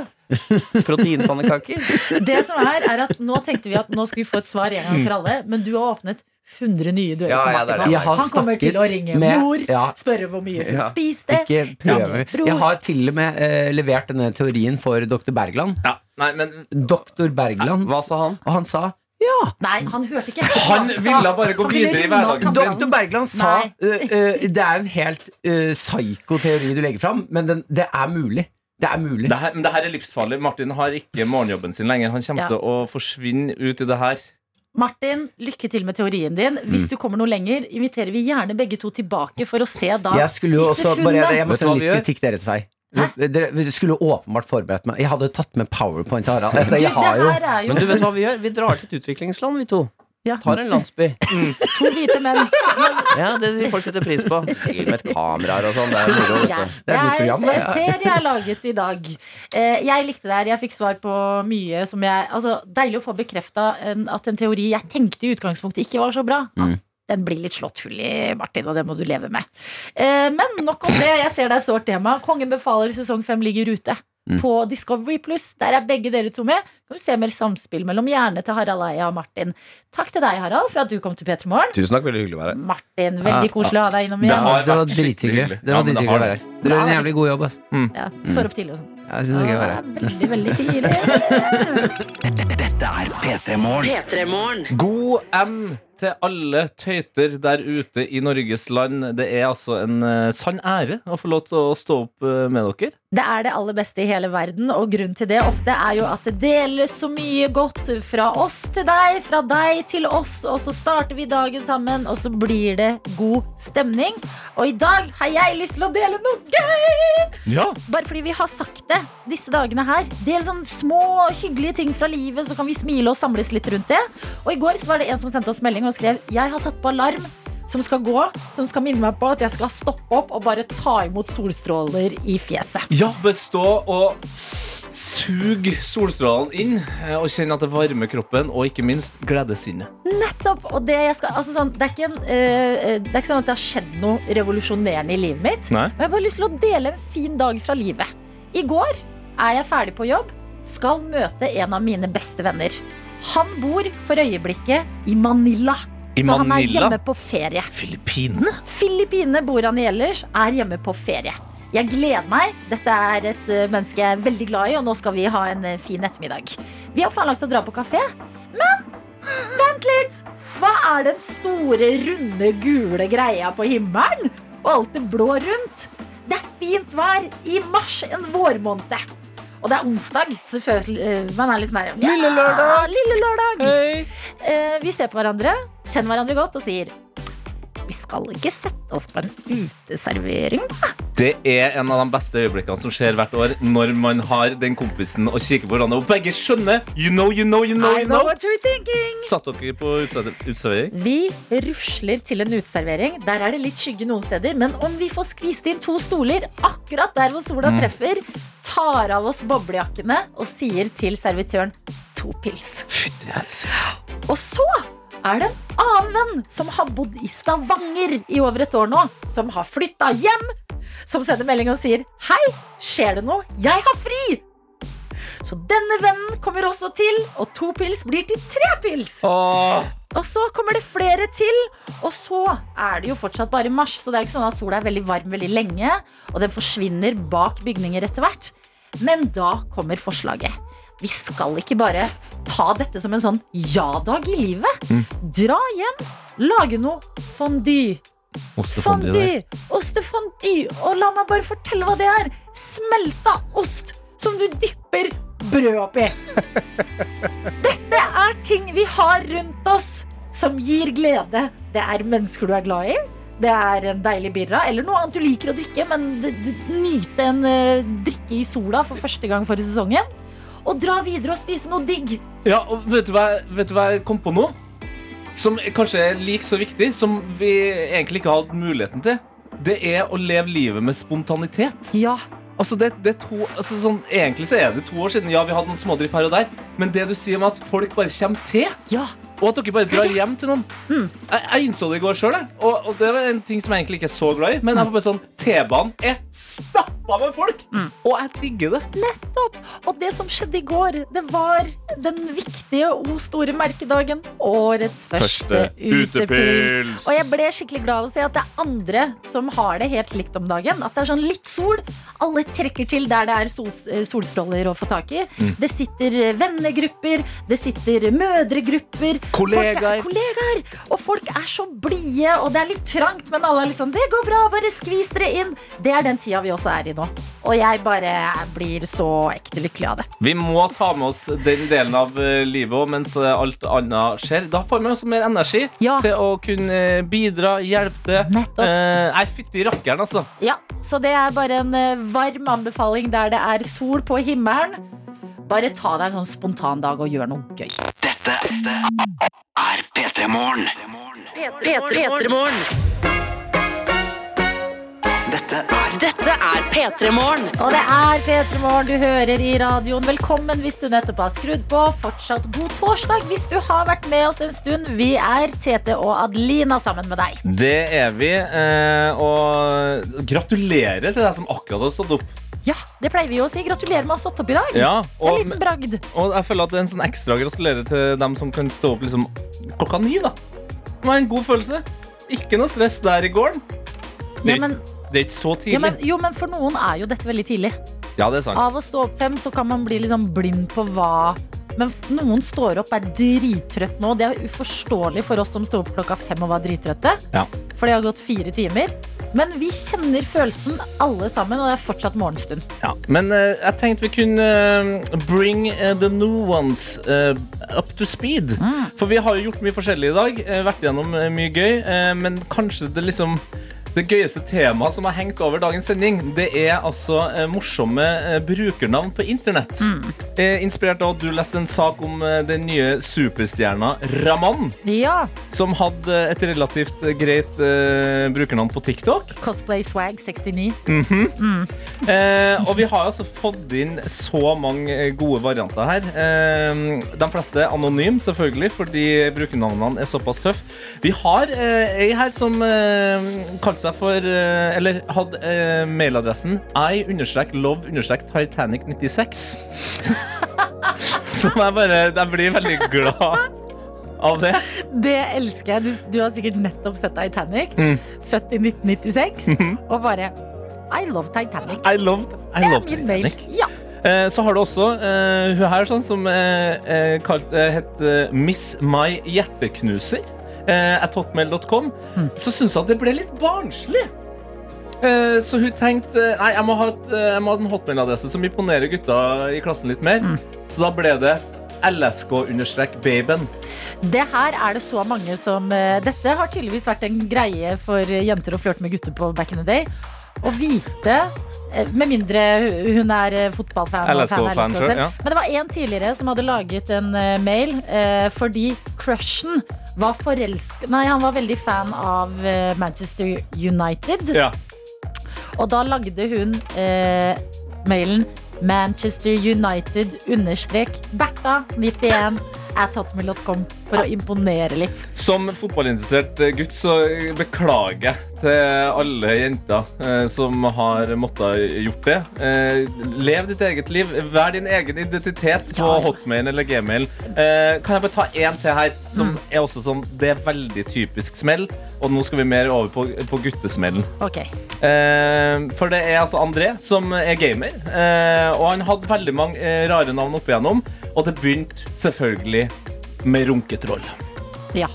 S12: proteinpannekaker.
S2: Det som er, er at Nå tenkte vi at nå skal vi få et svar en gang for alle, men du har åpnet 100 nye dører
S3: Ja,
S2: for
S3: ja, det er det.
S2: Martin. nå.
S3: Jeg har
S2: Han kommer til å
S3: snakket
S2: ringe
S3: med-
S2: mor,
S3: ja.
S2: spørre hvor mye hun
S3: Ja.
S2: spiste.
S3: Ikke prøve.
S2: ringe bror.
S3: Jeg har til og med eh, levert denne teorien for dr. Bergland.
S17: Nei, men
S3: Doktor Bergland.
S12: Hva sa han?
S3: Og han sa
S2: Nei, han hørte ikke.
S3: Han
S2: sa-
S3: ville bare gå
S2: han ville
S3: videre i
S2: runde av
S3: hverdagen sin.
S2: samtalen.
S3: Dr. Bergland sa
S2: Nei.
S3: eh, eh, det er en helt eh, psyko teori du legger fram, men den, det er mulig. Det er mulig.
S17: Det her, men det her er livsfarlig. Martin har ikke morgenjobben sin lenger. Han kommer
S2: Ja.
S17: til å forsvinne ut i det her.
S2: Martin, lykke til med teorien din. Hvis
S17: Mm.
S2: du kommer noe lenger, inviterer vi gjerne begge to tilbake for å se da
S3: Jeg skulle jo
S2: disse
S3: også bare, jeg,
S2: funnene.
S3: må sende litt kritikk deres vei. Dere dere skulle jo åpenbart forberedt meg. Jeg hadde jo tatt med powerpoint til Harald. Altså,
S12: Du,
S3: jeg
S12: det
S3: har jo
S2: her er jo-
S12: Men du vet hva vi gjør? Vi drar til et utviklingsland, vi to. Tar en landsby.
S2: To hvite menn.
S12: Ja, det vil folk setter pris på. Driver med kameraer og sånn. Det er moro.
S2: Ja.
S12: vet du.
S2: Det er en serie jeg har laget i dag. Eh, Jeg likte det her. Jeg fikk svar på mye som jeg altså, Deilig å få bekrefta at en teori jeg tenkte i utgangspunktet ikke var så bra.
S13: Mm.
S2: Den blir litt slått hull i, Martin, og det må du leve med. Eh, Men nok om det. Jeg ser det er sårt tema. Kongen befaler sesong fem ligger ute.
S13: Mm.
S2: På Discovery Pluss. Der er begge dere to med. Kan du se mer samspill mellom hjernene til Harald Eia og Martin. Takk til deg, Harald, for at du kom til P3 Morgen.
S12: Tusen takk, veldig hyggelig å være her.
S2: Martin, veldig koselig å ha deg innom
S13: Det,
S2: igjen.
S13: har det var drithyggelig. Det var drithyggelig å være her. Dere gjør en jævlig god jobb, ass.
S2: Ja, står opp tidlig og sånn. Ah,
S13: Ja, jeg synes det er gøy å være her.
S2: Veldig, veldig tidlig.
S1: Dette er P3
S11: P3-morgen.
S3: God M til alle tøyter der ute i Norges land. Det er altså en eh, sann ære å få lov til å stå opp eh, med dere.
S2: Det er det aller beste i hele verden, og grunnen til det ofte er jo at det deles så mye godt fra oss til deg, fra deg til oss, og så starter vi dagen sammen, og så blir det god stemning. Og i dag har jeg lyst til å dele noe gøy!
S3: Ja.
S2: Bare fordi vi har sagt det disse dagene her. Del sånn små, hyggelige ting fra livet, så kan vi smile og samles litt rundt det. Og i går så var det en som sendte oss melding og skrev Jeg har satt på alarm som skal gå, som skal minne meg på at jeg skal stoppe opp og bare ta imot solstråler i fjeset.
S3: Ja, bestå og sug solstrålen inn, eh, og kjenn at det varmer kroppen, og ikke minst gledesinnet.
S2: Nettopp! Og det, jeg skal, altså sånn, det, er ikke en, eh, det er ikke sånn at det har skjedd noe revolusjonerende i livet mitt.
S3: Nei.
S2: Men jeg har bare lyst til å dele en fin dag fra livet. I går er jeg ferdig på jobb, skal møte en av mine beste venner. Han bor for øyeblikket i Manila.
S3: I
S2: så han er
S3: Manila?
S2: hjemme på ferie.
S3: Filippinene?
S2: Filippinene bor han i ellers, er hjemme på ferie. Jeg gleder meg. Dette er et eh, menneske jeg er veldig glad i, og nå skal vi ha en eh, fin ettermiddag. Vi har planlagt å dra på kafé, men vent litt! Hva er den store, runde, gule greia på himmelen? Og alt det blå rundt? Det er fint vær i mars, en vårmåned. Og det er onsdag, så det føles, eh, man er litt sånn her ja,
S11: Lille lørdag!
S2: Lille lørdag. Eh, Vi ser på hverandre, kjenner hverandre godt og sier vi skal ikke sette oss på en uteservering.
S3: Det er en av de beste øyeblikkene som skjer hvert år når man har den kompisen og kikker på hverandre, og begge skjønner. You know, you know, you know.
S2: I
S3: you
S2: know
S3: know.
S2: what you're thinking.
S3: Satt dere på utse- uteservering?
S2: Vi rusler til en uteservering. Der er det litt skygge noen steder, men om vi får skvist inn to stoler akkurat der hvor sola
S3: Mm.
S2: treffer, tar av oss boblejakkene og sier til servitøren to pils. Og så er det en annen venn som har bodd i Stavanger i over et år nå, som har flytta hjem, som sender melding og sier Hei, skjer det noe? Jeg har fri! Så denne vennen kommer også til, og to pils blir til tre pils. Og så kommer det flere til, og så er det jo fortsatt bare mars, så det er ikke sånn at sola er veldig varm veldig lenge, og den forsvinner bak bygninger etter hvert. Men da kommer forslaget. Vi skal ikke bare ta dette som en sånn ja-dag i livet. Dra hjem, lage noe fondue.
S3: Ostefondy der.
S2: Fondue, ostefondy Og la meg bare fortelle hva det er Smelta ost som du dypper brød oppi Dette er ting vi har rundt oss Som gir glede Det er mennesker du er glad i Det er en deilig birra Eller noe annet du liker å drikke Men d- d- nyte en eh, drikke i sola For første gang for sesongen Og dra videre og spise noe digg
S3: Ja, og vet du, hva, vet du hva jeg kom på nå? Som kanskje er like så viktig, som vi egentlig ikke har hatt muligheten til. Det er å leve livet med spontanitet.
S2: Ja.
S3: Altså, det, det er to, altså sånn, egentlig så er det to år siden. Ja, vi hadde noen smådrypp her og der. Men det du sier om at folk bare kommer til, og at dere bare drar hjem til noen jeg, jeg innså det i går sjøl, og, og det var en ting som jeg egentlig ikke er så glad i. Men jeg var bare sånn, T-banen er stappa med folk! Og jeg digger det.
S2: Nettopp! Og det som skjedde i går, det var den viktige O store merkedagen. Årets første,
S3: Første utepils.
S2: utepils. Og jeg ble skikkelig glad av å se at det er andre som har det helt likt om dagen. At det er sånn litt sol. Alle trekker til der det er sols- eh, solstråler å få tak i.
S11: Mm.
S2: Det sitter eh, vennegrupper, det sitter eh, mødregrupper.
S11: Kollegaer.
S2: Folk er, kollegaer. Og folk er så blide, og det er litt trangt, men alle er litt sånn Det går bra, bare skvis dere inn. Det er den tida vi også er i nå. Og jeg bare blir så ekte lykkelig av det.
S3: Vi må ta med oss den delen av eh, livet òg, mens eh, alt annet skjer. Da får man også mer energi til å kunne eh, bidra, hjelpe til. Eh, Nei, fytti rakkeren, altså.
S2: Ja, Så det er bare en eh, varm anbefaling der det er sol på himmelen. Bare ta deg en sånn spontan dag og gjør noe gøy.
S11: Dette er P3 Morgen. P3 Morgen. Dette er Dette er P3 Morgen.
S2: Og det er P3 Morgen du hører i radioen. Velkommen hvis du nettopp har skrudd på. Fortsatt god torsdag hvis du har vært med oss en stund. Vi er Tete og Adelina sammen med deg.
S3: Det er vi. eh, Og gratulerer til deg som akkurat har stått opp.
S2: Ja, det pleier vi jo å si. Gratulerer med å ha stått opp i dag.
S3: Ja, og-
S2: en liten bragd.
S3: Og jeg føler at det er en sånn ekstra gratulerer til dem som kan stå opp liksom klokka ni. da Det var en god følelse. Ikke noe stress der i gården. Det,
S2: Ja, men-
S3: det er ikke så tidlig.
S2: Ja, men, jo, men for noen er jo dette veldig tidlig.
S3: Ja, det er sant.
S2: Av å stå opp fem så kan man bli liksom blind på hva Men f- noen står opp, er drittrøtt nå. Det er uforståelig for oss som sto opp klokka fem og var drittrøtte.
S3: Ja.
S2: For det har gått fire timer. Men vi kjenner følelsen alle sammen, og det er fortsatt morgenstund.
S3: Ja, men eh, jeg tenkte vi kunne eh, bring eh, the new ones eh, up to speed. For vi har jo gjort mye forskjellig i dag. eh, vært gjennom eh, mye gøy. eh, men kanskje det liksom det gøyeste temaet som har hengt over dagens sending, det er altså eh, morsomme eh, brukernavn på internett. Eh, inspirert av at du leste en sak om eh, den nye superstjerna Raman.
S2: Ja.
S3: Som hadde et relativt eh, greit eh, brukernavn på TikTok.
S2: Cosplay swag 69.
S3: Mhm.
S2: Mm.
S3: Eh, og vi har altså fått inn så mange gode varianter her. Eh, de fleste anonyme, selvfølgelig, fordi brukernavnene er såpass tøffe. Vi har eh, ei her som eh, kalte seg for eh, Eller hadde eh, mailadressen i-love-titanic96. Som jeg bare Jeg blir veldig glad av det.
S2: Det elsker jeg. Du, du har sikkert nettopp sett Titanic.
S3: Mm. Mhm.
S2: Født i 1996. Og bare I love Titanic.
S3: I loved, I
S2: det er
S3: loved
S2: min mail.
S3: Titanic.
S2: Ja.
S3: Eh, Så har du også eh, hun her sånn, som eh, eh, kalt, eh, het eh, Miss My Hjerteknuser. Eh, at hotmail.com. Så syntes hun at det ble litt barnslig. Eh, så hun tenkte eh, Nei, jeg må ha, et, eh, jeg må ha en hotmailadresse som imponerer gutta i klassen litt mer. Så da ble det LSK-baben.
S2: Det her er det så mange som eh, Dette har tydeligvis vært en greie for jenter å flørte med gutter på back in the day. Å vite eh, med mindre hu- hun er eh, fotballfan. og fan av
S3: LSK-fan
S2: LSK
S3: selv,
S2: selv.
S3: ja.
S2: Men det var en tidligere som hadde laget en eh, mail eh, fordi crushen var forelsk... Nei, han var veldig fan av eh, Manchester United. Og da lagde hun eh, mailen Manchester United understrek Bertha 91 at hotmail.com for å imponere litt.
S3: Som fotballinteressert gutt så beklager jeg til alle jenter eh, som har måttet gjort det. Eh, lev ditt eget liv. Vær din egen identitet på hotmail eller gmail. Eh, kan jeg bare ta én til her, som er også sånn Det er veldig typisk smell. Og nå skal vi mer over på, på guttesmellen.
S2: Ok.
S3: Eh, for det er altså André som er gamer, eh, og han hadde veldig mange eh, rare navn opp igjennom. Og det begynte selvfølgelig med runketroll.
S2: Ja.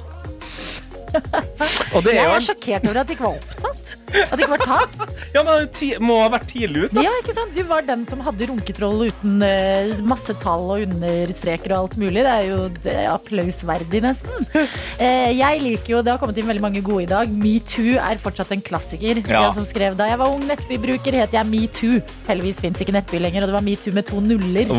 S3: Og det er
S2: jeg
S3: jo
S2: er
S3: en-
S2: sjokkert over at det ikke var opptatt. At det ikke var tatt.
S3: Ja, men ti, må ha vært tidlig ut, da.
S2: Ja, ikke sant? Du var den som hadde runketroll uten eh, masse tall og understreker og alt mulig. Det er jo det er applausverdig, nesten. Eh, jeg liker jo, Det har kommet inn veldig mange gode i dag. Metoo er fortsatt en klassiker.
S18: Ja.
S2: Jeg som skrev Da jeg var ung nettbybruker, het jeg Metoo. Heldigvis fins ikke nettby lenger, og det var Metoo med to nuller.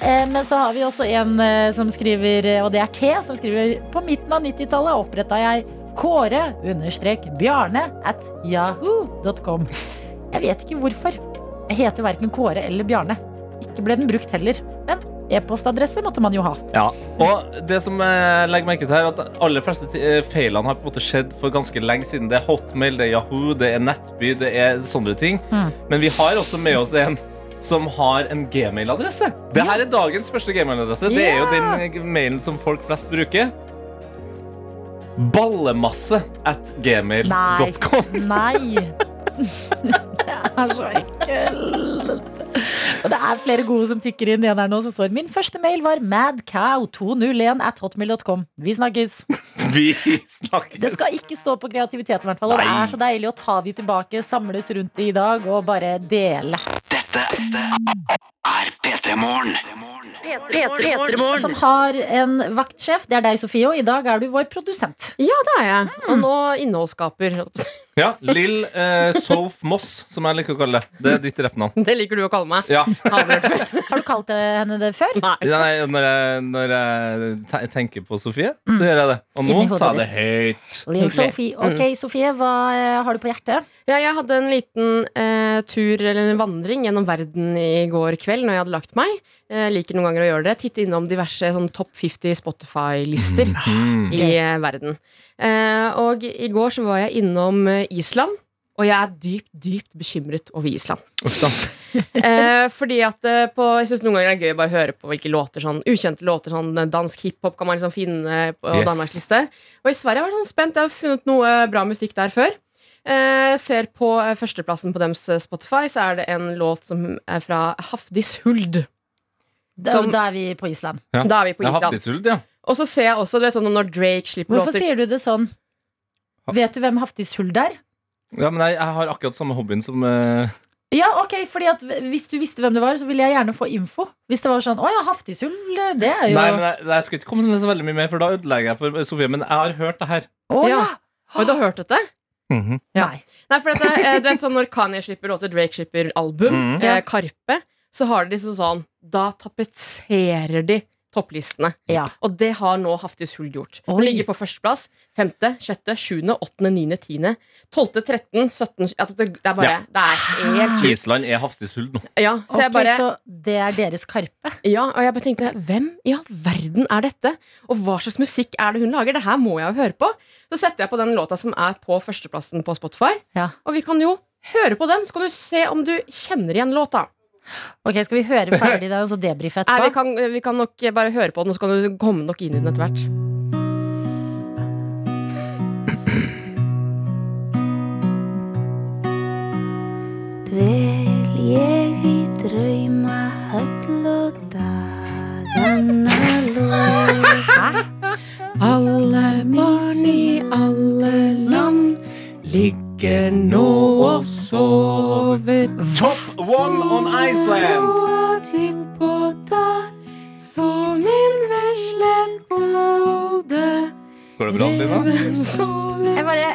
S2: Eh, Men så har vi også en eh, som skriver, eh, og det er T, som skriver På midten av 90-tallet oppretta jeg Kåre understrek Bjarne at yahoo.com. Jeg vet ikke hvorfor. Jeg heter verken Kåre eller Bjarne. Ikke ble den brukt heller. Men e-postadresse måtte man jo ha.
S3: Ja, og det som jeg legger merke til her, at de aller fleste ti- eh, feilene har på en måte skjedd for ganske lenge siden. Det er Hotmail, det er Yahoo, det er Nettby, det er sånne ting.
S2: Mm.
S3: Men vi har også med oss en som har en gmailadresse. Det her er dagens første gmailadresse. Det er jo den eh, mailen som folk flest bruker. Ballemasse at
S2: Nei.
S3: gmail.com.
S2: Nei. Det er så ekkelt. Og det er flere gode som tikker inn igjen her nå, som står Min første mail var madcow201 at hotmail.com. Vi snakkes.
S3: Vi snakkes.
S2: Det skal ikke stå på kreativiteten, i hvert fall. Og det
S11: Nei.
S2: er så deilig å ta de tilbake, samles rundt de i dag og bare dele.
S11: Dette er P3 Morgen.
S2: Som har en vaktsjef. Det er deg, Sofie, og i dag er du vår produsent.
S7: Ja, det er jeg. Og nå innholdsskaper. holdt jeg på å si.
S3: Ja, Lill eh, Soph Moss, som jeg liker å kalle det. Det er ditt rappnavn.
S4: Det liker du å kalle meg.
S3: Ja.
S2: Har du kalt eh, henne det før?
S3: Nei, når jeg, når jeg te- tenker på Sofie, så gjør jeg det. Og nå
S2: Inni hodet
S3: sa jeg det
S2: ditt.
S3: høyt.
S2: Lille Sofie. Ok, Sofie, hva eh, har du på hjertet?
S4: Ja, jeg hadde en liten eh, tur eller en vandring gjennom verden i går kveld når jeg hadde lagt meg. Eh, liker noen ganger å gjøre det. Titte innom diverse sånn, topp 50 Spotify-lister
S18: Mhm.
S4: i eh, verden. Eh, og i går så var jeg innom eh, Island, og jeg er dypt, dypt bekymret over Island. eh, fordi at eh, på, jeg synes noen ganger det er gøy å bare høre på hvilke låter sånn, ukjente låter, sånn eh, dansk hiphop kan man liksom finne på
S18: Yes.
S4: Danmarks liste. Og i Sverige var jeg sånn spent, jeg har funnet noe bra musikk der før. Eh, ser på eh, førsteplassen på dems eh, Spotify, så er det en låt som er fra Hafdishuld.
S2: Da, da er vi på Island.
S3: Ja.
S4: Da er vi på
S3: Jeg har
S4: Island.
S3: Haftisuld, ja.
S4: Og så ser jeg også, du vet sånn når Drake slipper
S2: Hvorfor
S4: låter
S2: sier du det sånn? Vet du hvem Hafdishuld er?
S3: ja. Men jeg, jeg har akkurat samme hobbyen som eh,
S2: Ja, ok, fordi at Hvis du visste hvem det var, så ville jeg gjerne få info. Hvis det var sånn 'Å ja, Haftishull, det er jo
S3: Nei, men jeg, jeg skal ikke komme med så veldig mye mer, for da ødelegger jeg for Sofie. Men jeg har hørt det her.
S2: Å, ja.
S4: Oi, du har hørt dette?
S2: Nei.
S4: Nei, for dette, eh, du vet sånn Når Kanye slipper låter, Drake slipper album,
S3: Mhm.
S4: eh, Karpe, så har de liksom sånn Da tapetserer de topplistene. Og det har nå Haftis Huld gjort. Hun
S2: Oi.
S4: ligger på førsteplass. Femte, sjette, sjuende, åttende, niende, tiende. Tolvte, tretten, sytten altså det, det er bare
S3: Ja.
S4: Det er helt sjukt.
S3: Island er Haftisuld nå.
S4: Ja, så jeg
S2: Ok,
S4: bare
S2: så det er deres karpe?
S4: Ja, og jeg bare tenkte Hvem i all verden er dette? Og hva slags musikk er det hun lager? Det her må jeg jo høre på. Så setter jeg på den låta som er på førsteplassen på Spotify. Og vi kan jo høre på den, så kan du se om du kjenner igjen låta.
S2: Ok, Skal vi høre ferdig den, og så debrife
S4: Nei, vi
S2: etterpå?
S4: kan, vi kan nok bare høre på den, og så kan du komme nok inn i den etter hvert.
S18: Dvel ég í drauma höll og dagana lofa Alle barn i alle land ligger nå og sover Top
S3: one on Iceland.
S18: Småting på dag Solen veslet både
S3: Går det bra, Lina?
S2: Jeg bare,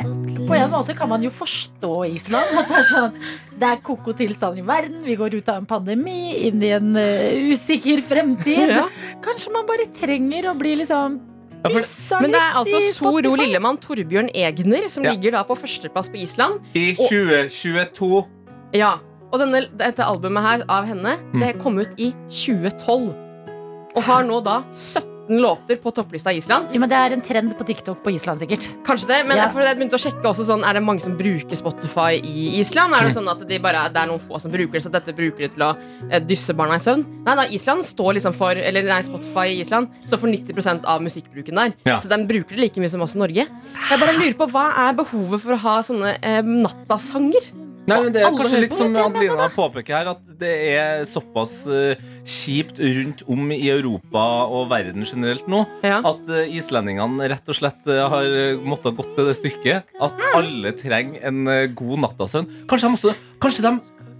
S2: på en måte kan man jo forstå Island. At det er sånn Det er koko tilstand i verden, vi går ut av en pandemi, inn i en eh, usikker fremtid.
S4: Ja.
S2: Kanskje man bare trenger å bli liksom byssa
S4: Men det er
S2: litt
S4: altså
S2: i
S4: Soro
S2: Spotify.
S4: Lillemann Torbjørn Egner som
S3: Ja.
S4: ligger da på førsteplass på Island.
S3: I
S4: Og-
S3: 2022.
S4: Ja, og denne, dette albumet her av henne
S3: Mm.
S4: Det kom ut i 2012 Og har nå da 17 låter på topplista i Island
S2: Ja, men det er en trend på TikTok på Island sikkert
S4: Kanskje det, men
S2: Ja.
S4: for jeg begynte å sjekke også sånn Er det mange som bruker Spotify i Island? Er det
S2: Mm.
S4: sånn at de bare, det er noen få som bruker det Så dette bruker de til å eh, dysse barna i søvn? Nei, da, Island står liksom for Eller nei, Spotify i Island Står for 90% av musikkbruken der
S18: Ja.
S4: Så den bruker det like mye som oss i Norge Jeg bare lurer på, hva er behovet for å ha sånne eh, nattasanger?
S3: Nei, men Det er
S4: Alle
S3: kanskje
S4: hører
S3: litt
S4: på.
S3: som Adelina påpeker her, at det er såpass eh, kjipt rundt om i Europa og verden generelt nå at eh, islendingene rett og slett eh, har eh, måttet gått til det stykket at alle trenger en eh, god nattasøvn. Kanskje de også Kanskje de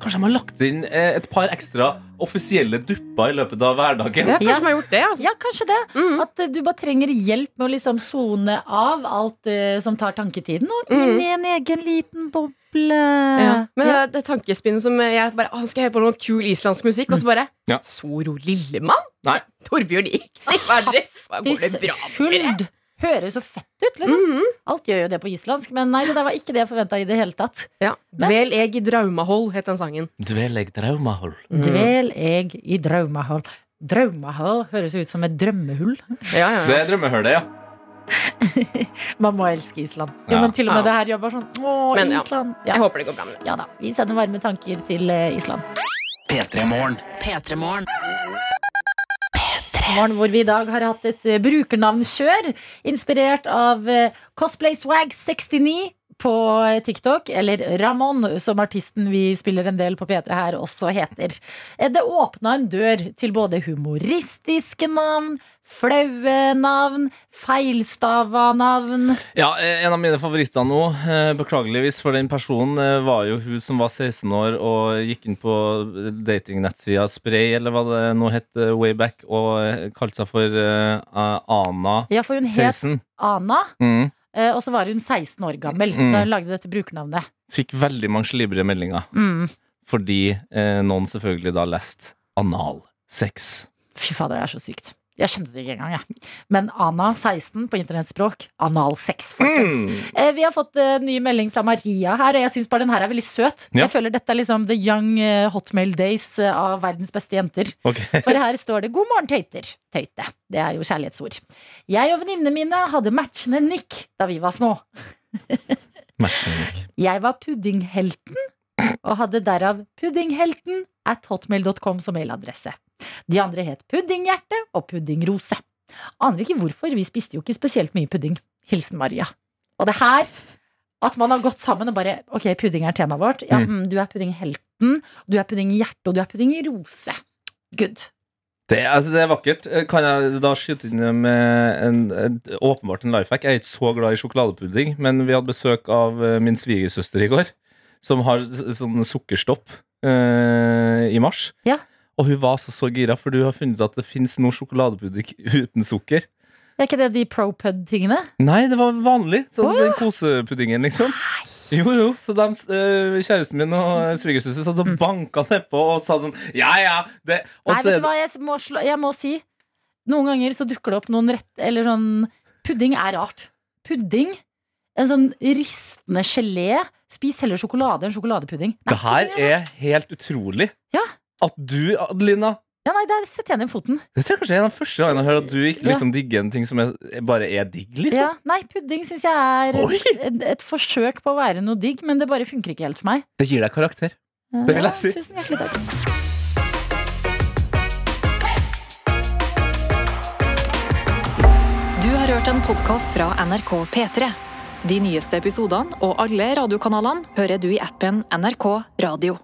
S3: Kanskje de har lagt inn eh, et par ekstra offisielle dupper i løpet av hverdagen.
S4: altså.
S2: Ja, kanskje det.
S4: Mm.
S2: At eh, du bare trenger hjelp med å liksom sone av alt eh, som tar tanketiden, og inn
S4: Mm.
S2: i en egen liten boble.
S4: Ja. Men
S2: Ja.
S4: det, det tankespinnet som jeg bare «Å, Skal jeg høre på noe kul islandsk musikk? Og så bare
S3: Ja.
S4: Soro Lillemann?
S3: Nei.
S4: Torbjørn Ikni? Hva er det? Hva Går det bra med dere? Mhm.
S2: Haftisfuld høres så fett ut,
S4: Mm.
S2: liksom. Alt gjør jo det på islandsk, men nei, det der var ikke det jeg forventa i det hele tatt.
S4: Ja. Dvel eg i draumahold, het den sangen.
S3: Dveleg draumahold.
S4: Mm.
S2: Dvel eg i draumahold. Draumahold høres ut som et drømmehull.
S3: Det er drømmehullet, ja.
S2: Man må elske Island. Jo,
S3: Ja.
S2: men til og med
S3: Ja.
S2: det her gjør bare sånn Å,
S4: Men ja,
S2: Island.
S4: jeg håper det går bra med
S2: Ja da. Vi sender varme tanker til eh, Island.
S1: P3-morgen.
S11: P3-morgen.
S2: Morgen hvor vi i dag har hatt et eh, brukernavnkjør inspirert av eh, Cosplay Swag 69 på eh, TikTok, eller Ramon, som artisten vi spiller en del på P3 her, også heter. Eh, Det åpna en dør til både humoristiske navn, flaue navn, feilstava navn.
S3: Ja, eh, En av mine favoritter nå, eh, beklageligvis for den personen, eh, var jo hun som var 16 år og gikk inn på datingnettsida Spray, eller hva det nå het, eh, Wayback, og eh, kalte seg for eh, Ana
S2: Ja, for hun het
S3: 16.
S2: Ana.
S3: Mm.
S2: Eh, Og så var hun 16 år gammel
S3: Mm.
S2: da hun lagde dette brukernavnet.
S3: Fikk veldig mange slibre meldinger.
S2: Mm.
S3: Fordi eh, noen selvfølgelig da lest analsex.
S2: Fy fader, det er så sykt. Jeg skjønte det ikke engang, jeg. Men Ana 16 på internettspråk. Analsex, folkens.
S3: Mm.
S2: Eh, vi har fått eh, ny melding fra Maria her, og jeg syns bare den her er veldig søt.
S3: Ja.
S2: Jeg føler dette er liksom the young eh, hotmail days eh, av verdens beste jenter. For her står det 'God morgen, tøyter'. Tøyte. Det er jo kjærlighetsord. Jeg og venninnene mine hadde matchende nikk da vi var små. Jeg var puddinghelten, og hadde derav puddinghelten at hotmail.com som mailadresse. De andre het Puddinghjerte og Puddingrose. Aner ikke hvorfor, vi spiste jo ikke spesielt mye pudding. Hilsen Maria. Og det her, at man har gått sammen og bare Ok, pudding er temaet vårt. Ja,
S3: Mm.
S2: mm. du er puddinghelten, du er puddinghjerte, og du er puddingrose. Good.
S3: Det, altså, det er vakkert. Eh, Kan jeg da skyte inn med en, en, åpenbart en lifehack? Jeg er ikke så glad i sjokoladepudding, men vi hadde besøk av eh, min svigersøster i går, som har s- sånn sukkerstopp eh, i mars. Og hun var altså så gira, for du har funnet ut at det fins noe sjokoladepudding uten sukker.
S2: Er ikke det de propud-tingene?
S3: Nei, det var vanlig. Sånn som den kosepuddingen, liksom. Jo, jo. Så de, eh, kjæresten min og svigersøster satt og banka nedpå og sa sånn Ja, ja. Det. Og
S2: Mm. Nei,
S3: så er
S2: vet
S3: det-
S2: du hva, jeg må, slå, jeg må si Noen ganger så dukker det opp noen rett Eller sånn, pudding er rart Pudding, en sånn ristende gelé Spis heller sjokolade enn sjokoladepudding
S3: Det her er helt utrolig. At du, Adelina
S2: Ja, nei, der setter jeg ned foten
S3: Det tror jeg kanskje er den første gangen jeg hører at du ikke
S2: Ja.
S3: liksom digger en ting som er, bare er digg,
S2: ja,
S3: liksom.
S2: Nei, pudding synes jeg er
S3: Oi!
S2: et, et forsøk på å være noe digg Men det bare funker ikke helt for meg
S3: Det gir deg karakter. Det vil
S2: Ja,
S3: jeg si.
S2: Tusen hjertelig takk
S19: Du har hørt en podkast fra NRK P3. De nyeste episodene og alle radiokanalene hører du i appen NRK Radio.